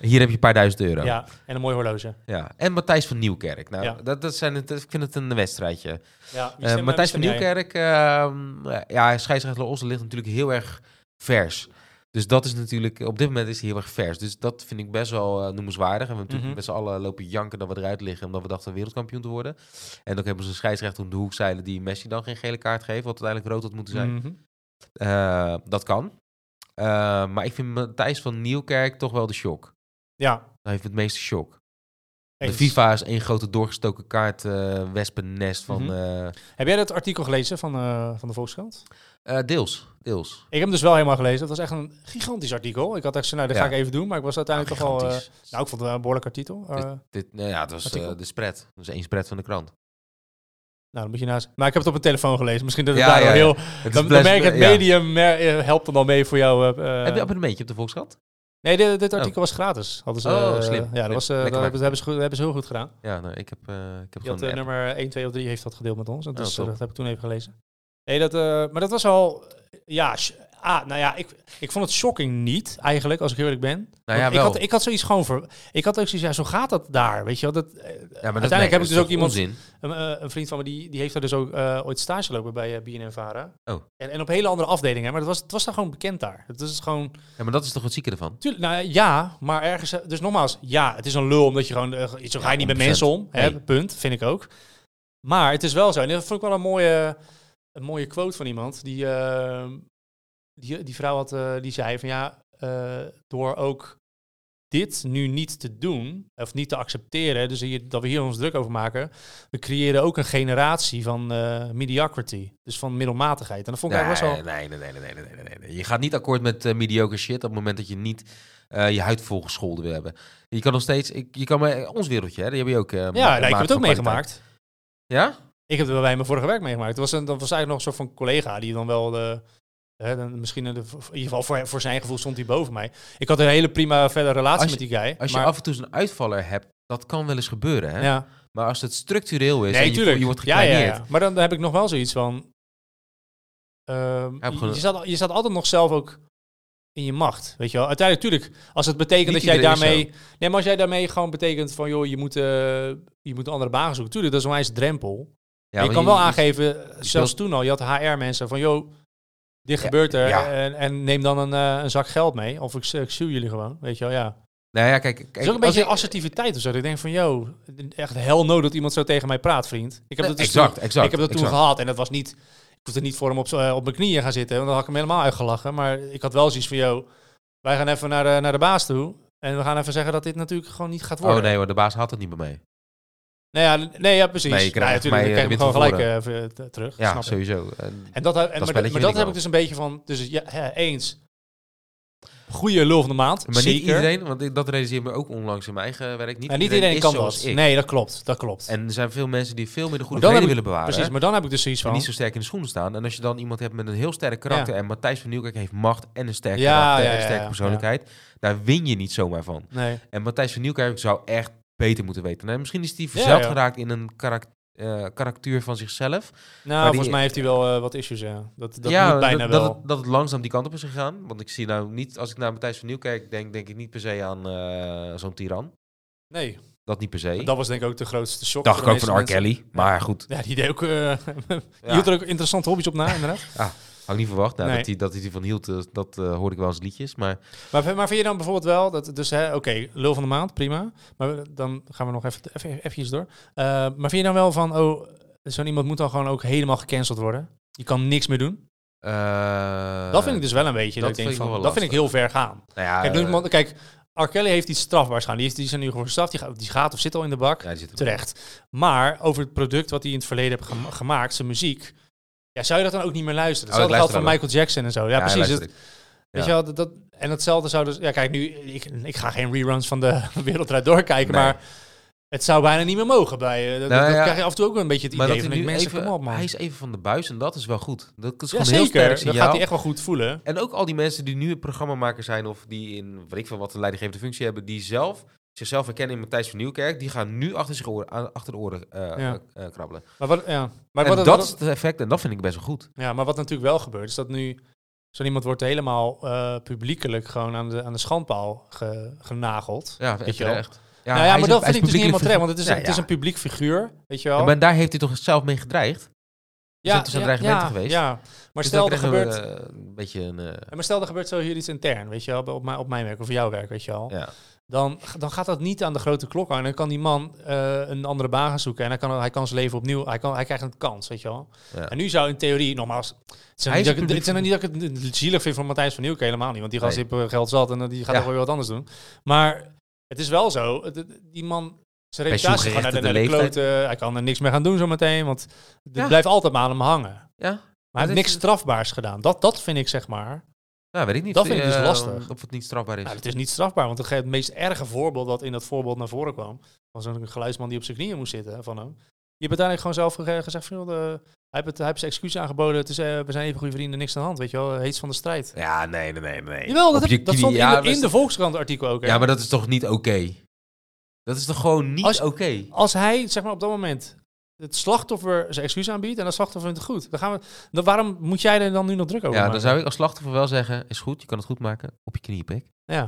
Hier heb je een paar duizend euro. Ja.
Ja, en een mooi horloge.
En Matthijs van Nieuwkerk. Nou,
Ja.
dat, dat zijn het, ik vind het een wedstrijdje.
Ja,
Eh, Matthijs van Nieuwkerk, ehm, ja, scheidsrechter Olsen ligt natuurlijk heel erg vers. Dus dat is natuurlijk, op dit moment is hij heel erg vers. Dus dat vind ik best wel eh, noemenswaardig. En we hebben natuurlijk
Mhm.
met z'n allen lopen janken dat we eruit liggen, omdat we dachten wereldkampioen te worden. En ook hebben ze een scheidsrechter om de hoek zeilen die Messi dan geen gele kaart geeft, wat uiteindelijk rood had moeten zijn.
Mhm.
Eh, dat kan. Eh, maar ik vind Matthijs van Nieuwkerk toch wel de shock.
Ja,
Hij heeft het meeste shock.
eens.
De FIFA is één grote doorgestoken kaart, eh, wespennest van...
Mhm.
eh,
Heb jij dat artikel gelezen van, eh, van de Volkskrant?
eh, deels, deels.
Ik heb hem dus wel helemaal gelezen. Dat was echt een gigantisch artikel. Ik had echt zo, nou, dat
Ja.
ga ik even doen. Maar ik was uiteindelijk toch wel... eh,
Gigantisch.
nou, ik vond het wel een behoorlijk artikel. Eh,
Dit, nou ja, het was eh,
artikel.
de spread. Dat was één spread van de krant.
nou, dan moet je naast... Maar ik heb het op mijn telefoon gelezen. Misschien dat het
Ja,
daar
ja,
al
ja.
heel...
Het is
Dan, dan
best-
merk ik, het
ja.
medium eh, eh, helpt dan al mee voor jou. eh, eh,
Heb je een abonnementje op de Volkskrant?
Nee, dit, dit artikel was gratis. Hadden ze,
Oh,
eh,
slim.
Ja, dat, was, eh,
Lekker
dat
maken.
hebben, ze goed, hebben ze heel goed gedaan.
Ja, nou, ik heb, eh, ik heb
Die had,
gewoon
eh,
een app.
nummer 1, 2 of 3 heeft dat gedeeld met ons. Dat,
Oh,
is, eh,
top.
dat heb ik toen even gelezen. Nee, dat, eh, maar dat was al... eh, Ja, sh- ah, nou ja, ik, ik vond het shocking niet, eigenlijk, als ik eerlijk ben.
Nou ja,
Want
wel.
Ik, had, ik had zoiets gewoon voor. Ik had ook zoiets, ja, zo gaat dat daar. Weet je wel, dat, eh,
Ja, maar dat,
Uiteindelijk
nee, dat
heb ik
is
dus
toch
ook iemand-
onzin?
een, eh, een vriend van me die, die heeft daar dus ook eh, ooit stage lopen bij eh, BNN Vara.
Oh.
En, en op hele andere afdelingen, maar het was, het was daar gewoon bekend daar. Het is gewoon.
Ja, maar dat is toch het zieke ervan?
Tuurlijk, nou ja, maar ergens. eh, Dus nogmaals, ja, het is een lul omdat je gewoon. eh, zo ga je niet
100%.
met mensen om. Hè,
Nee.
Punt, vind ik ook. Maar het is wel zo. En dat vond ik wel een mooie, een mooie quote van iemand. Die, eh, die, die vrouw had, eh, die zei van ja, eh, door ook dit nu niet te doen, of niet te accepteren, dus hier, dat we hier ons druk over maken, we creëren ook een generatie van eh, mediocrity. Dus van middelmatigheid. En dat vond ik
Nee,
eigenlijk best wel...
nee, nee, nee, nee, nee, nee, nee, nee. Je gaat niet akkoord met eh, mediocre shit op het moment dat je niet eh, je huid volgescholden wil hebben. Je kan nog steeds, ik, je kan maar, ons wereldje, hè, die heb je ook. eh, ma-
Ja, nee,
maat
ik heb het
van
ook
kwaliteit.
meegemaakt.
Ja?
Ik heb het bij mijn vorige werk meegemaakt. Dat was, een, dat was eigenlijk nog een soort van collega die dan wel... De, hè, dan misschien in, de, in ieder geval voor, voor zijn gevoel stond hij boven mij. Ik had een hele prima verder relatie
Als je-
met die guy.
Als je
maar,
af en toe zo'n uitvaller hebt, dat kan wel eens gebeuren. Hè?
ja.
Maar als het structureel is en
Nee,
je,
tuurlijk.
je wordt
ja, ja,
gekleineerd.
ja. Maar dan heb ik nog wel zoiets van... ehm,
Heb
je,
gewoon-
je staat, al- je staat altijd nog zelf ook in je macht, weet je wel. Uiteindelijk, natuurlijk, als het betekent
Niet
dat jij
iedereen is
daarmee... Nee, maar als jij daarmee gewoon betekent van... joh, je moet, eh, je moet een andere baan gaan zoeken. Tuurlijk, dat is een wijze drempel.
Ja,
je
want
kan wel aangeven, zelfs
speelt-
toen al, je had HR-mensen van, joh, dit
Ja,
gebeurt er
ja.
en, en neem dan een, eh, een zak geld mee. Of ik, s- ik sue jullie gewoon, weet je wel, ja.
Nou ja, kijk. kijk
Het is ook een
als
beetje
ik-
assertiviteit of zo. dat Ik denk van, joh, echt hel nodig dat iemand zo tegen mij praat, vriend. Ik heb dat dus
exact,
toen,
exact.
ik heb dat toen
exact.
gehad en dat was niet, ik hoefde niet voor hem op, z'n- eh, op mijn knieën gaan zitten, want dan had ik hem helemaal uitgelachen. Maar ik had wel zoiets van, joh, wij gaan even naar de, naar de baas toe en we gaan even zeggen dat dit natuurlijk gewoon niet gaat worden.
Oh nee hoor, de baas had het niet bij mij.
Nee, ja, nee, ja precies.
Nee, je
Nou ja,
krijgt
natuurlijk,
mij, eh,
dan
de
krijg je hem
wind
gewoon gelijk eh, v- eh, terug.
Ja,
snap ik.
sowieso. En-
En dat, en, maar,
spelletje
dat-
vind
maar
ik
dat heb
wel.
ik dus een beetje van, dus ja, hè, eens. Goede lul van de maand.
maar
zeker.
niet iedereen, want ik- dat realiseer me ook onlangs in mijn eigen werk. Niet,
Nou, niet iedereen,
is
kan
zoals
dat.
ik.
Nee, dat klopt. Dat klopt.
En er zijn veel mensen die veel meer de goede
Maar dan
vrede
heb
willen bewaren.
Precies, maar dan heb ik dus zoiets
en
van.
niet zo sterk in de schoenen staan. En als je dan iemand hebt met een heel sterk karakter... en Matthijs van Nieuwkerk heeft macht en een sterk
Ja,
karakter...
ja,
en
ja,
een sterke
ja,
persoonlijkheid... daar win je niet zomaar van.
Nee.
En Matthijs van Nieuwkerk zou echt beter moeten weten. Nou, misschien is hij
Ja,
verzeld
ja.
geraakt in een karak eh, karakter van zichzelf.
Nou,
die-
volgens mij heeft hij wel eh, wat issues, ja. Dat, dat
ja,
moet bijna
dat, dat
wel.
het, dat het langzaam die kant op is gegaan. Want ik zie nou niet... als ik naar Matthijs van Nieuwkerk denk... denk ik niet per se aan eh, zo'n tiran.
nee,
Dat niet per se.
dat was denk ik ook de grootste shock.
Dacht ik
voor de
ook van R.
meeste mensen.
Kelly. Maar goed,
Ja, die deed ook... eh
Ja.
die hield er ook interessante hobby's op na, inderdaad.
had ik niet verwacht. Nou,
Nee.
Dat hij dat hij ervan hield, eh, dat eh, hoorde ik wel eens liedjes. Maar
Maar, vind- maar vind je dan bijvoorbeeld wel dat, dus hè, oké, lul van de maand, prima. Maar we- dan gaan we nog even, even eventjes door. Eh, maar vind je dan wel van, oh, zo'n iemand moet dan gewoon ook helemaal gecanceld worden? Je kan niks meer doen?
eh,
dat vind ik dus wel een beetje, dat,
dat
ik denk
vind ik
van,
wel
dat vind ik heel ver gaan.
Nou ja,
Kijk,
eh,
dus, want- kijk, R. Kelly heeft iets strafbaars gaan. Die, is, die is er nu gewoon gestraft, die, gaat- die gaat of zit al in de bak,
ja, die zit er wel.
terecht. Maar over het product wat hij in het verleden heeft gema- gemaakt, zijn muziek... Ja, zou je dat dan ook niet meer luisteren?
Oh, dat
Hetzelfde geldt van
luisteren
Michael Jackson en zo. Ja,
Ja,
precies. dus
luister ik.
Het- Weet
Ja.
je wel, dat, dat- en datzelfde zou dus... Ja, kijk, nu, ik, ik ga geen reruns van de wereld eruit doorkijken,
Nee.
maar het zou bijna niet meer mogen bij... eh, dat,
Nou
dat
ja.
krijg je af en toe ook wel een beetje het
Maar dat
idee
hij
van,
nu
mensen,
even,
kom op man.
hij is even van de buis en dat is wel goed. Dat is
ja,
gewoon een heel sterk
zeker, dat gaat
signaal.
hij echt wel goed voelen.
En ook al die mensen die nu een programmamaker zijn of die in, weet ik veel wat, een leidinggevende functie hebben, die zelf zichzelf herkennen in Matthijs van Nieuwkerk, die gaan nu achter, zich oren, aan- achter de oren eh,
Ja.
eh, eh, krabbelen.
Maar wat, ja. maar
en
wat,
dat
wat-
is het effect en dat vind ik best wel goed.
ja, maar wat natuurlijk wel gebeurt, is dat nu... Zo iemand wordt helemaal eh, publiekelijk gewoon aan de, aan de schandpaal ge- genageld.
Ja,
Weet je wel.
echt.
nou ja,
hij
maar
is-
dat
hij is
vind ik dus niet helemaal
publiekelijk
terecht, want het is,
Ja,
het is
ja.
een publiek figuur, weet je wel.
Ja, maar daar heeft hij toch zelf mee gedreigd?
Ja,
dat zijn dreigementen geweest.
Ja, maar
Dus dan
stel er
krijgen we,
gebeurt...
eh, een beetje een... eh,
En maar stel, er gebeurt zo hier iets intern, weet je wel, bij- op mijn, op mijn werk of jouw werk, weet je wel.
ja.
Dan, dan gaat dat niet aan de grote klok aan. Dan kan die man eh, een andere baan gaan zoeken en hij kan, hij kan zijn leven opnieuw, hij, kan, hij krijgt een kans, weet je wel.
Ja.
En nu zou in theorie, nogmaals, het zijn
Hij
niet
is
dat ik
een
het- het zijn niet dat ik het zielig vind van Matthijs van Nieuwke, helemaal niet, want die gast
Nee.
heeft eh, geld zat en eh, die gaat
Ja.
toch wel weer wat anders doen. Maar het is wel zo, het- het- die man, zijn reputatie gaat naar de, naar de
Pensioengerechtigde
klote, hij kan er niks meer gaan doen zometeen, want het
Ja.
blijft altijd maar aan hem hangen.
ja,
Maar hij
dit
heeft niks
is-
strafbaars gedaan. Dat, dat vind ik, zeg maar...
Ja, weet ik niet.
Dat vind ik dus
Eh,
lastig.
Of het niet strafbaar is.
Nou, het is niet strafbaar, want het, ge- het meest erge voorbeeld dat in dat voorbeeld naar voren kwam, was een geluidsman die op zijn knieën moest zitten van hem. Je hebt uiteindelijk gewoon zelf ge- gezegd, van, joh, de, hij, heeft het, hij heeft zijn excuus aangeboden, het is, eh, we zijn even goede vrienden, niks aan de hand, weet je wel, heets van de strijd.
Ja, nee, nee, nee. nee.
Jawel, dat,
Op
heb-
je
dat
knie-
stond
ja,
in, de,
dat
in
is-
de Volkskrant artikel ook. hè.
Ja, maar dat is toch niet oké? Dat is toch gewoon niet
Als- Oh,
oké?
Als hij, zeg maar op dat moment, het slachtoffer zijn excuus aanbiedt en dat slachtoffer vindt het goed. Dan gaan we, dan, waarom moet jij er dan nu nog druk over
Ja,
maken?
dan zou ik als slachtoffer wel zeggen, is goed, je kan het goed maken, op je knieën pik.
Ja.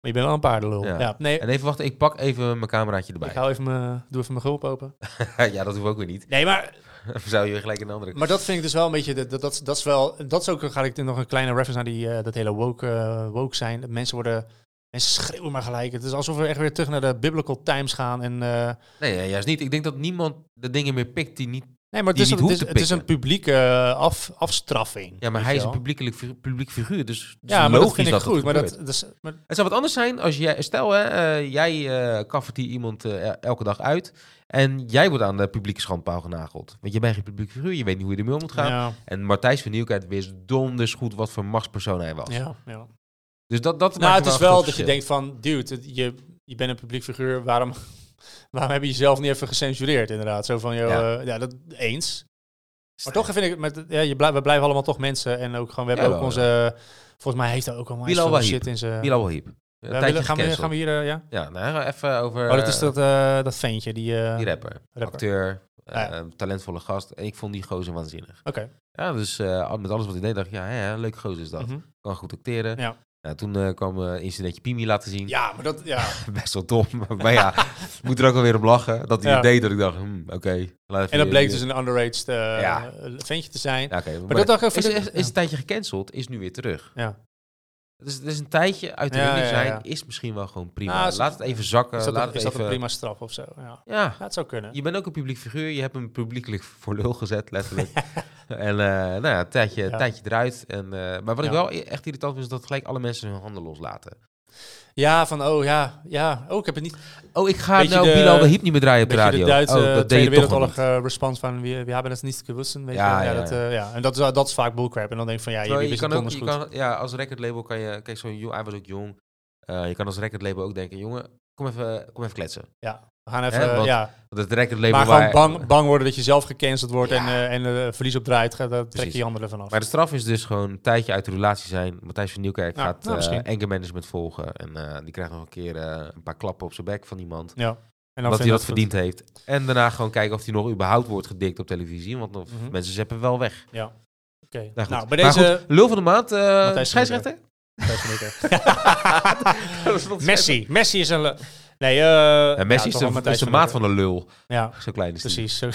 Maar je bent wel een paardenlul.
Ja.
Ja. Nee,
En even wachten, ik pak even mijn cameraatje
ik
erbij.
hou even mijn, doe even mijn gulp open.
ja, dat hoef ik ook weer niet.
Nee, maar
Dan zou je weer gelijk een andere...
Maar dat vind ik dus wel een beetje. Dat, dat, dat, dat is wel. Dat is ook. Ga ik nog een kleine reference naar die, eh, dat hele woke, eh, woke zijn. Dat mensen worden. Mensen schreeuwen maar gelijk. Het is alsof we echt weer terug naar de Biblical Times gaan. En, eh,
Nee, ja, juist niet. Ik denk dat niemand de dingen meer pikt die niet...
nee, maar het
Die
is,
niet
een,
hoeft
het,
te
is, het is een
pikken.
publieke eh, af, afstraffing.
Ja, maar
weet
hij
je
is een
wel.
publiekelijk fi- publiek figuur, dus het is
Ja, maar dat
logisch
vind ik
dat
goed. maar
gebeurt.
dat, dat is, maar,
Het zou wat anders zijn als jij... Stel, hè, eh, jij eh kaffert hier iemand eh, elke dag uit en jij wordt aan de publieke schandpaal genageld. Want je bent geen publiek figuur, je weet niet hoe je ermee om moet gaan.
ja,
En Martijs van Nieuwkerk wist donders goed wat voor machtspersoon hij was.
ja, ja.
Dus dat, dat
Nou,
maakt
het is
een
wel
groot
dat je
verschil.
denkt van, dude, het- je, je bent een publiek figuur, waarom, waarom heb je jezelf niet even gecensureerd inderdaad? Zo van, joh,
Ja.
ja. ja, dat eens. Maar toch vind ik, het met, ja, je blij- we blijven allemaal toch mensen en ook gewoon, we hebben
Ja,
ook
wel,
onze, volgens mij heeft hij ook allemaal
Bilal
zo'n
Wahib.
shit in zijn...
Bilal Wahib. Een
Ja,
tijdje
willen- gaan, we,
gecanceld.
gaan we hier, eh, ja?
Ja, nou, even over
Oh, dat is
eh,
dat, eh, dat ventje, die... eh,
die rapper.
rapper.
Acteur, eh,
Ah,
talentvolle gast. En ik vond die gozer waanzinnig.
Oké.
Ja, dus eh, al- met alles wat hij deed, dacht ik, ja, hè, leuk gozer is dat.
mhm.
Kan goed acteren.
Ja.
Nou, toen eh, kwam eh, incidentje Pimi laten zien.
Ja, maar dat, ja.
Best wel dom. Maar ja, ik moet er ook alweer op lachen. Dat hij
Ja.
het deed, dat ik dacht, hmm, oké. laat even
En dat bleek
je-
dus een underrated eh,
Ja.
ventje te zijn.
Ja, oké, maar,
Maar dat dacht ik dus ook
is,
van...
is, is een tijdje gecanceld, is nu weer terug.
Ja.
Dus, dus een tijdje uit de
Ja,
running
ja,
zijn
ja.
is misschien wel gewoon prima.
Nou, is-
laat het even zakken.
is dat,
eh, laat
een,
het
is dat
even...
een prima straf of zo? Ja,
Ja,
ja het zou kunnen.
je bent ook een publiek figuur. Je hebt hem publiekelijk voor lul gezet, letterlijk. en eh, nou ja, een tijdje,
Ja.
tijdje eruit. En, eh, maar wat ik
Ja.
wel e- echt irritant vind, is dat gelijk alle mensen hun handen loslaten.
Ja, van oh ja, ja. Oh, ik heb het niet.
Oh, ik ga
Beetje
nou
de-
Bilal de Hiep niet meer draaien op de
Beetje
radio.
de Duitse
oh, dat deed
Tweede
je toch wel
Wereldoorlog eh, respons van we, we hebben het niet gewusst. Weet
Ja,
je? Ja,
ja,
dat,
ja.
eh, ja. En dat is, dat is vaak bullcrap. En dan denk ik van ja, je,
Terwijl
wist
je
het
kan ook,
donders
je
goed.
kan, ja, als recordlabel kan je, kijk, zo'n jong, hij was ook jong. Eh, je kan als recordlabel ook denken, jongen, kom even, kom even kletsen.
ja, we gaan even,
Hè, want
ja.
Want het recordlabel
Maar
waar...
gewoon bang, bang worden dat je zelf gecanceld wordt
Ja.
en, eh, en eh, verlies op draait, ga- daar trek
Precies.
je je handen ervan af.
Maar de straf is dus gewoon een tijdje uit de relatie zijn. Matthijs van Nieuwkerk
Nou,
gaat
nou,
eh
misschien.
anger management volgen. En eh, die krijgt nog een keer eh, een paar klappen op zijn bek van iemand.
ja. En
Omdat hij
vind
dat
ik
verdiend heeft. En daarna gewoon kijken of hij nog überhaupt wordt gedikt op televisie. Want of
Mhm.
mensen zeppen wel weg.
Ja. Oké.
Nou, goed.
Nou, bij
Maar
deze.
goed, lul van de maand, eh
Matthijs van
scheidsrechter?
Matthijs van Nieuwkerk.
Dat is wat
Messi. Messi is een. le- Nee, eh
Ja, Messi
ja, toch
is
wel
de- is de,
Matthijs
maat
Nieuwkerk.
van een lul.
Ja,
Zo klein is hij.
precies. Zo-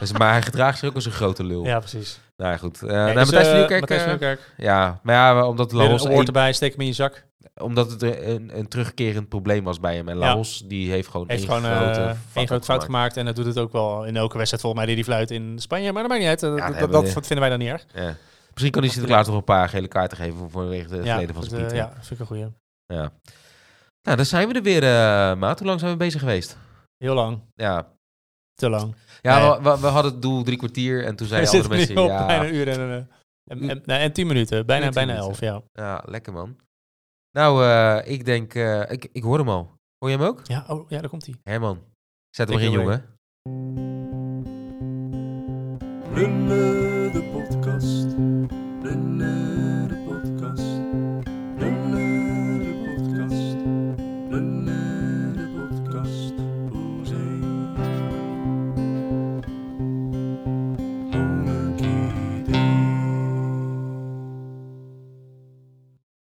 Dus, maar hij gedraagt zich ook als een grote lul.
Ja, precies.
Nou ja, goed. Eh
Nee,
nou,
dus,
Matthijs van
eh,
Nieuwkerk.
Matthijs
eh,
van Nieuwkerk.
ja, maar ja, omdat
Weer een
Laos
award erbij, steek hem in je zak.
omdat het er een, een terugkerend probleem was bij hem. En
Ja.
Laos, die heeft gewoon
heeft
één
gewoon eh,
grote
één
fuck-up
grote fout gemaakt. En dat doet het ook wel in elke wedstrijd volgens mij die die fluit in Spanje. Maar dat maakt niet uit. eh, Dat,
dat
dat,
hebben we.
dat vinden wij dan niet erg.
Ja. Misschien kan hij Sinterklaas nog een paar gele kaarten geven voor- vanwege de
ja,
geleden van
dat,
zijn
eh,
pieten.
ja, vind ik een goeie.
Ja. Nou, dan zijn we er weer, eh Maat. Hoe lang zijn we bezig geweest?
Heel lang.
Ja,
Te lang.
ja
Nee.
we, we- we hadden het doel drie kwartier en toen
We
zeiden andere
zitten nu
mensen...
op
Ja,
bijna een uur en, eh, en, en, nou, en tien minuten. Bijna,
En tien
bijna elf,
minuten.
ja.
ja, lekker man. Nou, eh, ik denk... eh, ik, ik hoor hem al. Hoor je hem ook?
Ja, oh, ja daar komt hij.
Herman, zet hem
Take
erin,
it away.
jongen.
Lullen de podcast. Lullen de